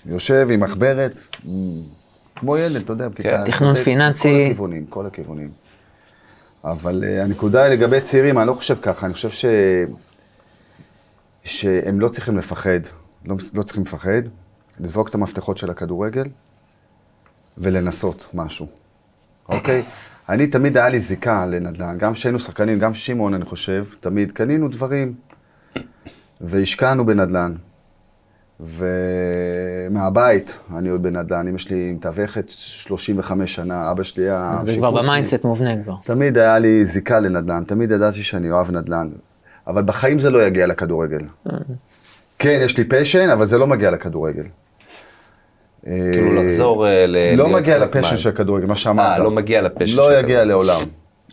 S6: יושב עם מחברת, מ- כמו ילד, אתה יודע, בכיתה...
S2: כן, תכנון
S6: אתה יודע,
S2: פיננסי.
S6: כל הכיוונים, כל הכיוונים. אבל אה, הנקודה היא לגבי צעירים, אני לא חושב ככה, אני חושב ש... שהם לא צריכים לפחד, לא, לא צריכים לפחד, לזרוק את המפתחות של הכדורגל ולנסות משהו, אוקיי? אני תמיד היה לי זיקה לנדל"ן, גם כשהיינו שחקנים, גם שמעון, אני חושב, תמיד קנינו דברים והשקענו בנדל"ן. ומהבית אני עוד בנדל"ן, אמא שלי מתווכת 35 שנה, אבא שלי היה...
S2: זה כבר
S6: שיפוצניק.
S2: במיינדסט מובנה כבר.
S6: תמיד היה לי זיקה לנדל"ן, תמיד ידעתי שאני אוהב נדל"ן, אבל בחיים זה לא יגיע לכדורגל.
S2: אה.
S6: כן, יש לי פשן, אבל זה לא מגיע לכדורגל.
S4: כאילו
S6: אה,
S4: לחזור אה, ל...
S6: לא
S4: להיות
S6: מגיע
S4: חלק
S6: לפשן
S4: מה-
S6: של הכדורגל, מה שאמרת.
S4: אה, לא מגיע לפשן של
S6: לא יגיע
S4: הכדורגל.
S6: לעולם.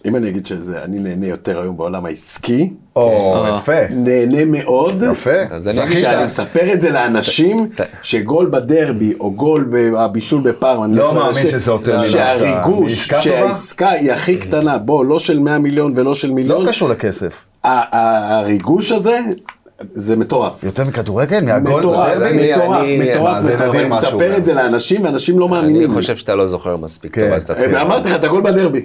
S5: אם אני אגיד שזה, אני נהנה יותר היום בעולם העסקי,
S6: או,
S2: אה.
S6: יפה,
S5: נהנה מאוד.
S6: יפה.
S4: אז אני אגיד
S6: זכית.
S5: כשאני מספר את זה לאנשים, שגול בדרבי או גול בבישול בפעם, אני
S6: לא
S5: יכול
S6: מאמין
S5: לשת-
S6: שזה יותר ממה שאתה-
S5: שהריגוש,
S6: עסקה טובה?
S5: שהעסקה היא הכי קטנה, בוא, לא של 100 מיליון ולא של
S6: לא
S5: מיליון,
S6: קשור לכסף.
S5: ה- ה- הריגוש הזה, זה מטורף.
S6: יותר מכדורגל? מהגול?
S5: מטורף,
S6: בדרבי?
S4: אני-
S5: מטורף,
S4: אני-
S5: מטורף,
S6: מה, זה כן.
S5: מטורף.
S6: נדיר
S5: אני
S6: מה שהוא
S5: מספר
S6: אומר.
S5: את זה לאנשים, ואנשים לא
S4: אני
S5: מאמינים לי.
S4: חושב שאתה לא זוכר מספיק
S6: כן. אה,
S4: טוב, אז תתחיל.
S5: אה, אמרתי לך, את הגול בדרבי.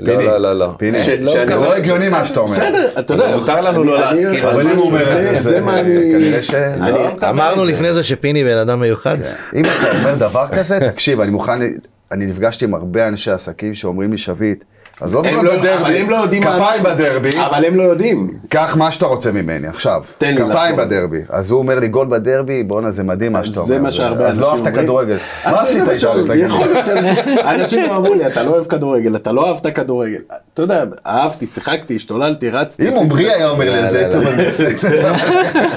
S4: לא,
S6: פיני,
S4: לא, לא, לא.
S6: פיני,
S5: ש-
S6: לא,
S5: שאני-
S6: לא הגיוני מה שאתה אומר.
S5: בסדר, אתה יודע.
S4: מותר לנו לא
S5: אני-
S4: להסכים
S5: אני-
S4: על
S6: אבל אם הוא אומר את זה,
S5: זה, זה מה אני...
S6: כנראה ש-
S5: אני-
S6: לא.
S1: אמרנו לפני זה שפיני בן אדם מיוחד.
S6: אם אתה אומר דבר כזה, תקשיב, אני מוכן, אני נפגשתי עם הרבה אנשי עסקים שאומרים לי, שביט, עזוב
S5: הם
S6: אותם
S5: לא-
S6: בדרבי,
S5: אבל הם לא יודעים מה
S6: כפיים
S5: אנחנו-
S6: בדרבי,
S5: אבל הם לא יודעים.
S6: קח מה שאתה רוצה ממני, עכשיו.
S5: תן לי
S6: כפיים
S5: לחשוב.
S6: בדרבי. אז הוא אומר לי, גול בדרבי, בואנה, זה מדהים מה שאתה
S5: זה
S6: אומר.
S5: מה שהרבה
S6: אז
S5: אנשים
S6: לא אהבת
S5: אומרים.
S6: כדורגל.
S5: אז
S6: מה
S5: זה
S6: עשית
S5: מה
S6: איתנו,
S5: שאומרים.
S6: תגיד לי?
S5: יכול להיות שאנשים- אנשים גם אמרו לי, אתה לא אוהב כדורגל, אתה לא אהבת כדורגל. אתה יודע, אהבתי, שיחקתי, השתוללתי, רצתי.
S6: אם
S5: עשיתי-
S6: עמרי היה אומר לי את זה,
S4: לא, לא,
S6: טוב, בסדר.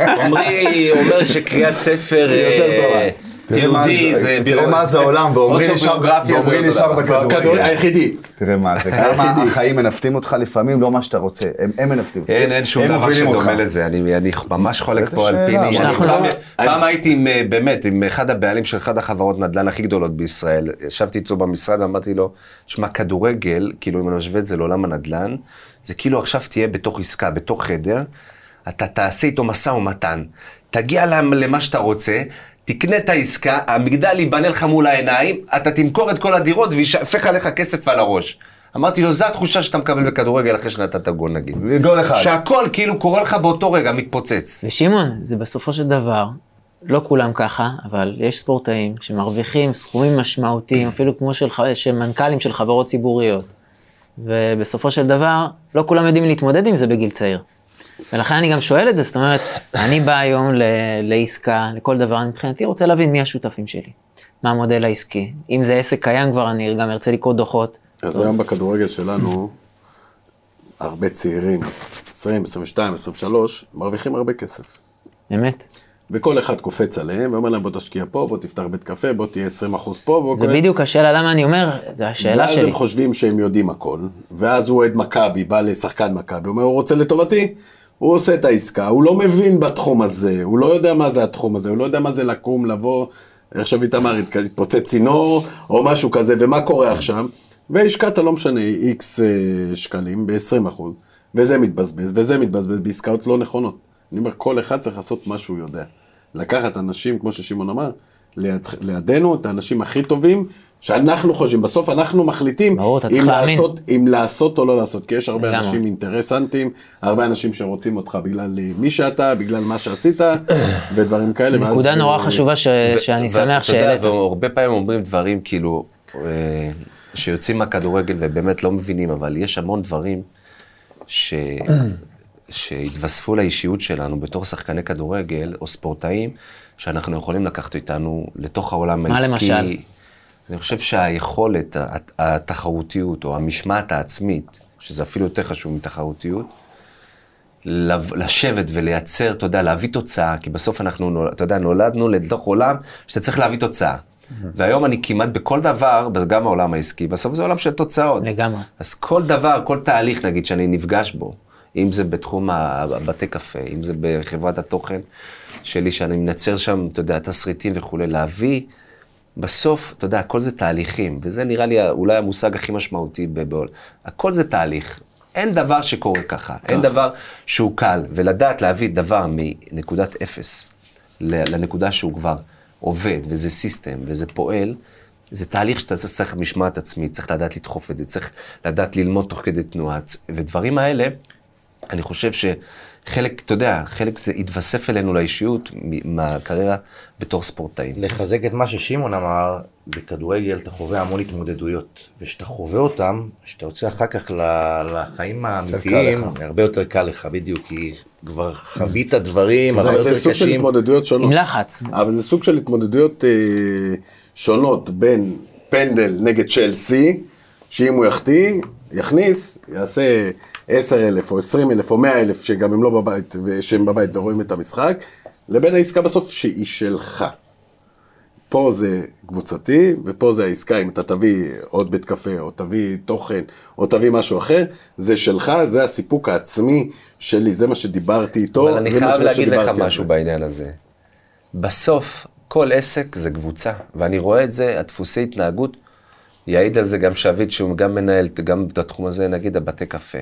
S4: עמרי אומר שקריאת ספר
S5: יותר
S4: אה,
S6: תראה מה
S4: תיעודי
S6: זה-
S4: זה
S6: תראה מה
S4: אה,
S6: זה העולם, ועמרי נשאר
S4: אוטוביוגרפיה זה
S6: ועמרי
S4: אותו
S6: נשאר
S4: דבר.
S5: הכדור-
S6: בכדורגל.
S5: היחידי.
S6: תראה מה זה, כמה החיים מנווטים אותך לפעמים, לא מה שאתה רוצה, הם- הם מנווטים אותך.
S4: אין, אין שום
S6: הם
S4: דבר
S6: מובילים
S4: שדומה
S6: אותך.
S4: לזה, אני, אני ממש חולק
S6: איזה
S4: פה על
S6: שאלה,
S4: פיני.
S6: אבל-
S4: אני
S2: אנחנו
S4: פעם,
S2: לא-
S4: פעם הייתי עם, אה, באמת עם אחד הבעלים של אחת החברות נדל"ן הכי גדולות בישראל. ישבתי איתו במשרד ואמרתי לו, שמע, כדורגל, כאילו אם אני משווה את זה לעולם הנדל"ן, זה כאילו עכשיו תהיה בתוך עסקה, בתוך חדר, אתה תעשה איתו משא ומתן. תגיע למ- למה שאתה רוצה. תקנה את העסקה, המגדל ייבנה לך מול העיניים, אתה תמכור את כל הדירות וישפך עליך כסף על הראש. אמרתי לו, זו התחושה שאתה מקבל בכדורגל אחרי שנתת גול נגיד.
S6: גול אחד.
S4: שהכל כאילו קורה לך באותו רגע, מתפוצץ.
S2: ושמעון, זה בסופו של דבר, לא כולם ככה, אבל יש ספורטאים שמרוויחים סכומים משמעותיים, אפילו כמו של, ח- של מנכ"לים של חברות ציבוריות. ובסופו של דבר, לא כולם יודעים להתמודד עם זה בגיל צעיר. ולכן אני גם שואל את זה, זאת אומרת, אני בא היום ל- לעסקה, לכל דבר, אני מבחינתי רוצה להבין מי השותפים שלי, מה המודל העסקי. אם זה עסק קיים כבר, אני גם ארצה לקרוא דוחות.
S5: אז היום בכדורגל שלנו, הרבה צעירים, 20, 22, 23, מרוויחים הרבה כסף.
S2: באמת.
S5: וכל אחד קופץ עליהם ואומר להם בוא תשקיע פה, בוא תפתח בית קפה, בוא תהיה 20% פה. בוא
S2: זה
S5: כל-
S2: בדיוק השאלה למה אני אומר, זו השאלה
S5: אוקיי. ואז
S2: שלי.
S5: הם חושבים שהם יודעים הכל, ואז הוא אוהד מכבי, בא לשחקן מכבי, אומר, הוא רוצה לטובתי, הוא עושה את העסקה, הוא לא מבין בתחום הזה, הוא לא יודע מה זה התחום הזה, הוא לא יודע מה זה לקום, לבוא, עכשיו איתמר התק- התפוצץ צינור, או משהו כזה, ומה קורה עכשיו? והשקעת, לא משנה, איקס שקלים ב-20 אחוז, וזה מתבזבז, וזה מתבזבז בעסקאות לא נכונות. אני אומר, כל אחד צריך לעשות מה שהוא יודע. לקחת אנשים, כמו ששמעון אמר, ליד, לידינו, את האנשים הכי טובים, שאנחנו חושבים, בסוף אנחנו מחליטים
S2: ברור, אתה
S5: אם,
S2: צריך להאמין.
S5: לעשות, אם לעשות או לא לעשות, כי יש הרבה
S2: לגמרי.
S5: אנשים אינטרסנטים, הרבה אנשים שרוצים אותך בגלל אה, מי שאתה, בגלל מה שעשית, ודברים כאלה. ואז- אה,
S2: נקודה נורא חשובה ש- אה, שאני שמח
S4: ואתה יודע,
S2: שהעלית.
S4: והרבה פעמים אומרים דברים כאילו, אה, שיוצאים מהכדורגל ובאמת לא מבינים, אבל יש המון דברים ש... שהתווספו לאישיות שלנו בתור שחקני כדורגל או ספורטאים, שאנחנו יכולים לקחת איתנו לתוך העולם
S2: מה
S4: העסקי.
S2: למשל?
S4: אני חושב שהיכולת, הת- התחרותיות או המשמעת העצמית, שזה אפילו יותר חשוב מתחרותיות, לב- לשבת ולייצר, אתה יודע, להביא תוצאה, כי בסוף אנחנו, נול- אתה יודע, נולדנו לתוך עולם שאתה צריך להביא תוצאה. והיום אני כמעט בכל דבר, גם העולם העסקי, בסוף זה עולם של תוצאות.
S2: לגמרי.
S4: אז כל דבר, כל תהליך, נגיד, שאני נפגש בו, אם זה בתחום ה- הבתי קפה, אם זה בחברת התוכן שלי, שאני מנצר שם, אתה יודע, תסריטים וכולי, להביא, בסוף, אתה יודע, הכל זה תהליכים, וזה נראה לי אולי המושג הכי משמעותי בבעול. הכל זה תהליך. אין דבר שקורה ככה, אין דבר שהוא קל, ולדעת להביא דבר מנקודת אפס ל- לנקודה שהוא כבר עובד, וזה סיסטם, וזה פועל, זה תהליך שאתה צריך משמעת עצמית, צריך לדעת לדחוף את זה, צריך לדעת ללמוד תוך כדי תנועה. ודברים האלה, אני חושב שחלק, אתה יודע, חלק זה התווסף אלינו לאישיות מ- מהקריירה בתור ספורטאים.
S1: לחזק את מה ששמעון אמר, בכדורגל אתה חווה המון התמודדויות, וכשאתה חווה אותם, כשאתה יוצא אחר כך ל- לחיים האמיתיים, הרבה יותר קל לך, בדיוק, כי כבר חווית דברים הרבה
S5: זה
S1: יותר
S5: סוג של
S1: קשים.
S5: התמודדויות שונות.
S2: עם לחץ.
S5: אבל זה סוג של התמודדויות אה, שונות בין פנדל נגד צ'לסי, שאם הוא יחטיא, יכניס, יעשה 10,000 או 20,000 או 100,000 שגם הם לא בבית, שהם בבית ורואים את המשחק, לבין העסקה בסוף שהיא שלך. פה זה קבוצתי, ופה זה העסקה, אם אתה תביא עוד בית קפה, או תביא תוכן, או תביא משהו אחר, זה שלך, זה הסיפוק העצמי שלי, זה מה שדיברתי איתו.
S4: אבל אני
S5: זה מה
S4: חייב להגיד לך
S5: שדיברתי על
S4: משהו
S5: זה.
S4: בעניין הזה. בסוף, כל עסק זה קבוצה, ואני רואה את זה, הדפוסי התנהגות, יעיד על זה גם שביט, שהוא גם מנהל, גם את התחום הזה, נגיד הבתי קפה.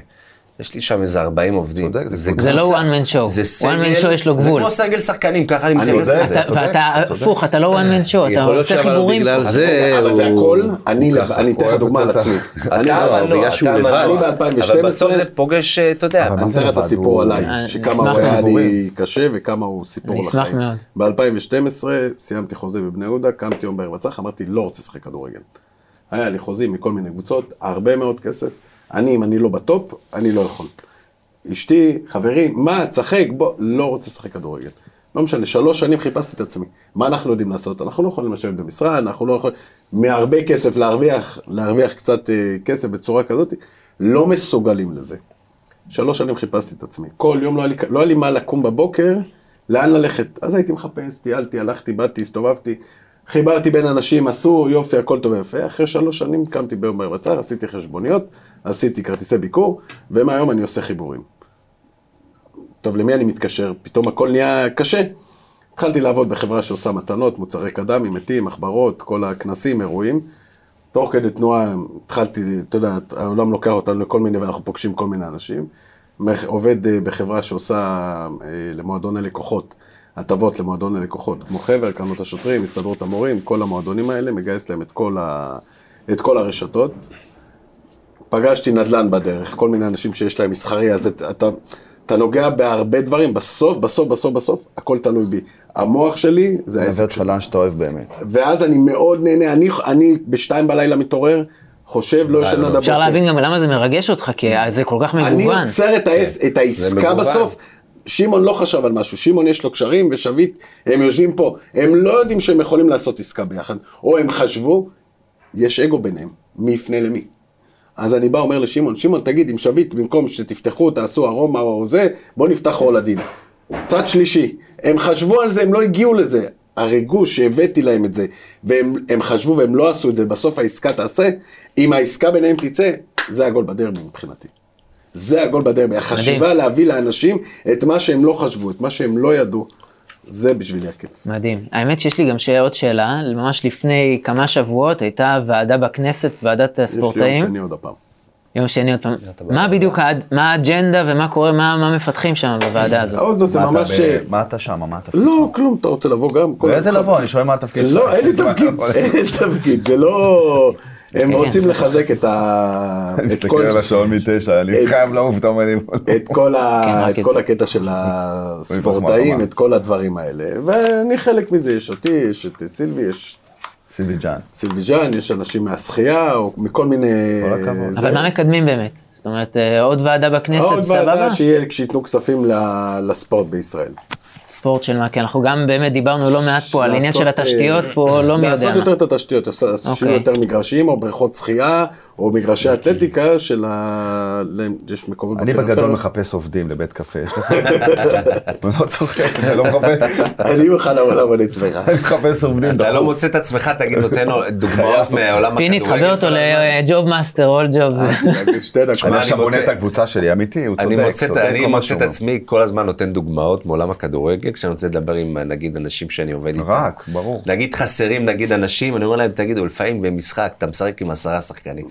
S4: יש לי שם איזה 40 עובדים.
S6: צודק, זה
S2: זה לא
S4: קבוצה,
S2: one man show.
S4: זה
S2: one
S4: סגל,
S2: man show יש לו
S4: זה
S2: גבול.
S4: כמו סגל שחקנים, ככה אני מתייחס
S5: יודע,
S4: לזה.
S2: אתה- ואתה, הפוך, אתה לא one man show, אתה
S1: יכול להיות
S2: עושה
S1: שאבל
S2: חיבורים.
S1: בגלל
S2: פה.
S1: זה
S5: אבל זה
S1: הוא-
S5: הכל, אני לבד, אני אתן לך
S6: אוהב
S5: דוגמה על
S6: אותה.
S5: עצמי.
S4: אתה
S5: אני
S4: אבל
S1: בגלל
S4: לא,
S1: שהוא
S4: אתה
S1: לבד.
S4: אבל לא.
S5: ב-2012
S4: אבל בסוף זה פוגש, אה, אתה יודע,
S5: אני אתן
S6: זה
S5: לך את
S6: לבד?
S5: הסיפור
S6: הוא-
S5: עליי,
S2: אני
S5: שכמה
S2: אשמח
S5: הוא היה
S2: מאוד.
S5: לי קשה וכמה הוא סיפור
S2: אני אשמח
S5: לחיים.
S2: מאוד.
S5: ב-2012 סיימתי חוזה בבני יהודה, קמתי יום בערב הצח, אמרתי לא רוצה לשחק כדורגל. היה לי חוזים מכל מיני קבוצות, הרבה מאוד כסף. אני, אם אני לא בטופ, אני לא יכול. אשתי, חברים, מה, תשחק, בוא, לא רוצה לשחק כדורגל. לא משנה, שלוש שנים חיפשתי את עצמי. מה אנחנו יודעים לעשות? אנחנו לא יכולים לשבת במשרד, אנחנו לא יכולים... מהרבה כסף להרוויח, להרוויח קצת אה, כסף בצורה כזאת, לא מסוגלים לזה. שלוש שנים חיפשתי את עצמי. כל יום לא היה לי, לא היה לי מה לקום בבוקר, לאן ללכת. אז הייתי מחפש, טיילתי, הלכתי, באתי, הסתובבתי, חיברתי בין אנשים, עשו, יופי, הכל טוב ויפה. אחרי שלוש שנים קמתי ביום ברבצר, עשיתי חשבוניות, עשיתי כרטיסי ביקור, ומהיום אני עושה חיבורים. טוב, למי אני מתקשר? פתאום הכל נהיה קשה. התחלתי לעבוד בחברה שעושה מתנות, מוצרי קדמים, מתים, מחברות, כל הכנסים, אירועים. תוך כדי תנועה התחלתי, אתה יודע, העולם לוקח אותנו לכל מיני, ואנחנו פוגשים כל מיני אנשים. מח- עובד אה, בחברה שעושה אה, למועדוני לקוחות, הטבות למועדוני לקוחות, כמו חבר, קרנות השוטרים, הסתדרות המורים, כל המועדונים האלה, מגייס להם את כל, ה... את כל הרשתות. פגשתי נדל"ן בדרך, כל מיני אנשים שיש להם מסחרי, אז את, אתה, אתה נוגע בהרבה דברים, בסוף, בסוף, בסוף, בסוף, הכל תלוי בי. המוח שלי זה
S6: מלווה
S5: העסק
S6: אותך לאן שאתה אוהב באמת.
S5: ואז אני מאוד נהנה, אני, אני בשתיים בלילה מתעורר, חושב, לא ישן עד הבוקר.
S2: אפשר להבין גם למה זה מרגש אותך, כי זה כל כך
S5: אני
S2: מגוון.
S5: יוצר את, העס, את העסקה
S4: מגוון.
S5: בסוף. שמעון לא חשב על משהו, שמעון יש לו קשרים ושביט, הם יושבים פה, הם לא יודעים שהם יכולים לעשות עסקה ביחד, או הם חשבו, יש אגו ביניהם, מי יפנה למי. אז אני בא אומר לשמעון, שמעון תגיד, אם שביט, במקום שתפתחו, תעשו ארומה או זה, בוא נפתח רולדים. צד שלישי, הם חשבו על זה, הם לא הגיעו לזה. הריגוש שהבאתי להם את זה, והם הם חשבו והם לא עשו את זה, בסוף העסקה תעשה, אם העסקה ביניהם תצא, זה הגול בדרבי מבחינתי. זה הגול בדרבי. החשיבה להביא לאנשים את מה שהם לא חשבו, את מה שהם לא ידעו, זה בשבילי הכיף.
S2: מדהים. האמת שיש לי גם ש- עוד שאלה, ממש לפני כמה שבועות הייתה ועדה בכנסת, ועדת
S5: יש לי
S2: הספורטאים.
S5: יום שני עוד הפעם.
S2: יום שני עוד פעם. מה בדיוק, האד- מה האג'נדה ומה קורה, מה מה מפתחים שם בוועדה הזאת?
S5: עוד נושא
S6: מה אתה
S5: ממש... אה,
S6: ב- מה אתה שם? מה אתה...
S5: לא, כלום, אתה רוצה לבוא גם? כל-
S6: באיזה לבוא? אני שואל מה התפקיד שלך.
S5: לא, אין לי תפקיד, אין לי תפקיד, זה לא...
S2: כן,
S5: הם רוצים לחזק את ה...
S7: אני
S5: את כל-
S7: מסתכל על השעון מתשע, אני
S5: את-
S7: חייב לעוף, אתה אומר לי... בוא נעוף.
S5: את כל,
S2: כן,
S5: ה...
S2: רק
S5: את
S2: את
S5: כל
S2: זה.
S5: הקטע של הספורטאים,
S7: מחמאה.
S5: את כל הדברים האלה, ואני חלק מזה, יש אותי, יש את סילבי, יש
S6: סילבי ג'אן.
S5: סילביג'אן, יש אנשים מהשחייה, או מכל מיני...
S6: כל הכבוד.
S5: זה.
S2: אבל מה מקדמים באמת? זאת אומרת, אה, עוד ועדה בכנסת,
S5: עוד
S2: סבבה?
S5: ועדה שיהיה כשייתנו כספים ל- לספורט בישראל.
S2: ספורט של מה? כי אנחנו גם באמת דיברנו לא מעט פה על עניין של
S5: לעשות, אה,
S2: התשתיות פה, לא מי יודע
S5: לעשות
S2: מה. אוקיי.
S5: יותר את התשתיות, לעשות- לעשות שיהיו יותר מגרשים, או בריכות שחייה, או מגרשי אתלטיקה של ה... להם- יש מקומות
S6: אוקיי. אני
S5: בפריפריה.
S6: בגדול מחפש עובדים לבית קפה, יש לך? אני לא צוחק, אני לא מחפש,
S5: אני בכלל העולם על אצלך.
S6: אני מחפש עובדים.
S4: אתה לא
S6: דחוף.
S4: מוצא את עצמך, תגיד, נותן לו דוגמאות מעולם
S2: פיני,
S4: הכדורגל.
S2: תחבר אותו לג'וב מאסטר, אול ג'וב.
S6: אה.
S5: שתי דקות.
S6: אני
S4: אני
S6: עכשיו בונה
S4: מוצא-
S6: את הקבוצה שלי, אמיתי, הוא
S4: אני
S6: צודק,
S4: מוצא, את-
S6: צודק
S4: אני
S6: כל מה
S4: מוצא את
S6: שהוא אומר.
S4: עצמי כל הזמן נותן דוגמאות מעולם הכדורגל, כשאני רוצה לדבר עם נגיד אנשים שאני עובד איתם.
S6: רק, ברור.
S4: נגיד חסרים נגיד אנשים, אני אומר להם, תגידו, לפעמים במשחק אתה משחק עם עשרה שחקנים.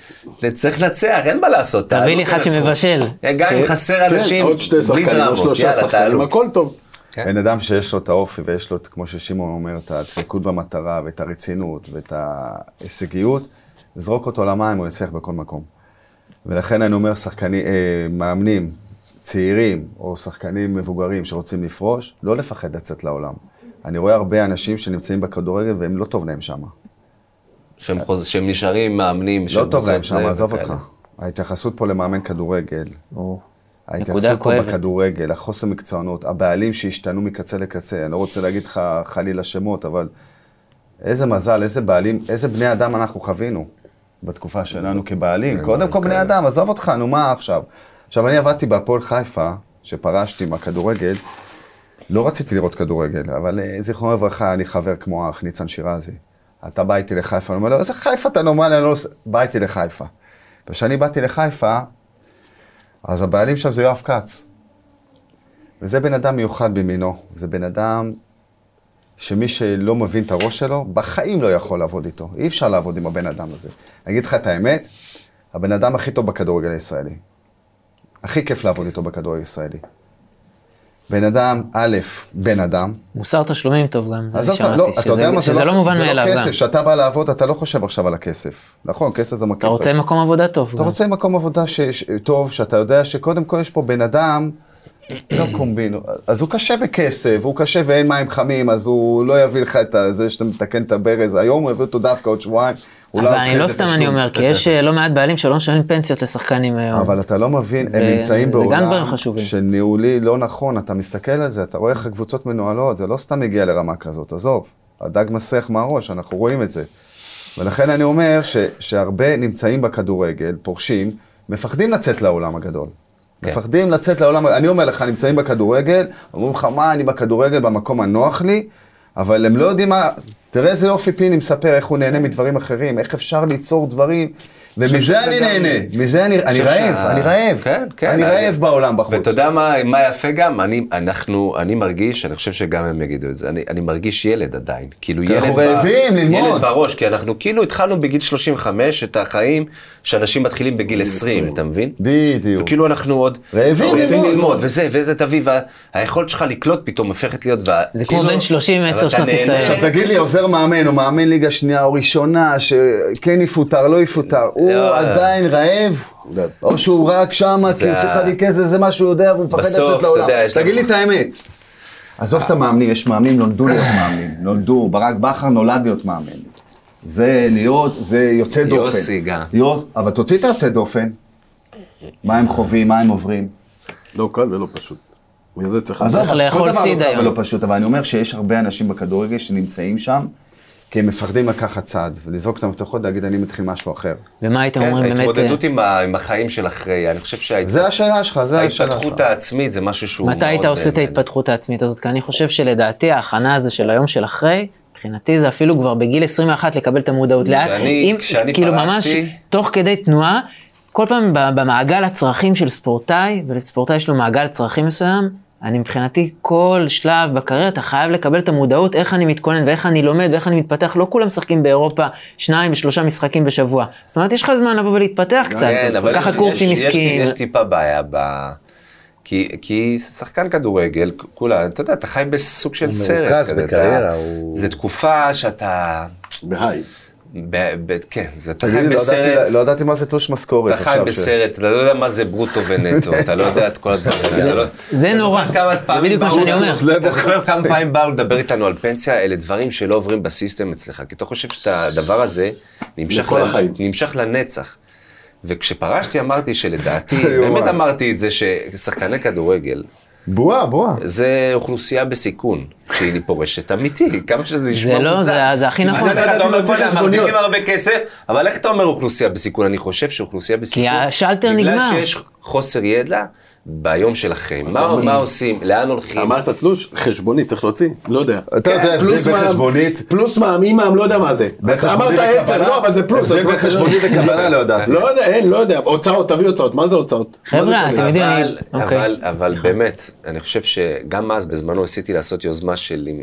S4: צריך לנצח, אין מה לעשות.
S2: תביא לי
S4: תעלו,
S2: אחד
S4: תנצחו.
S2: שמבשל.
S4: גם אם
S2: ש-
S4: חסר
S5: כן,
S4: אנשים,
S5: עוד שתי
S4: בלי
S5: שחקנים, עוד
S4: דרמות,
S5: שלושה
S4: יאללה,
S6: לא
S5: שחקנים,
S4: תעלו.
S5: הכל טוב.
S4: כן.
S6: בן אדם שיש לו את האופי ויש לו, את- כמו ששמעון אומר, את הדבקות במטרה ואת הרצינות ואת ההישגיות, זרוק אותו למים, הוא יצליח בכל מקום. ולכן אני אומר, שחקנים, אה, מאמנים צעירים או שחקנים מבוגרים שרוצים לפרוש, לא לפחד לצאת לעולם. אני רואה הרבה אנשים שנמצאים בכדורגל והם לא טוב להם שם.
S4: שהם, חוז... שהם נשארים מאמנים של
S6: לא טוב להם
S4: קבוצות
S6: שם,
S4: זה
S6: עזוב
S4: וכאלה.
S6: אותך. ההתייחסות פה למאמן כדורגל,
S2: או.
S6: ההתייחסות פה
S2: כואבת.
S6: בכדורגל, החוסר מקצוענות, הבעלים שהשתנו מקצה לקצה, אני לא רוצה להגיד לך חלילה שמות, אבל איזה מזל, איזה בעלים, איזה בני אדם אנחנו חווינו בתקופה שלנו כבעלים. קודם כל בני אדם, עזוב אותך, נו מה עכשיו? עכשיו, אני עבדתי בהפועל חיפה, שפרשתי מהכדורגל, לא רציתי לראות כדורגל, אבל אה, זיכרונו לברכה, אני חבר כמו האח ניצן שירזי. אתה בא איתי לחיפה, אני אומר לו, איזה חיפה אתה נורמלי, אני לא... עושה-" בא איתי לחיפה. וכשאני באתי לחיפה, אז הבעלים שם זה יואב כץ. וזה בן אדם מיוחד במינו. זה בן אדם שמי שלא מבין את הראש שלו, בחיים לא יכול לעבוד איתו. אי אפשר לעבוד עם הבן אדם הזה. אני אגיד לך את האמת, הבן אדם הכי טוב בכדורגל הישראלי. הכי כיף לעבוד איתו בכדורגל הישראלי. בן אדם, א', בן אדם,
S2: מוסר תשלומים טוב גם, זה
S6: עזוב,
S2: שמעתי.
S6: אתה, לא, אתה יודע מה,
S2: שזה לא מובן
S6: זה
S2: מאליו
S6: לא
S2: גם.
S6: כסף, כשאתה בא לעבוד, אתה לא חושב עכשיו על הכסף. נכון, כסף זה מרכיב
S2: אתה רוצה
S6: חשוב.
S2: מקום עבודה טוב.
S6: אתה
S2: גם.
S6: רוצה מקום עבודה ש... ש... טוב, שאתה יודע שקודם כל יש פה בן אדם, לא קומבינו, אז הוא קשה בכסף, הוא קשה ואין מים חמים, אז הוא לא יביא לך את זה שאתה מתקן את הברז, היום הוא יביא אותו דווקא עוד שבועיים, אולי
S2: אבל
S6: עוד
S2: אני
S6: חצי
S2: לא סתם אני
S6: תשלום.
S2: אומר, כי יש אה, לא מעט בעלים שלא משלמים פנסיות לשחקנים אה, היום.
S6: אבל אתה לא מבין, הם
S2: ו-
S6: נמצאים
S2: זה גם דברים
S6: בעולם
S2: חשובים.
S6: שניהולי לא נכון, אתה מסתכל על זה, אתה רואה איך הקבוצות מנוהלות, זה לא סתם הגיע לרמה כזאת, עזוב, הדג מסך מהראש, אנחנו רואים את זה. ולכן אני אומר ש, שהרבה נמצאים בכדורגל, פורשים, מפחדים לצאת לעולם הגדול. כן. מפחדים לצאת לעולם, אני אומר לך, נמצאים בכדורגל, אומרים לך, מה, אני בכדורגל במקום הנוח לי, אבל הם לא יודעים מה, תראה איזה יופי פיני מספר, איך הוא נהנה מדברים אחרים, איך אפשר ליצור דברים, ומזה אני נהנה, מזה אני, אני
S4: חושב
S6: רעב,
S4: שה-
S6: אני רעב,
S4: כן, כן.
S6: אני רעב בעולם בחוץ.
S4: ואתה יודע מה, מה יפה גם? אני, אנחנו, אני מרגיש, אני חושב שגם הם יגידו את זה, אני, אני מרגיש ילד עדיין. כאילו ילד...
S6: אנחנו
S4: ב-
S6: רעבים ללמוד.
S4: ילד בראש, כי אנחנו כאילו התחלנו בגיל 35 את החיים שאנשים מתחילים בגיל 20, אתה מבין?
S6: בדיוק.
S4: וכאילו אנחנו עוד...
S6: רעבים ללמוד.
S4: ללמוד, וזה, וזה תביא, והיכולת שלך לקלוט פתאום הופכת להיות... וה-
S2: זה כמו
S4: כאילו-
S2: בן 30,
S4: אבל
S2: 10
S4: אתה
S2: שנות
S4: נהנה.
S2: ניסיון.
S6: עכשיו תגיד לי, עוזר מאמן, הוא מאמן ליגה שנייה או ראשונה, שכן יפוטר, לא יפוטר, הוא
S4: לא.
S6: עדיין רעב?
S5: לא.
S6: או שהוא רק שמה, כי
S4: זה
S6: הוא צריך
S4: ה-
S6: להביא כסף, זה מה שהוא יודע, והוא מפחד
S4: בסוף,
S6: לצאת
S4: אתה
S6: לעולם.
S4: יודע, יש
S6: תגיד
S4: לנו-
S6: לי את האמת. עזוב את המאמנים, יש מאמנים, נולדו להיות מאמנים. נולדו, ברק בכר נולד להיות מאמן. זה להיות, זה יוצא דופן.
S4: יוסי גם.
S6: יוס, אבל תוציא את היוצא דופן. מה הם חווים, מה הם עוברים.
S5: לא קל ולא פשוט. בגלל זה צריך...
S6: עזוב,
S2: צריך
S6: כל
S2: לאכול
S6: דבר
S2: סיד
S6: לא קל
S2: היום.
S6: ולא פשוט, אבל אני אומר שיש הרבה אנשים בכדורגל שנמצאים שם, כי הם מפחדים לקחת צעד, ולזרוק את המפתחות ולהגיד, אני מתחיל משהו אחר.
S2: ומה הייתם
S4: כן,
S2: אומרים באמת, אה,
S4: ההתמודדות עם ה- עם החיים של אחרי, אני חושב שההתמודדות...
S6: זה השאלה שלך, זה השאלה שלך.
S4: ההתפתחות העצמית זה משהו שהוא...
S2: מתי היית
S4: מאוד אה,
S2: עושה את
S4: מעניין.
S2: ההתפתחות העצמית הזאת? כי אני חושב שלדעתי ההכנה הזו של היום של אחרי, מבחינתי זה אפילו כבר בגיל 21 לקבל את המודעות לאט.
S4: כשאני-
S2: אם-
S4: כשאני
S2: כאילו
S4: פרשתי-
S2: ממש תוך כדי תנועה, כל פעם ב- במעגל הצרכים של ספורטאי, ולספורטאי יש לו מעגל צרכים מסוים, אני מבחינתי כל שלב בקריירה אתה חייב לקבל את המודעות איך אני מתכונן ואיך אני לומד ואיך אני מתפתח. לא כולם משחקים באירופה שניים ושלושה משחקים בשבוע. זאת אומרת יש לך זמן לבוא ולהתפתח קצת,
S4: כן, אבל
S2: ככה
S4: יש-
S2: קורסים
S4: יש- יש-
S2: עסקיים.
S4: יש טיפה בעיה ב... כי, כי שחקן כדורגל, כולה, אתה יודע, אתה חי בסוג של סרט.
S1: מרוכז
S4: כזה,
S1: בקריירה,
S4: אתה-
S1: הוא-
S4: זה תקופה שאתה...
S5: בהיי.
S4: ב, ב, כן, זה- אתה
S6: תגיד
S4: חי
S6: לי, לא ידעתי- לא
S4: בסרט,
S6: ידעתי מה זה תלוש משכורת
S4: אתה
S6: עכשיו.
S4: חי
S6: ש-
S4: בסרט, אתה לא יודע מה זה ברוטו ונטו, אתה לא יודע את כל הדברים האלה. אתה לא-
S2: זה
S4: אתה
S2: נורא.
S4: זוכר כמה
S2: זה
S4: פעמים
S2: בדיוק מה
S4: באו-
S2: שאני אומר.
S4: אתה זוכר כמה פעמים באו לדבר איתנו על פנסיה, אלה דברים שלא עוברים בסיסטם אצלך, כי אתה חושב שהדבר הזה נמשך,
S5: לכל
S4: לנ-
S5: החיים.
S4: נמשך לנצח. וכשפרשתי אמרתי שלדעתי, באמת אמרתי את זה ששחקני כדורגל
S6: בועה, בועה.
S4: זה אוכלוסייה בסיכון, כשהיא פורשת, אמיתי, כמה שזה נשמע
S2: לא,
S4: מוזר.
S2: זה- זה הכי
S4: כי
S2: נכון.
S4: מצד אחד אתה אומר,
S6: להוציא
S4: בוא'נה,
S6: חשבוניות."
S4: מרוויחים הרבה כסף, אבל איך אתה אומר אוכלוסייה בסיכון? אני חושב שאוכלוסייה בסיכון...
S2: השלטר נגמר.
S4: בגלל שיש חוסר ידע ביום של החיים. מה מה עושים? לאן הולכים?
S5: אמרת תלוש, חשבונית, צריך להוציא? לא יודע.
S6: אתה יודע, הבדל
S5: פלוס
S6: בין
S5: מע"מ-
S6: חשבונית-
S5: פלוס מע"מ, אי מע"מ, לא יודע מה זה.
S6: בין חשבונית
S5: אמרת
S6: לקבלה-
S5: עשר, לא, אבל זה פלוס.
S6: הבדל
S5: אז
S6: בין
S5: לא צריך-
S6: חשבונית לקבלה לא ידעתי.
S5: לא יודע, אין, לא יודע. הוצאות, תביא הוצאות. מה זה הוצאות? מה זה
S2: חבר'ה,
S5: כולל?
S2: אתם יודעים,
S4: אבל,
S2: אני- אוקיי.
S4: אבל, אבל באמת, אני חושב שגם אז בזמנו ניסיתי לעשות יוזמה של, עם,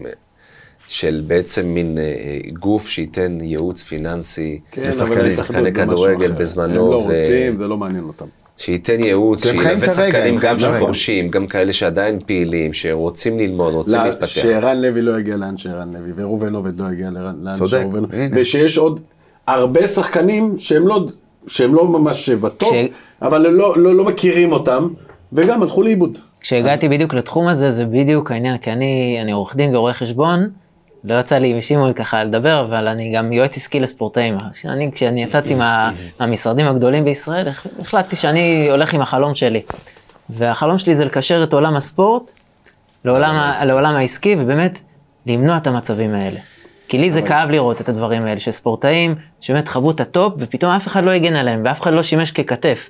S4: של בעצם מין אה, גוף שייתן ייעוץ פיננסי
S5: כן, אבל ההתאחדות זה משהו
S4: לשחקני
S5: אחר.
S4: כדורגל
S5: הם לא
S4: בזמנו. ו-
S5: רוצים, זה לא מעניין אותם.
S4: שייתן ייעוץ,
S6: אתם חיים
S4: שילווה
S6: את הרגע,
S4: שחקנים
S6: הם חיים
S4: גם
S5: נכון.
S6: את הרגע.
S4: שפורשים, גם כאלה שעדיין פעילים, שרוצים ללמוד, רוצים
S5: לא,
S4: להתפתח.
S5: שערן לוי לא יגיע לאן שערן לוי, וראובן עובד לא יגיע לרן- לאן
S6: צודק,
S5: שראובן
S6: הנה.
S5: ושיש עוד הרבה שחקנים שהם לא, שהם לא ממש בטופ,
S2: ש-
S5: אבל הם לא, לא, לא מכירים אותם, וגם הלכו לאיבוד.
S2: כשהגעתי בדיוק לתחום הזה, זה בדיוק העניין, כי אני אני עורך דין ורואה חשבון, לא יצא לי עם שמעון ככה לדבר, אבל אני גם יועץ עסקי לספורטאים. אני, כשאני יצאתי מה- מהמשרדים הגדולים בישראל, הח- החלטתי שאני הולך עם החלום שלי. והחלום שלי זה לקשר את עולם הספורט לעולם, ה- לעולם העסקי, ובאמת למנוע את המצבים האלה. כי לי זה כאב לראות את הדברים האלה, שספורטאים שבאמת חוו את הטופ, ופתאום אף אחד לא הגן עליהם, ואף אחד לא שימש ככתף.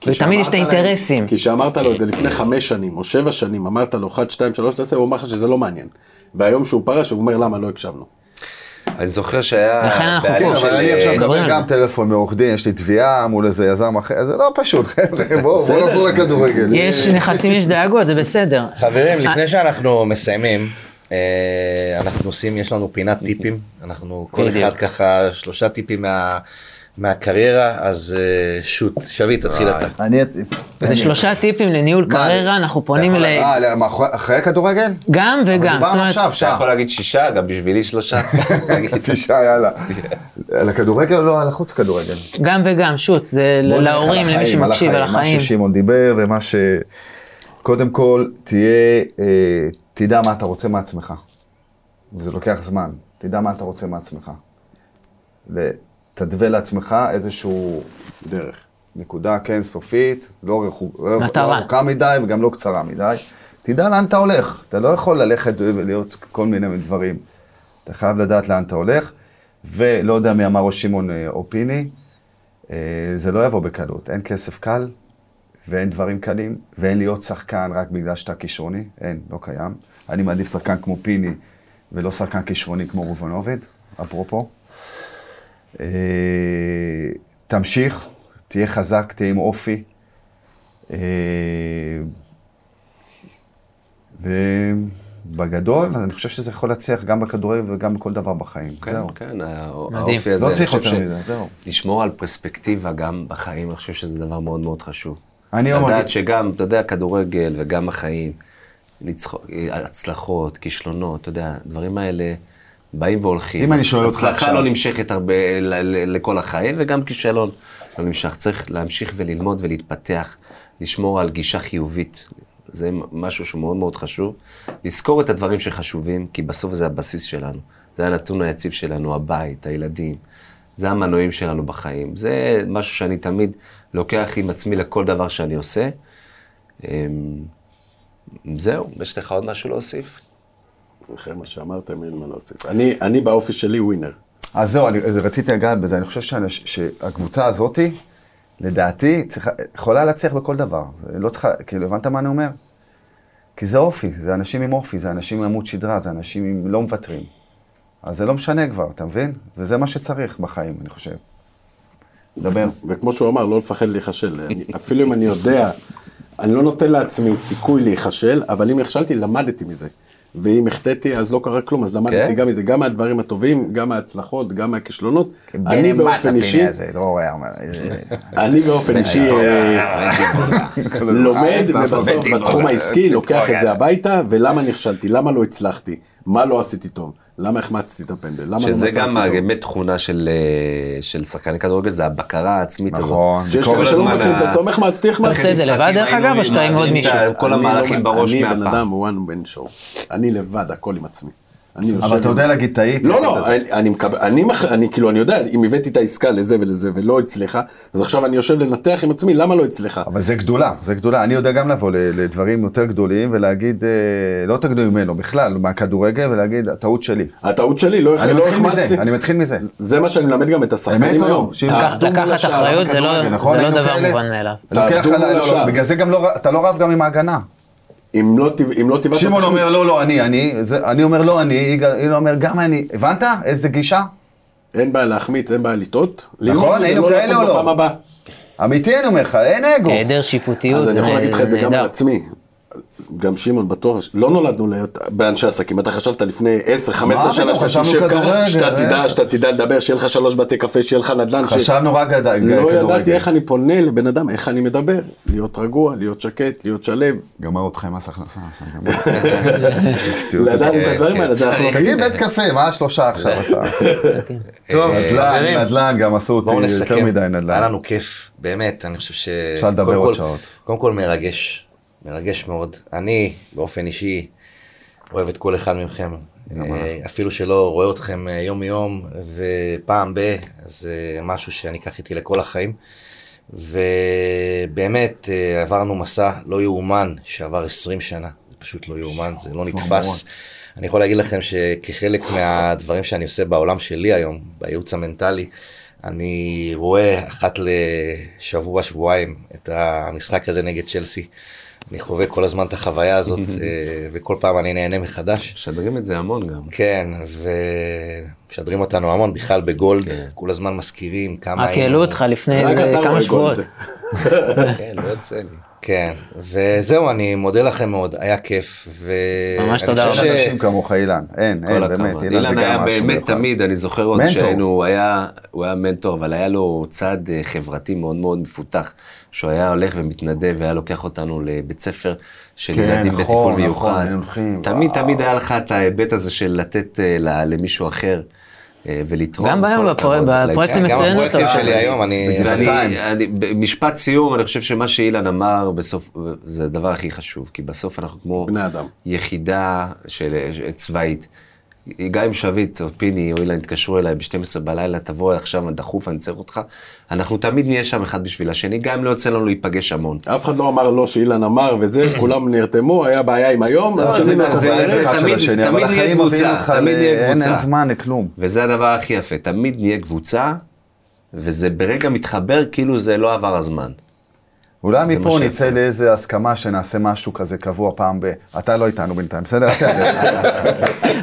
S5: כי
S2: ותמיד יש את
S5: שאמרת להם-
S2: האינטרסים.
S5: כי כשאמרת לו את זה לפני חמש שנים או שבע שנים, אמרת לו 1, 2, 3, תעשה, הוא אמר לך שזה לא מעניין. והיום שהוא פרש, הוא אומר למה לא הקשבנו.
S4: אני זוכר שהיה
S2: לכן אנחנו
S5: לא,
S4: בעלים
S2: פה.
S4: של-
S6: כן,
S4: אה,
S6: אבל אני עכשיו
S2: מדברים
S6: מקבל
S2: על
S6: גם
S2: זה.
S6: טלפון מעורך דין, יש לי תביעה מול איזה יזם אחר, זה לא פשוט, חבר'ה, בואו בואו נחזור לכדורגל.
S2: יש נכסים, יש דאגות, זה בסדר.
S1: חברים, לפני שאנחנו מסיימים, אה, אנחנו עושים, יש לנו פינת טיפים, אנחנו כל אחד ככה שלושה טיפים מה- מהקריירה, אז אה, שוט, שביט, תתחיל אתה.
S7: אני...
S2: זה שלושה טיפים לניהול
S6: מה,
S2: קריירה, אנחנו פונים ל...
S6: אה, למאחור- אחרי הכדורגל?
S2: גם וגם, זאת
S6: דיברנו
S2: אומרת,
S6: עכשיו,
S4: אתה
S6: שעה.
S4: יכול להגיד שישה, גם בשבילי שלושה. כן, תגיד.
S6: תשעה, יאללה. על הכדורגל או לא, על החוץ כדורגל?
S2: גם וגם, שוט, זה
S6: בוא נלך
S2: להורים,
S6: על
S2: למי
S6: החיים, על
S2: שמקשיב, על
S6: מה
S2: החיים.
S6: ששמעון דיבר ומה ש... קודם כל, תהיה, אה, תדע מה אתה רוצה מעצמך. וזה לוקח זמן. תדע מה אתה רוצה מעצמך. ותתווה לעצמך איזשהו
S5: דרך.
S6: נקודה, כן, סופית, לא רחוק- לא
S2: מטרה.
S6: לא ארוכה מדי וגם לא קצרה מדי. תדע לאן אתה הולך. אתה לא יכול ללכת ולהיות כל מיני דברים. אתה חייב לדעת לאן אתה הולך, ולא יודע מי אמר או שמעון אה, או פיני, אה, זה לא יבוא בקלות. אין כסף קל, ואין דברים קלים, ואין להיות שחקן רק בגלל שאתה כישרוני, אין, לא קיים. אני מעדיף שחקן כמו פיני, ולא שחקן כישרוני כמו ראובן עובד, אפרופו. אה, תמשיך, תהיה חזק, תהיה עם אופי. אה, ובגדול, אני חושב שזה יכול להצליח גם בכדורגל וגם בכל דבר בחיים.
S4: כן,
S6: זהו.
S4: כן, הא- האופי הזה.
S6: לא
S4: אני
S6: צריך
S4: חושב
S6: יותר
S4: ש-
S6: מזה, זהו.
S4: לשמור על פרספקטיבה גם בחיים, אני חושב שזה דבר מאוד מאוד חשוב.
S6: אני אומר-
S4: לדעת שגם, אתה יודע, כדורגל וגם החיים, ניצחו- הצלחות, כישלונות, אתה יודע, הדברים האלה באים והולכים.
S6: אם אני שואל אותך
S4: הצלחה
S6: עכשיו-
S4: לא נמשכת הרבה ל- ל- לכל החיים, וגם כישלון לא נמשך. צריך להמשיך וללמוד ולהתפתח, לשמור על גישה חיובית. זה משהו שמאוד מאוד חשוב. לזכור את הדברים שחשובים, כי בסוף זה הבסיס שלנו. זה הנתון היציב שלנו, הבית, הילדים. זה המנועים שלנו בחיים. זה משהו שאני תמיד לוקח עם עצמי לכל דבר שאני עושה. אמ, זהו, יש לך עוד משהו להוסיף?
S5: אחרי מה שאמרתם, אין מה להוסיף. אני, אני באופי שלי ווינר.
S6: אז זהו, אני, אז רציתי לגעת בזה, אני חושב שאנש, שהקבוצה הזאתי, לדעתי, צריכה, יכולה להצליח בכל דבר. לא צריכה, כאילו, הבנת מה אני אומר? כי זה אופי, זה אנשים עם אופי, זה אנשים עם עמוד שדרה, זה אנשים עם לא מוותרים. אז זה לא משנה כבר, אתה מבין? וזה מה שצריך בחיים, אני חושב. דבר.
S5: וכמו שהוא אמר, לא לפחד להיכשל. אני- אפילו אם אני יודע, אני לא נותן לעצמי סיכוי להיכשל, אבל אם נכשלתי, למדתי מזה. ואם החטאתי, אז לא קרה כלום, אז למדתי
S4: כן?
S5: גם מזה, גם מהדברים הטובים, גם מההצלחות, גם מהכישלונות. אני
S4: כן,
S6: בנט, מה אתה
S5: באופן
S6: פיני
S5: אישי,
S6: הזה, דרור היה אומר.
S5: אני באופן אישי אה, לומד, ובסוף בתחום העסקי לוקח את זה הביתה, ולמה נכשלתי, למה לא הצלחתי, מה לא עשיתי טוב, למה החמצתי את הפנדל, למה לא
S4: שזה
S5: מסרתי
S4: גם
S5: טוב.
S4: באמת תכונה של, אה, של שחקני כדורגל, זה הבקרה העצמית הזאת.
S6: נכון.
S5: שיש
S4: כל
S5: כאלה שלא
S4: הזמן
S5: מכירים את
S4: ה-
S5: עצמם, החמצתי,
S2: אתה עושה את זה
S5: החמצתי.
S2: לבד, דרך אגב, או שאתה עם עוד
S4: מעבירים את
S2: מישהו?
S4: ה- כל
S5: אני
S4: המהלכים
S5: לא-
S4: בראש
S5: אני בן
S4: מהפעם.
S5: אדם one man show. אני לבד, הכל עם עצמי. אני יושב...
S6: אבל אתה יודע
S5: עם-
S6: להגיד, טעיתי.
S5: לא, לא, אני- אני מקבל, אני מח- אני כאילו, אני יודע, אם הבאתי את העסקה לזה ולזה ולא הצליחה, אז עכשיו אני יושב לנתח עם עצמי, למה לא הצליחה?
S6: אבל זה גדולה, זה גדולה. אני יודע גם לבוא ל- לדברים יותר גדולים ולהגיד, אה, לא יותר גדולים ממנו, בכלל, מהכדורגל, ולהגיד, הטעות שלי.
S5: הטעות שלי, לא
S6: אני
S5: לא
S6: מתחיל
S5: החמצתי.
S6: מזה, אני מתחיל מזה.
S5: זה מה שאני מלמד גם את
S6: אמת
S5: השחקנים
S6: או לא?
S5: היום.
S6: שיהיה
S2: לקח-
S5: תעבדו מול
S2: לקחת
S5: השאר.
S2: אחריות זה לא-
S6: בכדורגל, נכון?
S2: זה לא
S6: היינו
S2: דבר
S6: כאלה?
S2: מובן מאליו.
S6: לוקח
S5: תעבדו
S6: על ה...
S5: מול
S6: לא,
S5: השאר.
S6: לא, בגלל זה גם לא, ר- אתה לא רב גם עם ההגנה.
S5: אם לא ת- אם לא תבעט...
S6: שמעון
S5: את
S6: אומר,
S5: החוץ.
S6: לא, לא, אני, אני, זה- אני אומר, לא, אני, יגאל יגאל אומר, גם אני. הבנת? איזה גישה?
S5: אין בעיה להחמיץ, אין בעיה לטעות.
S6: נכון,
S5: ללמוד
S6: היינו
S5: ולא
S6: כאלה
S5: לעשות
S6: או לא?
S5: בפעם הבאה.
S6: אמיתי, אני אומר לך, אין אגו.
S2: היעדר שיפוטיות.
S5: אז אני יכול
S2: זה
S5: להגיד לך את זה גם
S2: נהדר.
S5: על עצמי. גם שמעון בטוח, ש- לא נולדנו להיות באנשי עסקים, אתה חשבת לפני 10-15 שנה
S6: פתאום,
S5: שאתה
S6: חשבנו
S5: תשב
S6: כדורגל,
S5: ככה, שאתה
S6: אה.
S5: תדע, שאתה תדע לדבר, שיהיה לך שלוש בתי קפה, שיהיה לך נדל"ן, ש-
S6: חשבנו רק גד-
S5: לא ידעתי
S6: כדורגל.
S5: איך אני פונה לבן אדם, איך אני מדבר, להיות רגוע, להיות שקט, להיות שלב,
S6: גמר אותך עם מס הכנסה. עכשיו, גמר.
S5: לדענו את
S2: כן,
S5: הדברים האלה, זה אנחנו
S6: תגיד אוקיי, בית קפה, מה השלושה עכשיו אתה?
S1: טוב, כן. אה, חברים,
S6: נדל"ן, נדל"ן גם עשו
S1: בואו
S6: אותי
S1: נסכם.
S6: יותר מדי נדל"ן.
S1: היה לנו כיף, באמת, אני חושב ש...
S6: אפשר לדבר
S1: קודם
S6: עוד
S1: כל-
S6: שעות.
S1: קודם כל מרגש, מרגש מאוד. אני, באופן אישי, אוהב את כל אחד מכם. אה, אפילו שלא רואה אתכם אה, יום-יום ופעם ב, זה משהו שאני אקח איתי לכל החיים. ובאמת אה, עברנו מסע לא יאומן שעבר 20 שנה, זה פשוט לא יאומן, זה לא נתפס. אני יכול להגיד לכם שכחלק מהדברים שאני עושה בעולם שלי היום, בייעוץ המנטלי, אני רואה אחת לשבוע, שבועיים, את המשחק הזה נגד צ'לסי. אני חווה כל הזמן את החוויה הזאת, אה, וכל פעם אני נהנה מחדש.
S4: משדרים את זה המון גם.
S1: כן, ומשדרים אותנו המון בכלל בגולד, כל הזמן מזכירים כמה...
S2: רק
S1: היינו-
S2: העלו אותך לפני
S5: רק
S2: איזה
S6: לא
S5: אתה לא רואה
S2: כמה שבועות.
S5: גולד.
S4: כן, לא יוצא לי.
S1: כן, וזהו, אני מודה לכם מאוד, היה כיף. ו...
S2: ממש
S1: אני
S2: תודה
S1: חושב
S6: אין
S2: רבה.
S1: ש-
S6: אנשים כמוך אילן, אין,
S4: כל
S6: אין, כן, באמת,
S4: הכבוד.
S6: אילן
S4: אילן
S6: זה
S4: היה
S6: גם משהו
S4: באמת
S6: מיוחד.
S4: תמיד, אני זוכר עוד
S6: מנטור.
S4: שהיינו, הוא היה- הוא היה מנטור, אבל היה לו צד אה, חברתי מאוד מאוד מפותח, שהוא היה הולך ומתנדב והיה לוקח אותנו לבית ספר של
S6: כן,
S4: ילדים
S6: נכון,
S4: בטיפול
S6: נכון,
S4: מיוחד.
S6: היינו הולכים,
S4: תמיד
S6: וואו.
S4: תמיד היה לך את ההיבט הזה של לתת אה, ל- למישהו אחר אה, ולתרום.
S2: גם היום
S4: כל
S2: בפרו-
S4: הכבוד. כן.
S2: בפרויקטים
S1: כן, גם
S2: מצוין
S1: הפרויקטים
S2: אותו.
S1: שלי היום, אני...
S4: ואני, אני, במשפט סיום, אני חושב שמה שאילן אמר בסוף, זה הדבר הכי חשוב, כי בסוף אנחנו כמו...
S5: בני אדם.
S4: יחידה של, אה, צבאית. גם אם שביט או פיני או אילן יתקשרו אליי ב-12 בלילה, תבוא עכשיו, דחוף, אני צריך אותך. אנחנו תמיד נהיה שם אחד בשביל השני, גם אם לא יוצא לנו להיפגש המון.
S5: אף אחד לא אמר לא שאילן אמר וזה, כולם נרתמו, היה בעיה עם היום, אז
S6: לא,
S4: זה-
S5: תמיד
S4: זה-
S5: אנחנו
S4: זה-
S5: בערב.
S4: זה-
S6: אחד של
S4: תמיד-
S6: השני,
S4: תמיד
S6: אבל
S4: נהיה
S6: החיים
S4: קבוצה,
S6: מביאים אותך,
S4: תמיד
S6: ל-
S4: נהיה
S6: אין
S4: קבוצה.
S6: אין זמן לכלום.
S4: וזה הדבר הכי יפה, תמיד נהיה קבוצה, וזה ברגע מתחבר כאילו זה לא עבר הזמן.
S6: אולי
S4: מה
S6: מפה
S4: שיפה.
S6: נצא לאיזה הסכמה שנעשה משהו כזה קבוע פעם ב... אתה לא איתנו בינתיים, בסדר?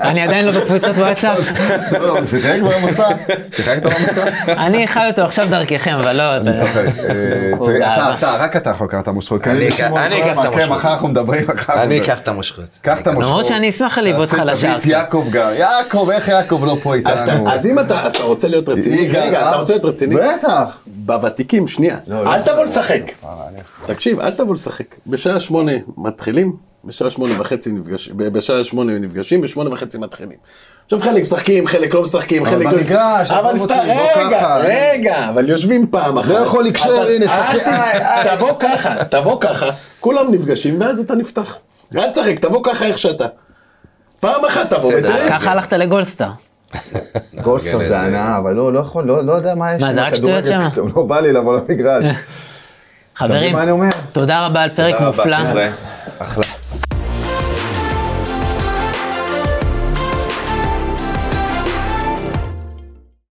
S2: אני עדיין לא בקבוצת וואטסאפ.
S6: לא, שיחק במסע? שיחקת במסע?
S2: אני חי אותו עכשיו דרככם, אבל לא...
S6: אני צוחק. אה,
S2: הוא
S6: צריך- אתה,
S2: באהבה.
S6: אתה, רק אתה יכול לקחת את המושכות. כי
S1: אני
S6: אני
S1: אקח-
S6: ושמעון
S1: אני
S6: כל
S1: אקח את
S6: הזמן, כן,
S1: המושכות.
S6: מחר אנחנו מדברים, מחר אנחנו
S1: אני
S6: מדברים.
S1: אקח את המושכות.
S6: קח את המושכות.
S2: למרות שאני אשמח להליב אותך
S6: תעשה-
S2: לשער
S6: תביא את
S2: קצת.
S6: יעקב גם. יעקב, איך יעקב לא פה איתנו?
S5: אז אם אתה אז אתה רוצה להיות רציני,
S6: יגאל,
S5: רגע,
S6: אה?
S5: אתה רוצה להיות רציני?
S6: בטח.
S5: בוותיקים, שנייה.
S6: לא,
S5: אל תבוא לשחק. תקשיב, אל תבוא לשחק. בשעה שמונה מתחילים, בשעה שמונה וחצי נפגשים, ב- בשעה שמונה נפגשים, בשמונה וחצי מתחילים. עכשיו חלק משחקים, חלק לא משחקים,
S6: אבל
S5: חלק...
S6: במגרש,
S5: אבל
S6: עזוב
S5: סתם,
S6: אותי, בוא ככה. לא
S5: רגע, רגע, אבל יושבים פעם אחת.
S6: יכול לקשור,
S5: אבל
S6: הנה,
S5: אל
S6: תסתכל,
S5: ת-
S6: איי, איי.
S5: תבוא ככה, תבוא ככה, כולם נפגשים, ואז אתה נפתח. אל תשחק, תבוא ככה איך שאתה. פעם אחת תבוא ותראה.
S2: ככה הלכת לגולדסטאר.
S6: גולדסטאר זה הנאה, אבל לא, לא יכול, לא לא יודע מה יש.
S2: מה,
S6: עם
S2: זה רק
S6: הכדורגל
S2: שטויות שמה?
S6: פתאום, לא בא לי לבוא למגרש.
S2: חברים,
S6: מה אני אומר?
S2: תודה רבה על פרק מופלא.
S4: חבר'ה.
S1: אחלה.